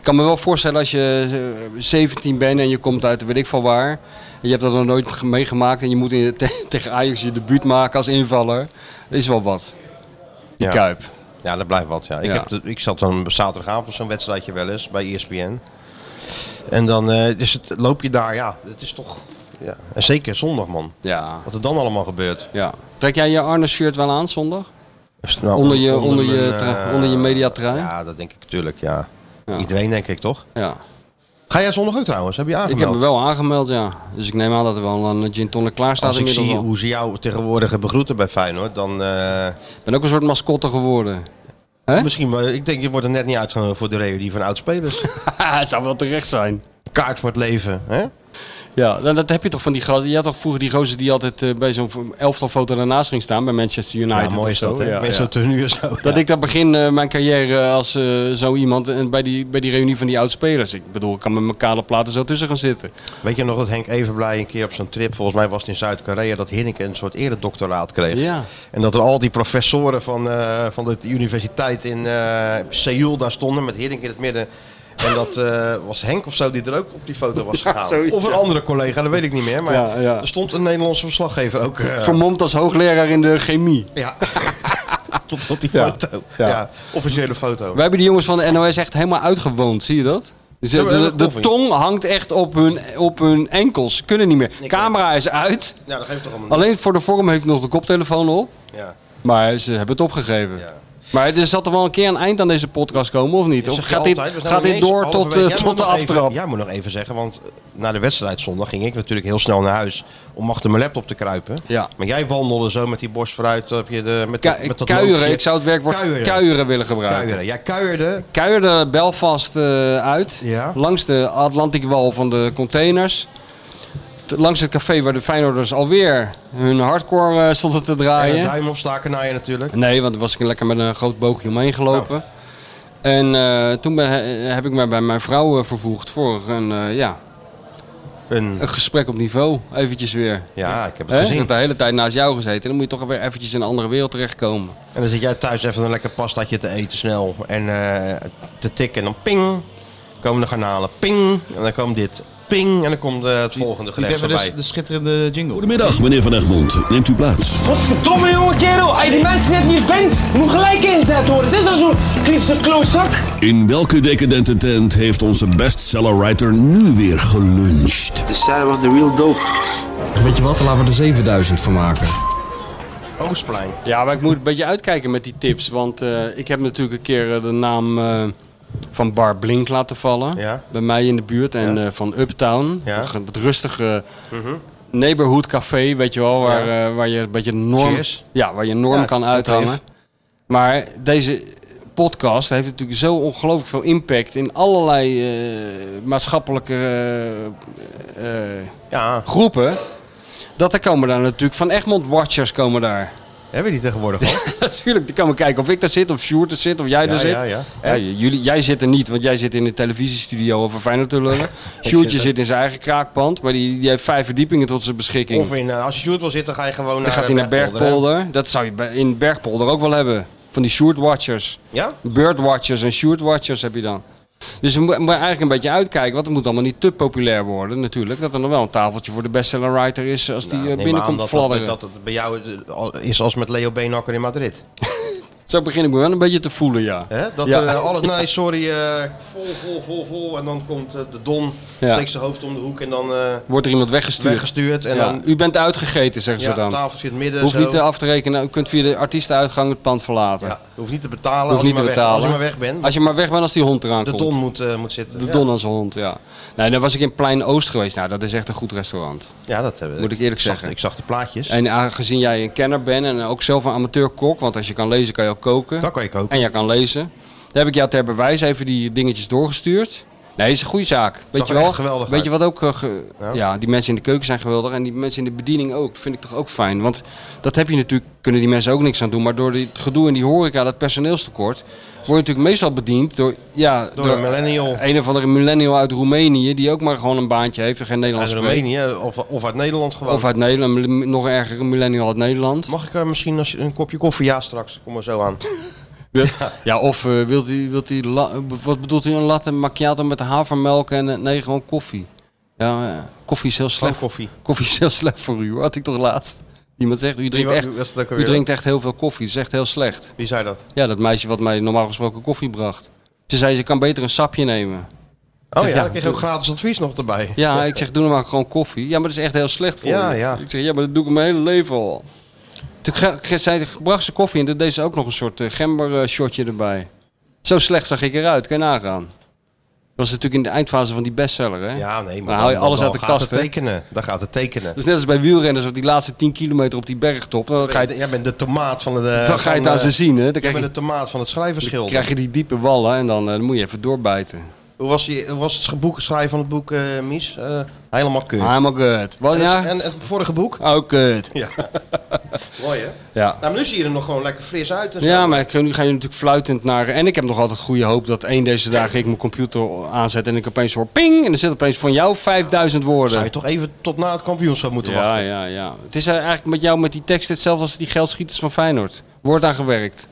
kan me wel voorstellen als je eh, 17 bent en je komt uit weet ik van waar. En je hebt dat nog nooit ge- meegemaakt en je moet in, te- tegen Ajax je debuut maken als invaller. Dat is wel wat. Die Ja. Kuip. Ja, dat blijft wat. Ja. Ik, Ja. Heb, de- ik zat dan zaterdagavond zo'n wedstrijdje wel eens bij E ESPN. En dan eh, dus het, loop je daar, ja, het is toch. Ja. En zeker zondag, man. Ja. Wat er dan allemaal gebeurt. Ja. Trek jij je Arne shirt wel aan zondag? Nou, onder, je, onder, je, mijn, tra- eh, onder je mediatrui? Ja. Ja, dat denk ik natuurlijk, ja. Iedereen denk ik toch? ja. Ga jij zondag ook trouwens? Heb je Ik aangemeld? heb me wel aangemeld, ja. Dus ik neem aan dat er wel een gin tonic klaar staat Als ik inmiddels zie al. hoe ze jou tegenwoordig begroeten bij Feyenoord, dan... eh, Ik ben ook een soort mascotte geworden. Hè? Misschien, wel- ik denk je wordt er net niet uitgenodigd voor de reunie van oudspelers. zou wel terecht zijn. Kaart voor het leven, hè? Ja, nou, dat heb je toch van die gozer. Je had toch vroeger die gozer die altijd eh, bij zo'n elftal foto daarnaast ging staan bij Manchester United. ja, mooi of is zo. dat, hè? Ja, Met ja. zo'n tenue en zo. Dat ik daar begin eh, mijn carrière als eh, zo iemand en bij die, bij die reunie van die oud-spelers. Ik bedoel, ik kan met mijn kale platen zo tussen gaan zitten. Weet je nog dat Henk Evenblij een keer op zijn trip, volgens mij was het in Zuid-Korea, dat Hinneken een soort eredoctoraat kreeg. Ja. En dat er al die professoren van, eh, van de universiteit in eh, Seoul daar stonden met Hinneken in het midden. En dat eh, was Henk of zo die er ook op die foto was gegaan. zoiets, of een andere collega, dat weet ik niet meer. Maar Ja, ja. er stond een Nederlandse verslaggever ook eh, Vermomd als hoogleraar in de chemie. ja. tot op die Ja. foto. Ja. Ja. officiële foto. Wij hebben die jongens van de NOS echt helemaal uitgewoond, zie je dat? Dus Ja, de, maar dat de- de klopt niet. tong hangt echt op hun, op hun enkels. Ze kunnen niet meer. Camera is uit. Ja, dat geeft toch allemaal niet. Alleen voor de vorm heeft nog de koptelefoon op. Ja. Maar ze hebben het opgegeven. Ja. Maar er zal er wel een keer een eind aan deze podcast komen, of niet? Ze Of zeggen gaat dit, altijd, we zijn gaat nog dit niet eens door tot, halverwege. eh, Jij moet tot de nog even- aftrap? jij moet nog even zeggen, want eh, na de wedstrijd zondag ging ik natuurlijk heel snel naar huis om achter mijn laptop te kruipen. Ja. Maar jij wandelde zo met die borst vooruit, heb je de, met, Ku- dat- met dat kuieren, loopje. ik zou het werkwoord kuieren, Kuieren. willen gebruiken. Kuieren. Jij kuierde. kuierde Belfast eh, uit. Ja. Langs de Atlantiekwal van de containers. T- Langs het café waar de Feyenoorders alweer hun hardcore eh, stonden te En een draaien. duim opstaken naar je natuurlijk. Nee, want dan was ik lekker met een groot boogje omheen gelopen. Oh. En eh, toen ben, he- heb ik mij bij mijn vrouw eh, vervoegd voor een, eh, ja, Een, een gesprek op niveau. Eventjes weer. ja, ik heb het Hè? Ik gezien. heb de hele tijd naast jou gezeten. Dan moet je toch weer eventjes in een andere wereld terechtkomen. En dan zit jij thuis even een lekker pastaatje te eten snel. En eh, te tikken. En dan ping. Komen de garnalen. Ping. En dan komt dit. Ping. En dan komt eh, het volgende Dit gerecht hebben we erbij. dus de schitterende jingle. Goedemiddag, meneer Van Egmond. Neemt u plaats. Godverdomme jonge kerel, als je die mensen net niet bent, moet gelijk ingezet worden. Dit is al zo'n kritische klootzak. In welke decadente tent heeft onze bestseller writer nu weer geluncht? The Sarah was the real dope. Weet je wat, laten we er 7000 van maken. Oostplein. Ja, maar ik moet een beetje uitkijken met die tips. Want eh, ik heb natuurlijk een keer eh, de naam eh, van Bar Blink laten vallen. Ja. Bij mij in de buurt. En eh, van Uptown. Ja. Mhm. Toch een- Het rustige neighborhood café, weet je wel. Waar, eh, waar je een beetje een norm, Cheers. ja, waar je een norm Ja, kan dat uithangen. heeft. Maar deze podcast heeft natuurlijk zo ongelooflijk veel impact in allerlei eh, maatschappelijke eh, eh, Ja. groepen. Dat er komen daar natuurlijk van Egmond Watchers komen daar. Hebben die tegenwoordig al? Natuurlijk, die kan we kijken of ik daar zit, of Sjoerd er zit, of jij Ja, daar zit. ja, ja. Ja, j- jullie, jij zit er niet, want jij zit in de televisiestudio over Feyenoord te lullen. zit Sjoerdje er. zit in zijn eigen kraakpand, maar die, die heeft vijf verdiepingen tot zijn beschikking. Of in, eh, als je shoot wil zitten, ga je gewoon dan naar, gaat hij eh, naar hè? Bergpolder. Dat zou je bij- in Bergpolder ook wel hebben. Van die Sjoerd-watchers. Ja? Birdwatchers en Sjoerd-watchers heb je dan. Dus we moeten eigenlijk een beetje uitkijken, want het moet allemaal niet te populair worden natuurlijk. Dat er nog wel een tafeltje voor de bestseller writer is als die eh, Nou, Neem aan binnenkomt dat, fladderen. dat, dat het bij jou eh, al- is als met Leo Beenakker in Madrid. Zo begin ik me wel een beetje te voelen, ja. Hè? Dat Ja. er eh, alles, nee sorry, eh, vol, vol, vol, vol. En dan komt eh, de Don, Ja. steekt zijn hoofd om de hoek en dan eh, Wordt er iemand weggestuurd? weggestuurd. En Ja, dan u bent uitgegeten, zeggen ja, ze dan. tafel zit midden. Hoeft zo. niet eh, af te rekenen, u kunt via de artiestenuitgang het pand verlaten. ja, hoeft niet te betalen Hoeft als, niet je te maar weg, als je betalen. maar weg bent. Als je maar weg bent als die hond eraan de komt. Don moet, eh, moet zitten. De ja. Don als hond, ja. Nee, dan was ik in Plein Oost geweest. Nou, dat is echt een goed restaurant. Ja, dat hebben we. Moet ik eerlijk zag- zeggen. Ik zag de plaatjes. En aangezien jij een kenner bent en ook zelf een amateurkok, want als je kan lezen kan je ook koken. Dan kan je koken. En jij kan lezen. Dan heb ik jou ter bewijs even die dingetjes doorgestuurd. Nee, is een goede zaak. Weet er je wel? echt geweldig Weet je wat ook? eh, ge- ja. Ja. die mensen in de keuken zijn geweldig en die mensen in de bediening ook. Dat vind ik toch ook fijn. Want dat heb je natuurlijk, kunnen die mensen ook niks aan doen. Maar door die- het gedoe in die horeca, dat personeelstekort, word je natuurlijk meestal bediend door, ja, Door een millennial. Een of andere millennial uit Roemenië, die ook maar gewoon een baantje heeft en geen Uit Nederlands spreekt. Roemenië eh, of, of uit Nederland gewoon. Of uit Nederland, een mil- nog erger, een millennial uit Nederland. Mag ik eh, misschien als je, een kopje koffie? Ja, straks. Kom maar zo aan. Wilt- ja, of eh, wilt u, wilt u la- wat bedoelt u, een latte macchiato met havermelk en eh, nee, gewoon koffie. Ja, eh, koffie is heel slecht. Koffie. koffie is heel slecht voor u, hoor. had ik toch laatst. Iemand zegt, u drinkt wa- echt, wie was het ook u alweer? drinkt echt heel veel koffie, dat is echt heel slecht. Wie zei dat? Ja, dat meisje wat mij normaal gesproken koffie bracht. Ze zei, ze kan beter een sapje nemen. Ik Oh zeg, ja, dan kreeg je ook doe- gratis advies nog erbij. ja, ik zeg, doe dan maar gewoon koffie. Ja, maar dat is echt heel slecht voor Ja, je. ja. Ik zeg, ja, maar dat doe ik mijn hele leven al. Toen ge- ge- zei, bracht ze koffie en toen deed ze ook nog een soort eh, gember eh, shotje erbij. Zo slecht zag ik eruit, kan je nagaan. Dat was natuurlijk in de eindfase van die bestseller, hè? Ja, nee, maar Dan haal je dan- alles dan uit de gaat kast, het hè? tekenen. Dan gaat het tekenen. Dat is net als bij wielrenners op die laatste 10 kilometer op die bergtop. Dan ga je, Jij bent de tomaat van de... dan ga je het van, aan ze eh, zien, hè? Jij Dan krijg bent je, de tomaat van het dan schrijverschilder. krijg je die diepe wallen en dan, eh, dan moet je even doorbijten. Hoe was, je, hoe was het sch- boek schrijven van het boek, eh, Mies? Eh, helemaal kut. Helemaal good. Wat, en, het- ja? en het vorige boek? Ook good. Ja. Mooi, hè? Ja. Nou, maar nu zie je er nog gewoon lekker fris uit. en zo. Ja, maar ik, nu ga je natuurlijk fluitend naar. En ik heb nog altijd goede hoop dat één deze dagen ik mijn computer aanzet en ik opeens hoor ping. En er zit opeens van jou 5000 woorden. Zou je toch even tot na het kampioenschap moeten ja, wachten? ja, ja. Het is eigenlijk met jou met die tekst hetzelfde als die geldschieters van Feyenoord. Wordt aan gewerkt.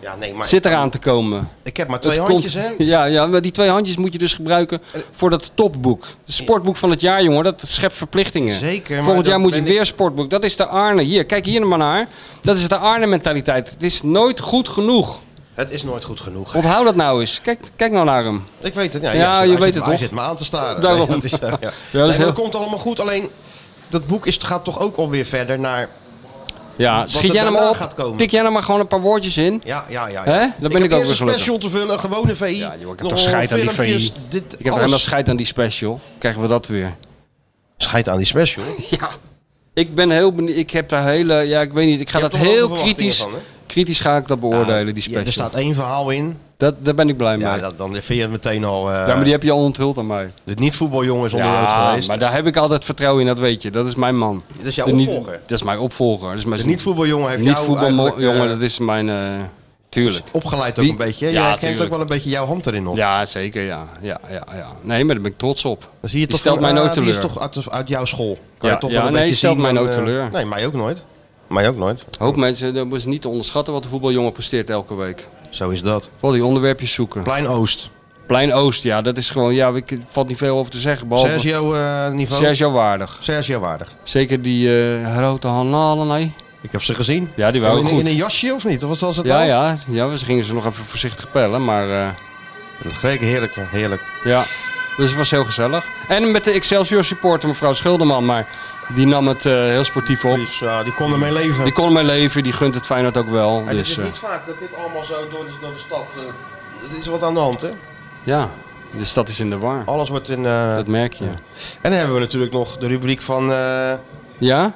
Ja, nee, maar Zit eraan te komen. ik heb maar twee Het handjes, komt- hè? Eh, Ja, ja, maar die twee handjes moet je dus gebruiken voor dat topboek. Het sportboek van het jaar, jongen, dat schept verplichtingen. Zeker, maar Volgend dan jaar moet je ben ik- weer sportboek. Dat is de Arne. Hier, kijk hier maar naar. Dat is de Arne-mentaliteit. Het is nooit goed genoeg. Het is nooit goed genoeg. Onthoud dat nou eens. Kijk, kijk nou naar hem. Ik weet het. Ja, Ja, hij je zit- weet het Hij toch? zit me aan te staren. Daarom. Nee, dat is, ja, ja. Nee, heel- maar dat komt allemaal goed. Alleen, dat boek is, gaat toch ook alweer verder naar... Ja, schiet er jij hem daarna op. gaat komen. Tik jij nou maar gewoon een paar woordjes in. Ja, ja, ja. ja. Hè? Daar ben heb ik ook eerst weer een gelukkig. special te vullen, een gewone VI. Ja, joh, ik heb nog toch scheid aan die filmpjes, VI. Dit, Ik heb er alles. helemaal scheid aan die special. Krijgen we dat weer. Scheid aan die special. Ja. Ik ben heel benieuwd. Ik heb daar hele... Ja, ik weet niet. Ik ga Je hebt dat toch wel heel verwachtingen kritisch... van, hè? kritisch ga ik dat beoordelen, Ja, die special. er staat één verhaal in. dat, daar ben ik blij Ja, mee. dat, dan vind je het meteen al... eh ja, maar die heb je al onthuld aan mij. De niet-voetbaljongen is onderuit geweest. maar daar heb ik altijd vertrouwen in, dat weet je. Dat is mijn man. Dat is jouw De niet- opvolger. Dat is mijn opvolger. Dat is mijn de niet-voetbaljongen heeft jou eigenlijk, eh, Dus jongen, dat is mijn... eh, tuurlijk. opgeleid ook Die- een beetje. hè? Ja, Jij herkent ook tuurlijk. wel een beetje jouw hand erin op. Ja, zeker, ja. Ja, ja, ja. Nee, maar daar ben ik trots op. Dan zie je Die toch stelt van, mij ah, nooit Die teleur. is toch uit, uit jouw school. Kan Ja, je toch ja, wel een nee, beetje stelt zien mij dan, nooit eh, teleur. Nee, mij ook nooit. Mij ook nooit. Hoop mensen, dat is niet te onderschatten wat de voetbaljongen presteert elke week. Zo is dat. Vooral die onderwerpjes zoeken. Plein Oost. Plein Oost, ja, dat is gewoon, ja, ik er valt niet veel over te zeggen. Behalve Sergio, Sergio eh, niveau. Sergio. waardig. waardig. Zeker die eh grote Hanalen, nee. Ik heb ze gezien. Ja, die In, waren in, goed. een jasje of niet? Of Wat was dat ja, nou? ja, ja, ze gingen ze nog even voorzichtig pellen, maar eh, Greek, heerlijk, heerlijk. ja. Dus het was heel gezellig. En met de Excelsior supporter, mevrouw Schilderman, maar die nam het eh, heel sportief op. Dus, eh, die konden mee leven. Die kon mijn leven, die gunt het Feyenoord ook wel. Maar het Dus, is eh, niet vaak dat dit allemaal zo door de, door de stad... eh, er is wat aan de hand, hè? ja, de stad is in de war. Alles wordt in... eh, Dat merk je. En dan hebben we natuurlijk nog de rubriek van... eh, Ja?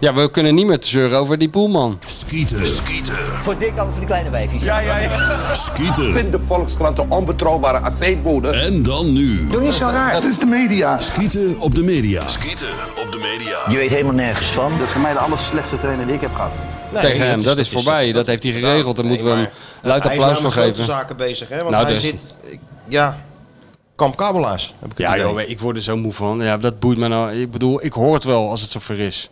Ja, we kunnen niet meer te zeuren over die poelman. Skieten. Skieten. Voor dik over de kleine wijfjes. Ja, ja, ja. Skieten. de Volkskrant de onbetrouwbare aceetbode. En dan nu. Doe niet zo raar. Dat is de media. Skieten op de media. Skieten op de media. Je weet helemaal nergens van. Dat is voor mij de aller slechtste trainer die ik heb gehad. nee, Tegen hem, dat is voorbij. Dat heeft hij geregeld. Daar moeten we hem luid applaus Hij is voor nou met grote geven. zaken bezig, hè? Want Nou, hij dus. zit... ik- ja, kamp kabelaars, heb ik het Ja, idee. joh, ik word er zo moe van. Ja, dat boeit me nou. Ik bedoel, ik hoor het wel als het zover is.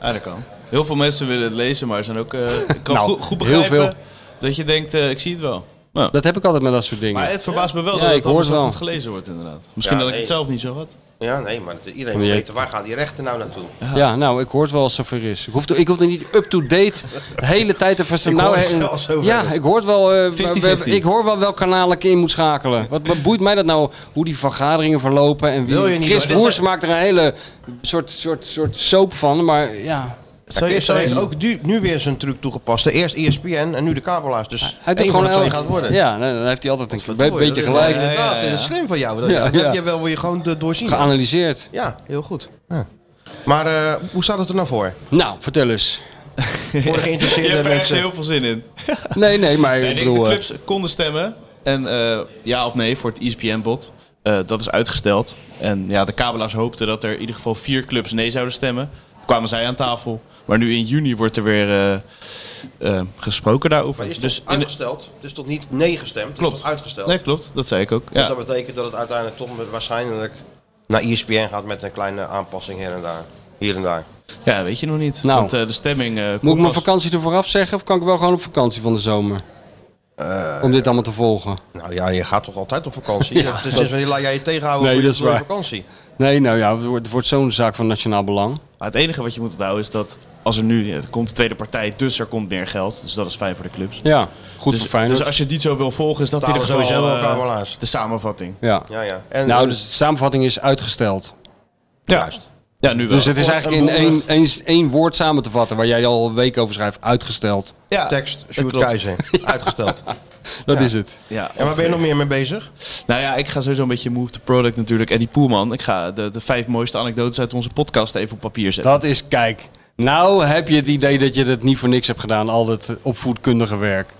Ja, Ah, dat kan. Heel veel mensen willen het lezen, maar zijn ook, eh, ik kan Nou, goed, goed heel begrijpen dat je denkt, eh, ik zie het wel. Nou, Dat heb ik altijd met dat soort dingen. maar het verbaast me wel Ja, dat ik het allemaal hoor zo het goed wel. gelezen wordt inderdaad. Misschien Ja, dat ik het nee. zelf niet zo had. Ja, nee, maar dat- iedereen Maar wil je- weten waar gaan die rechten nou naartoe. Ja, nou, ik hoor het wel als het zover is. Ik hoef, ik hoef er niet up-to-date de hele tijd te verstaan. Ik nou, hoor het eh, wel als zover Ja, is. ik hoor het wel. eh, 50-50. Ik hoor wel welk kanaal ik in moet schakelen. Wat, wat boeit mij dat nou? Hoe die vergaderingen verlopen en Wil je wie. niet, Chris hoor. Dit is- Woers maakt er een hele soort, soort, soort soap van. Maar ja, Zo heeft, eh, ook nu, nu weer zijn truc toegepast. De E Eerst ESPN en nu de kabelaars. Dus hij één doet van gewoon de twee elk- gaat worden. Ja, dan dan heeft hij altijd een be- Verdorie, beetje dat is- gelijk. Ja, Inderdaad, ja, ja. dat is slim van jou. Dat, Ja, dat ja. heb je wel wil je gewoon de- doorzien. Geanalyseerd. Ja, heel goed. Ja. Maar eh, hoe staat het er nou voor? Nou, vertel eens. Voor de Je hebt geïnteresseerde er echt mensen. heel veel zin in. Nee, nee, maar Nee, ik ik denk de bedoel... eh, clubs konden stemmen. En eh, ja of nee voor het E ESPN-bod. Eh, dat is uitgesteld. En ja, de kabelaars hoopten dat er in ieder geval vier clubs nee zouden stemmen. Toen kwamen zij aan tafel. Maar nu in juni wordt er weer eh, eh, gesproken Maar is daarover. dus Dus in de- uitgesteld. Dus tot niet nee gestemd. het is Klopt. tot Uitgesteld. Nee, klopt. Dat zei ik ook. Dus Ja. dat betekent dat het uiteindelijk toch met- waarschijnlijk naar E ESPN gaat met een kleine aanpassing hier en daar. Hier en daar. ja, weet je nog niet. Nou. Want eh, de stemming eh, Moet komt ik mijn pas- vakantie ervoor afzeggen of kan ik wel gewoon op vakantie van de zomer? Eh, Om dit allemaal te volgen. Nou ja, je gaat toch altijd op vakantie? Ja. Dus, dus laat jij je tegenhouden Nee, voor je- dat is voor je waar. vakantie. Nee, nou ja, het wordt, het wordt zo'n zaak van nationaal belang. Maar het enige wat je moet onthouden is dat als er nu het komt de tweede partij, dus er komt meer geld. Dus dat is fijn voor de clubs. Ja, goed dus, voor Feyenoord. Dus als je het niet zo wil volgen, is dat in ieder Betalen geval sowieso eh, elkaar wel aan. de samenvatting. Ja. Ja, ja. nou, dus de samenvatting is uitgesteld. Ja. Juist. Ja, nu wel. Dus het is eigenlijk in één, één, één woord samen te vatten, waar jij al een week over schrijft, uitgesteld. Ja, Tekst, dat Sjoerd klopt. Keizer. Uitgesteld. Dat Ja. is het. Ja, En waar ben je nog meer mee bezig? Nou ja, ik ga sowieso een beetje move the product natuurlijk. En die Poelman, ik ga de, de vijf mooiste anekdotes uit onze podcast even op papier zetten. Dat is, kijk, nou heb je het idee dat je dat niet voor niks hebt gedaan, al dat opvoedkundige werk.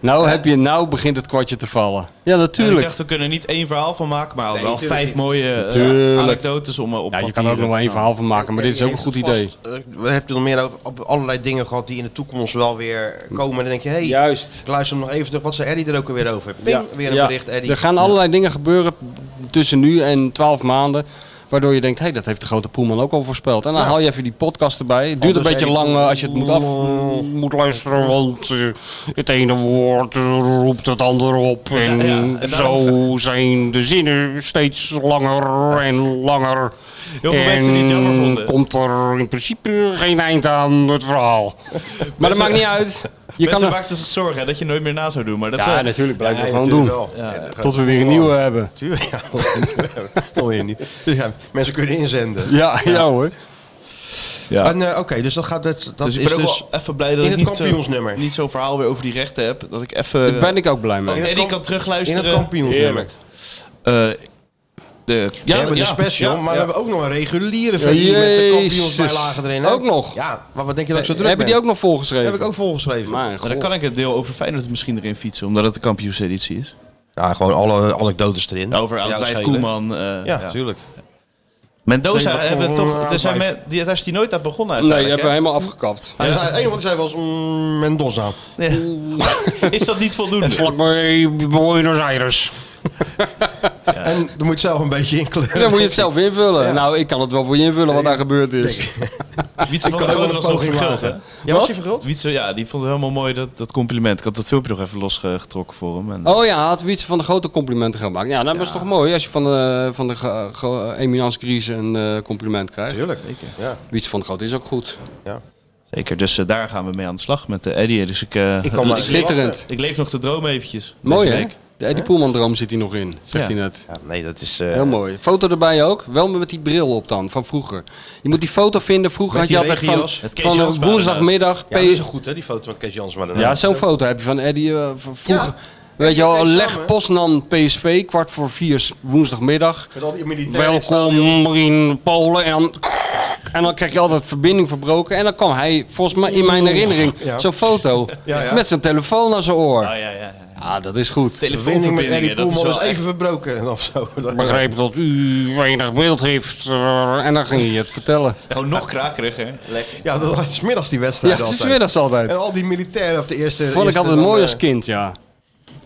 Nou, heb je, nou begint het kwartje te vallen. Ja, En ik natuurlijk. dacht, we kunnen niet één verhaal van maken, maar wel tuurlijk vijf niet. mooie eh, Tuurlijk. anekdotes om eh, op Ja, je kan papier er ook nog te wel één gaan. verhaal van maken, maar dit is ook een goed idee. eh, we hebben het nog meer over op allerlei dingen gehad die in de toekomst wel weer komen. En dan denk je, hé, hey, Juist. ik luister hem nog even terug. Wat zei Eddie er ook alweer over? Ping, weer een Ja. bericht, Eddie. Er gaan allerlei dingen gebeuren tussen nu en 12 maanden. Waardoor je denkt, hé, dat heeft de grote Poelman ook al voorspeld. En dan Ja. haal je even die podcast erbij. Het duurt Anders een beetje even- lang eh, als je het moet af eh, moet luisteren. Want eh, het ene woord eh, roept het andere op. En ja, en zo zijn de zinnen steeds langer en langer. Heel veel mensen die het jammer En vonden. komt er in principe geen eind aan het verhaal. Maar dat Mensen- maakt niet uit. Je Mensen kan er- maakten zich zorgen hè, dat je nooit meer na zou doen. Maar dat, Ja, eh, natuurlijk blijft Nee, het gewoon doen. natuurlijk wel. Ja, dat gaat- Tot we weer een nieuwe hebben. Tuurlijk, ja. Dat hoor je niet. Dus ja, mensen kunnen inzenden. Ja, ja, hoor. Ja. En, eh, Oké, dus dat gaat... Dat, dat dus ik is ben ook dus wel even blij dat in ik het niet eh, zo- kampioensnummer. niet zo'n verhaal weer over die rechten heb. Dat ik even... Daar ben ik ook blij mee. En het die kamp- kan in terugluisteren. het kampioensnummer. Eh, de, we hebben de special, ja, maar ja. we hebben ook nog een reguliere versie met de Jezus. kampioensbijlagen erin. hè? Ook nog? Eh, Ja, maar wat denk je dat ik zo druk Hebben die ben? ook nog volgeschreven? Heb ik ook volgeschreven. Mijn Maar dan god. kan ik het deel over Feyenoord misschien erin fietsen, omdat het de kampioenseditie is. Ja, gewoon alle anekdotes erin. Over Hm? Ja, dat Oudwijf schelen. Koeman. eh, Ja, ja. natuurlijk. Mendoza Denk dat hebben Koeman toch, er zijn Oudwijf. men- die, daar is hij nooit aan begonnen Nee, die uiteindelijk. hebben we helemaal afgekapt. Hij zei, het enige wat hij zei was mm, Mendoza. hè? Ja. Is dat niet voldoende? Vlak bij Buenos Aires. En dan moet je het zelf een beetje inkleuren. Dan moet je het zelf invullen. Nou, ik kan het wel voor je invullen wat daar gebeurd is. Wietse van der kan ook Groot wel was een nog poging verguld, hè? wagen. Ja, was Wat? hij verguld? Wietse, ja, die vond het helemaal mooi, dat, dat compliment. Ik had dat filmpje nog even losgetrokken voor hem. En, Oh ja, had Wietse van de grote complimenten gemaakt. Ja, dat is toch mooi als je van de, van de ge- ge- Eminence Gries een eh, compliment krijgt. Tuurlijk. Zeker. Ja. Wietse van de Grote is ook goed. Zeker, dus eh, daar gaan we mee aan de slag met de Eddie. Dus ik, eh, Ik kan maar- Schitterend. ik leef nog de droom eventjes. deze Mooi hè? week. De Eddie Poelman-droom zit hier nog in, zegt Ja. hij net. Ja, nee, dat is... eh Heel mooi. Foto erbij ook. Wel met die bril op dan, van vroeger. Je moet die foto vinden. Vroeger Met had je die altijd van, regenjas. Het Kees van Jansma een woensdagmiddag... ja, dat is P- zo goed, hè, die foto met Kees Jansma. daarna. Ja, zo'n foto heb je van Eddie eh, v- vroeger. Ja. Weet je Ja, wel, samen. leg Poznan PSV, kwart voor vier s- woensdagmiddag. Met al die militairen in het Welkom stadion. in Polen. En dan, en dan krijg je altijd verbinding verbroken. En dan kwam hij, volgens mij in mijn herinnering, Mm. Ja. zo'n foto. Ja, ja. Met zijn telefoon aan zijn oor. Ah, ja, ja, ja. Ja, dat is goed. Verbinding met Eddie Telefoonverbindingen, dat is Poelman wel was echt- even verbroken of zo. Dat- Begreep dat u weinig beeld heeft. eh, En dan ging hij het vertellen. Gewoon nog krakeriger. Ja, dat was 's middags die wedstrijd Ja, het is altijd. middags altijd. En al die militairen op de eerste... Vond ik eerste altijd dan, mooi eh, als kind, ja.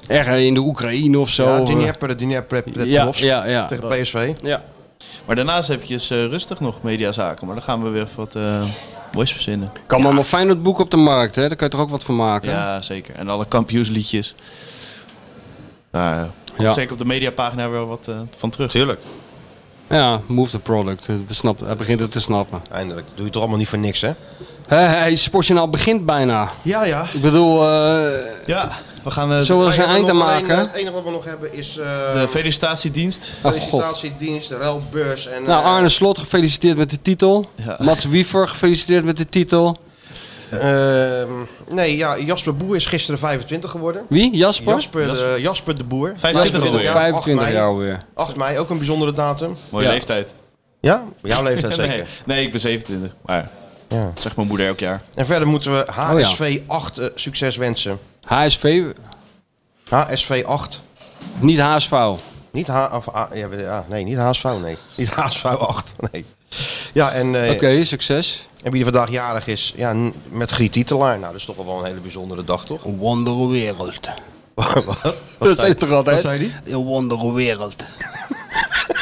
Erg eh, in de Oekraïne of zo. eh. Ja, Dnieper, de Dnieper, Ja, Petrovsk ja, ja. eh, tegen PSV. Ja. Maar daarnaast eventjes eh, rustig nog mediazaken. Maar dan gaan we weer even wat eh moois verzinnen. Kan maar nog fijn het boek op de markt, hè? Daar kan je toch ook wat van maken? Ja, zeker. En alle kampioensliedjes. Daar komt Ja. zeker op de mediapagina weer wat eh, van terug. Tuurlijk. Ja, move the product. Hij snapt- hij begint het te snappen. Eindelijk. Doe je toch allemaal niet voor niks, hè? Hé, hey, Sportjournaal begint bijna. Ja, ja. Ik bedoel, eh Ja, we gaan eh, zullen we er een eind aan Het maken? enige wat we nog hebben is... eh, de felicitatiedienst. Oh, god. Felicitatiedienst, de ruilbeurs en... Nou, eh, Arne Slot, gefeliciteerd met de titel. Ja. Mats Wiever, gefeliciteerd met de titel. ehm, nee, ja, Jasper Boer is gisteren 25 geworden. Wie? Jasper? Jasper, de, Jasper de Boer. 25 Jasper, alweer. 25 jaar. jaar 8 mei. alweer. 8 mei, ook een bijzondere datum. Mooie Ja. leeftijd. Ja, bij jouw leeftijd nee. zeker. Nee, ik ben 27. Maar Ja. dat zegt mijn moeder elk jaar. En verder moeten we Oh ja. HSV 8 eh, succes wensen. HSV, HSV 8. niet HSV. Niet H of A, ja, ja, nee, niet HSV, nee. Niet HSV 8, nee. Ja, en, eh, Oké, succes. en wie er vandaag jarig is, ja, n- met Griet Titelaar. Nou, dat is toch wel een hele bijzondere dag, toch? Een wonderwereld. Wat- wat Dat zei- zei toch altijd? Wat zei die? Een wonderwereld.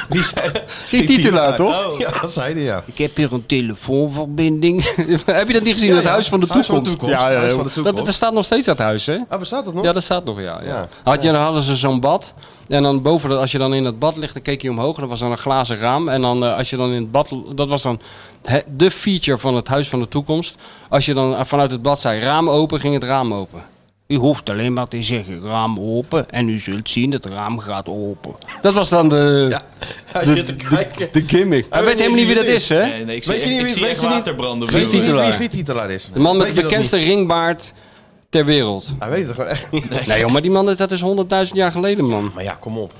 Die zei Geen titulaar, toch? Ja, Oh, dat zei hij, ja. Ik heb hier een telefoonverbinding. heb je dat niet gezien? Ja, dat ja. Huis van de Huis Toekomst. van de Toekomst. Ja, ja, Huis ja. van de Toekomst. Dat, dat staat nog steeds dat huis, hè? Ah, bestaat dat nog? Ja, dat staat nog, ja. ja. Ja. Had je, dan hadden ze zo'n bad. En dan boven, dat- als je dan in dat bad ligt, dan keek je omhoog. En dat was dan een glazen raam. En dan eh, als je dan in het bad... Dat was dan hè, de feature van het Huis van de Toekomst. Als je dan eh, vanuit het bad zei, raam open, ging het raam open. U hoeft alleen maar te zeggen, raam open. En u zult zien, het raam gaat open. Dat was dan de... Hij de, zit te de- kijken. de gimmick. Hij weet helemaal niet wie dat is, hè? Nee, nee, ik zie Weet je echt- niet ik wie- zie weet echt je niet- waterbranden Geen weet je niet titelaar. wie- wie titelaar is? De man met Weet de je dat bekendste ringbaard ter wereld. Hij weet het gewoon echt niet. Nee, joh, maar die man, is- dat is 100.000 jaar geleden, man. Maar ja, kom op.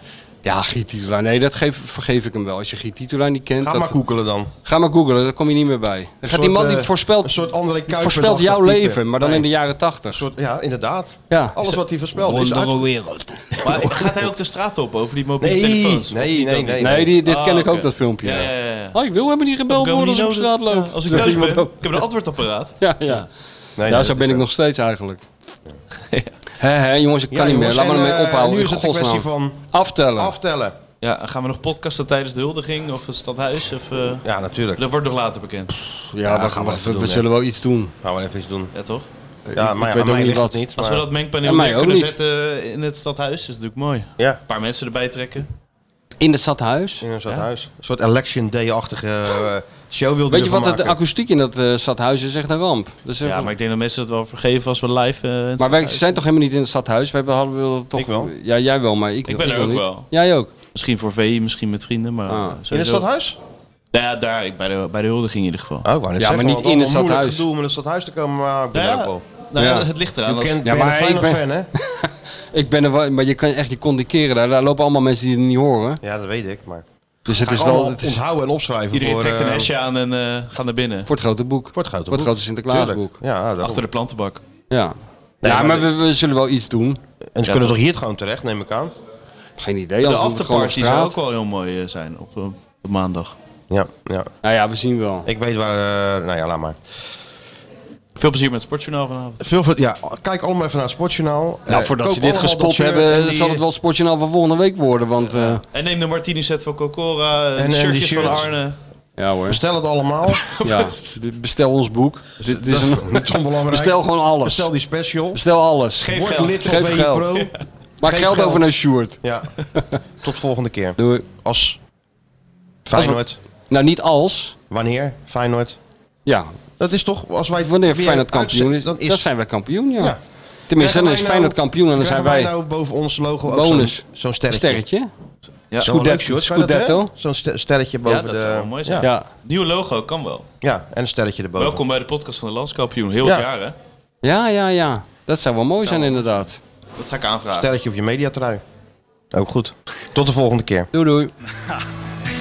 Ja, Giet Titulaar. Nee, dat geef, vergeef ik hem wel. Als je Giet Titulaar niet kent... Ga dat- maar googelen dan. Ga maar googelen, daar kom je niet meer bij. Dan gaat die soort, man die eh, voorspelt... een soort André die Kuipers voorspelt jouw achtig type. leven, maar dan Nee. in de jaren 80. soort, ja, inderdaad. Ja. Alles wat hij voorspelde is uit- Wondere wereld. Maar gaat hij ook de straat op over die mobiele Nee, telefoons? Of nee, niet nee, ook nee, niet? Nee, die, dit Ah, ken ik ook, oké. dat filmpje. Ja, ja, ja. Oh, ik wil helemaal niet gebeld Ik heb worden als ik hem op straat niet loop. nodig. Als ik thuis Zegt ben, iemand ook. ik heb een antwoordapparaat. Ja, ja. Nee, ja, nee, zo dat ben ik nog steeds eigenlijk. Hé, hé, jongens, ik kan Ja, niet meer. jongens, Laat me en, ermee eh, ophouden. Nu in is het een godsnaam. kwestie van Aftellen. aftellen. Ja, gaan we nog podcasten tijdens de huldiging of het stadhuis? Of, eh, Ja, natuurlijk. Dat wordt nog later bekend. ja, dan gaan we, even we, doen, we hè. zullen wel iets doen. Gaan we even iets doen. Ja, toch? Ja, maar ik ja, weet ook mij niet ligt wat. het niet. Als we maar- dat mengpaneel En mij neer ook kunnen niet. zetten in het stadhuis, is natuurlijk mooi. Ja. Een paar mensen erbij trekken. In het stadhuis. In een soort huis. Een soort election day-achtige eh, show wilde Weet je wat, ervan de maken. akoestiek in dat eh, stadhuis is echt een ramp. Dus, Ja, maar ik denk dat mensen dat wel vergeven als we live... eh, in het maar wij stadhuis- zijn toch helemaal niet in het stadhuis? Wij hebben- hadden we toch... Ik wel. Ja, jij wel, maar ik, Ik ben er wil ook niet. wel. Jij ook? Misschien voor VI, misschien met vrienden, maar... Ah. eh, In het sowieso- stadhuis? Nou Ja, daar, ik- bij de, bij de huldiging in ieder geval. Oh, ik wou net Ja, zeggen, maar niet want in het allemaal moeilijk stadhuis. gedoe om in het stadhuis te komen, maar ik ben Ja. er ook wel. Nou ja, Ja. het ligt eraan. Je Als, kent, Ja, ben je maar een ik Feyenoord ben- fan, hè? Ik ben er wel, maar je kan echt niet kondikeren daar. Daar lopen allemaal mensen die het niet horen. Ja, dat weet ik, maar... Dus het Ga ik is allemaal wel het is onthouden en opschrijven iedereen voor, trekt een eh, hesje aan en eh, gaat naar binnen. voor het grote boek. voor het grote Voor het grote Sinterklaasboek. Tuurlijk. Ja, dat Achter de plantenbak. Ja. Nee, ja, maar maar de- we, we zullen wel iets doen. En ze kunnen toch hier gewoon terecht, neem ik aan? Geen idee. De anders doen we het gewoon op afterparty zou straat. ook wel heel mooi eh, zijn op, eh, op maandag. Ja, ja. Nou ja, we zien wel. Ik weet waar... eh, nou ja, laat maar. Veel plezier met het Sportjournaal vanavond. Veel, ver- ja, kijk allemaal even naar het Sportjournaal. Nou, Eh, voordat koop ze dit allemaal dat gespot shirt en hebben, die- zal het wel het sportje nou van volgende week worden. Want eh, ja, En neem de martini-set van Cocora, eh, En- en de die shirtjes van shirts. Arne. hoor. Bestel het allemaal. Ja. Bestel ons boek. Dit is een... Dat is onbelangrijk. Bestel gewoon alles. Bestel die special. Bestel alles. Geef Word geld. lid van Geef VI geld. Pro. Maak geef geld geld. over naar Sjoerd. Ja. Tot volgende keer. Doei. Als Feyenoord. Nou, niet als. Wanneer Feyenoord? Ja. Dat is toch als wij het Wanneer weer Feyenoord kampioen is, uitzenden, dan dan is zijn wij kampioen, ja. Ja. Tenminste, dan Krijgen is wij Feyenoord nou- kampioen en dan zijn krijgen wij, nou boven ons logo ook bonus. zo'n- zo'n een sterretje. sterretje. Ja. Zou wel leuk, Scudetto. Sjoerd, zou je dat Scudetto. hebben? Zo'n ster- sterretje boven Ja, dat de... zou wel mooi zijn. Ja, Ja. Nieuw logo, kan wel. ja, en een sterretje erboven. Welkom bij de podcast van de landskampioen. Heel Ja. het jaar, hè? ja, ja, ja. Dat zou wel mooi zijn, inderdaad. Dat ga ik aanvragen. Sterretje op je mediatrui. Ook goed. Tot de volgende keer. Doei, doei. Ik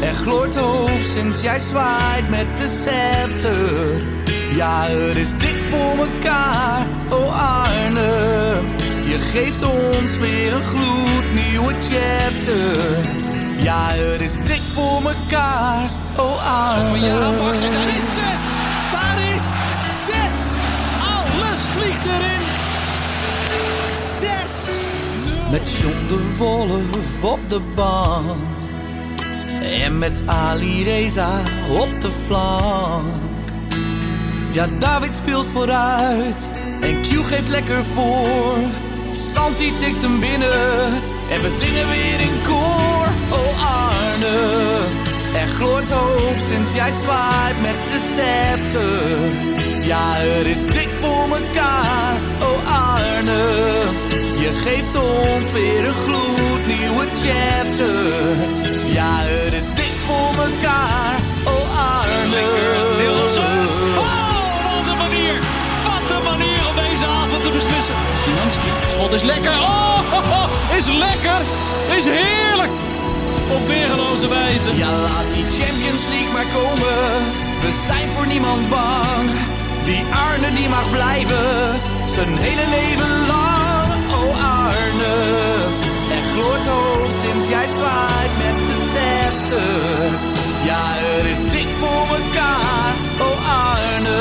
er gloort hoop sinds jij zwaait met de scepter. Ja, er is dik voor mekaar, oh Arne. Je geeft ons weer een gloednieuwe chapter. Ja, er is dik voor mekaar, oh Arne. Van daar is zes! Daar is zes! Alles vliegt erin! Zes! Met John de Wolf op de bank. En met Ali Reza op de flank. Ja, David speelt vooruit. En Q geeft lekker voor. Santi tikt hem binnen. En we zingen weer in koor. Oh Arne, er gloort het hoop sinds jij zwaait met de scepter. Ja, het is dik voor mekaar, oh Arne. Je geeft ons weer een gloednieuwe chapter. Ja, het is dik voor mekaar, oh Arne. Nielsen. Oh, wat een manier. Wat een manier om deze avond te beslissen. Szymanski. Schot is lekker. Oh, ho, ho, is lekker. Is heerlijk. Op weergeloze wijze. Ja, laat die Champions League maar komen. We zijn voor niemand bang. Die Arne die mag blijven. Zijn hele leven lang. Oh Arne. Er gloort hoop sinds jij zwaait met de scepter. Ja, er is dik voor elkaar. Oh Arne.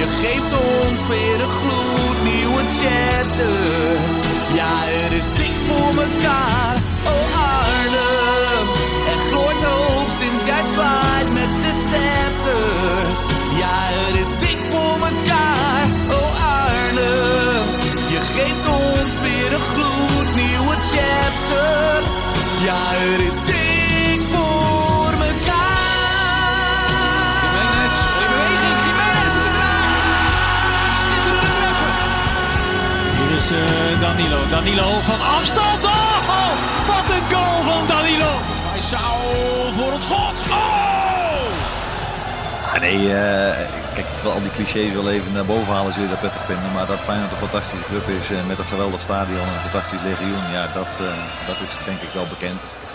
Je geeft ons weer een gloednieuwe chapter. Ja, er is dik voor elkaar. Oh Arne. Er gloort hoop sinds jij zwaait met de scepter. Ja, het is dik voor elkaar, oh Arne. Je geeft ons weer een gloednieuwe chapter. Ja, het is dik voor elkaar. Jiménez, in beweging, Jiménez, het is raak. Schitterende treffer. Hier is eh, Danilo. Danilo van afstand. Oh, oh, wat een goal van Danilo. Hij zou voor het schot. Oh! Ah, nee, eh, kijk, ik wil al die clichés wel even naar boven halen, zul je dat prettig vinden. Maar dat Feyenoord een fantastische club is eh, met een geweldig stadion en een fantastisch legioen, ja, dat, eh, dat is denk ik wel bekend.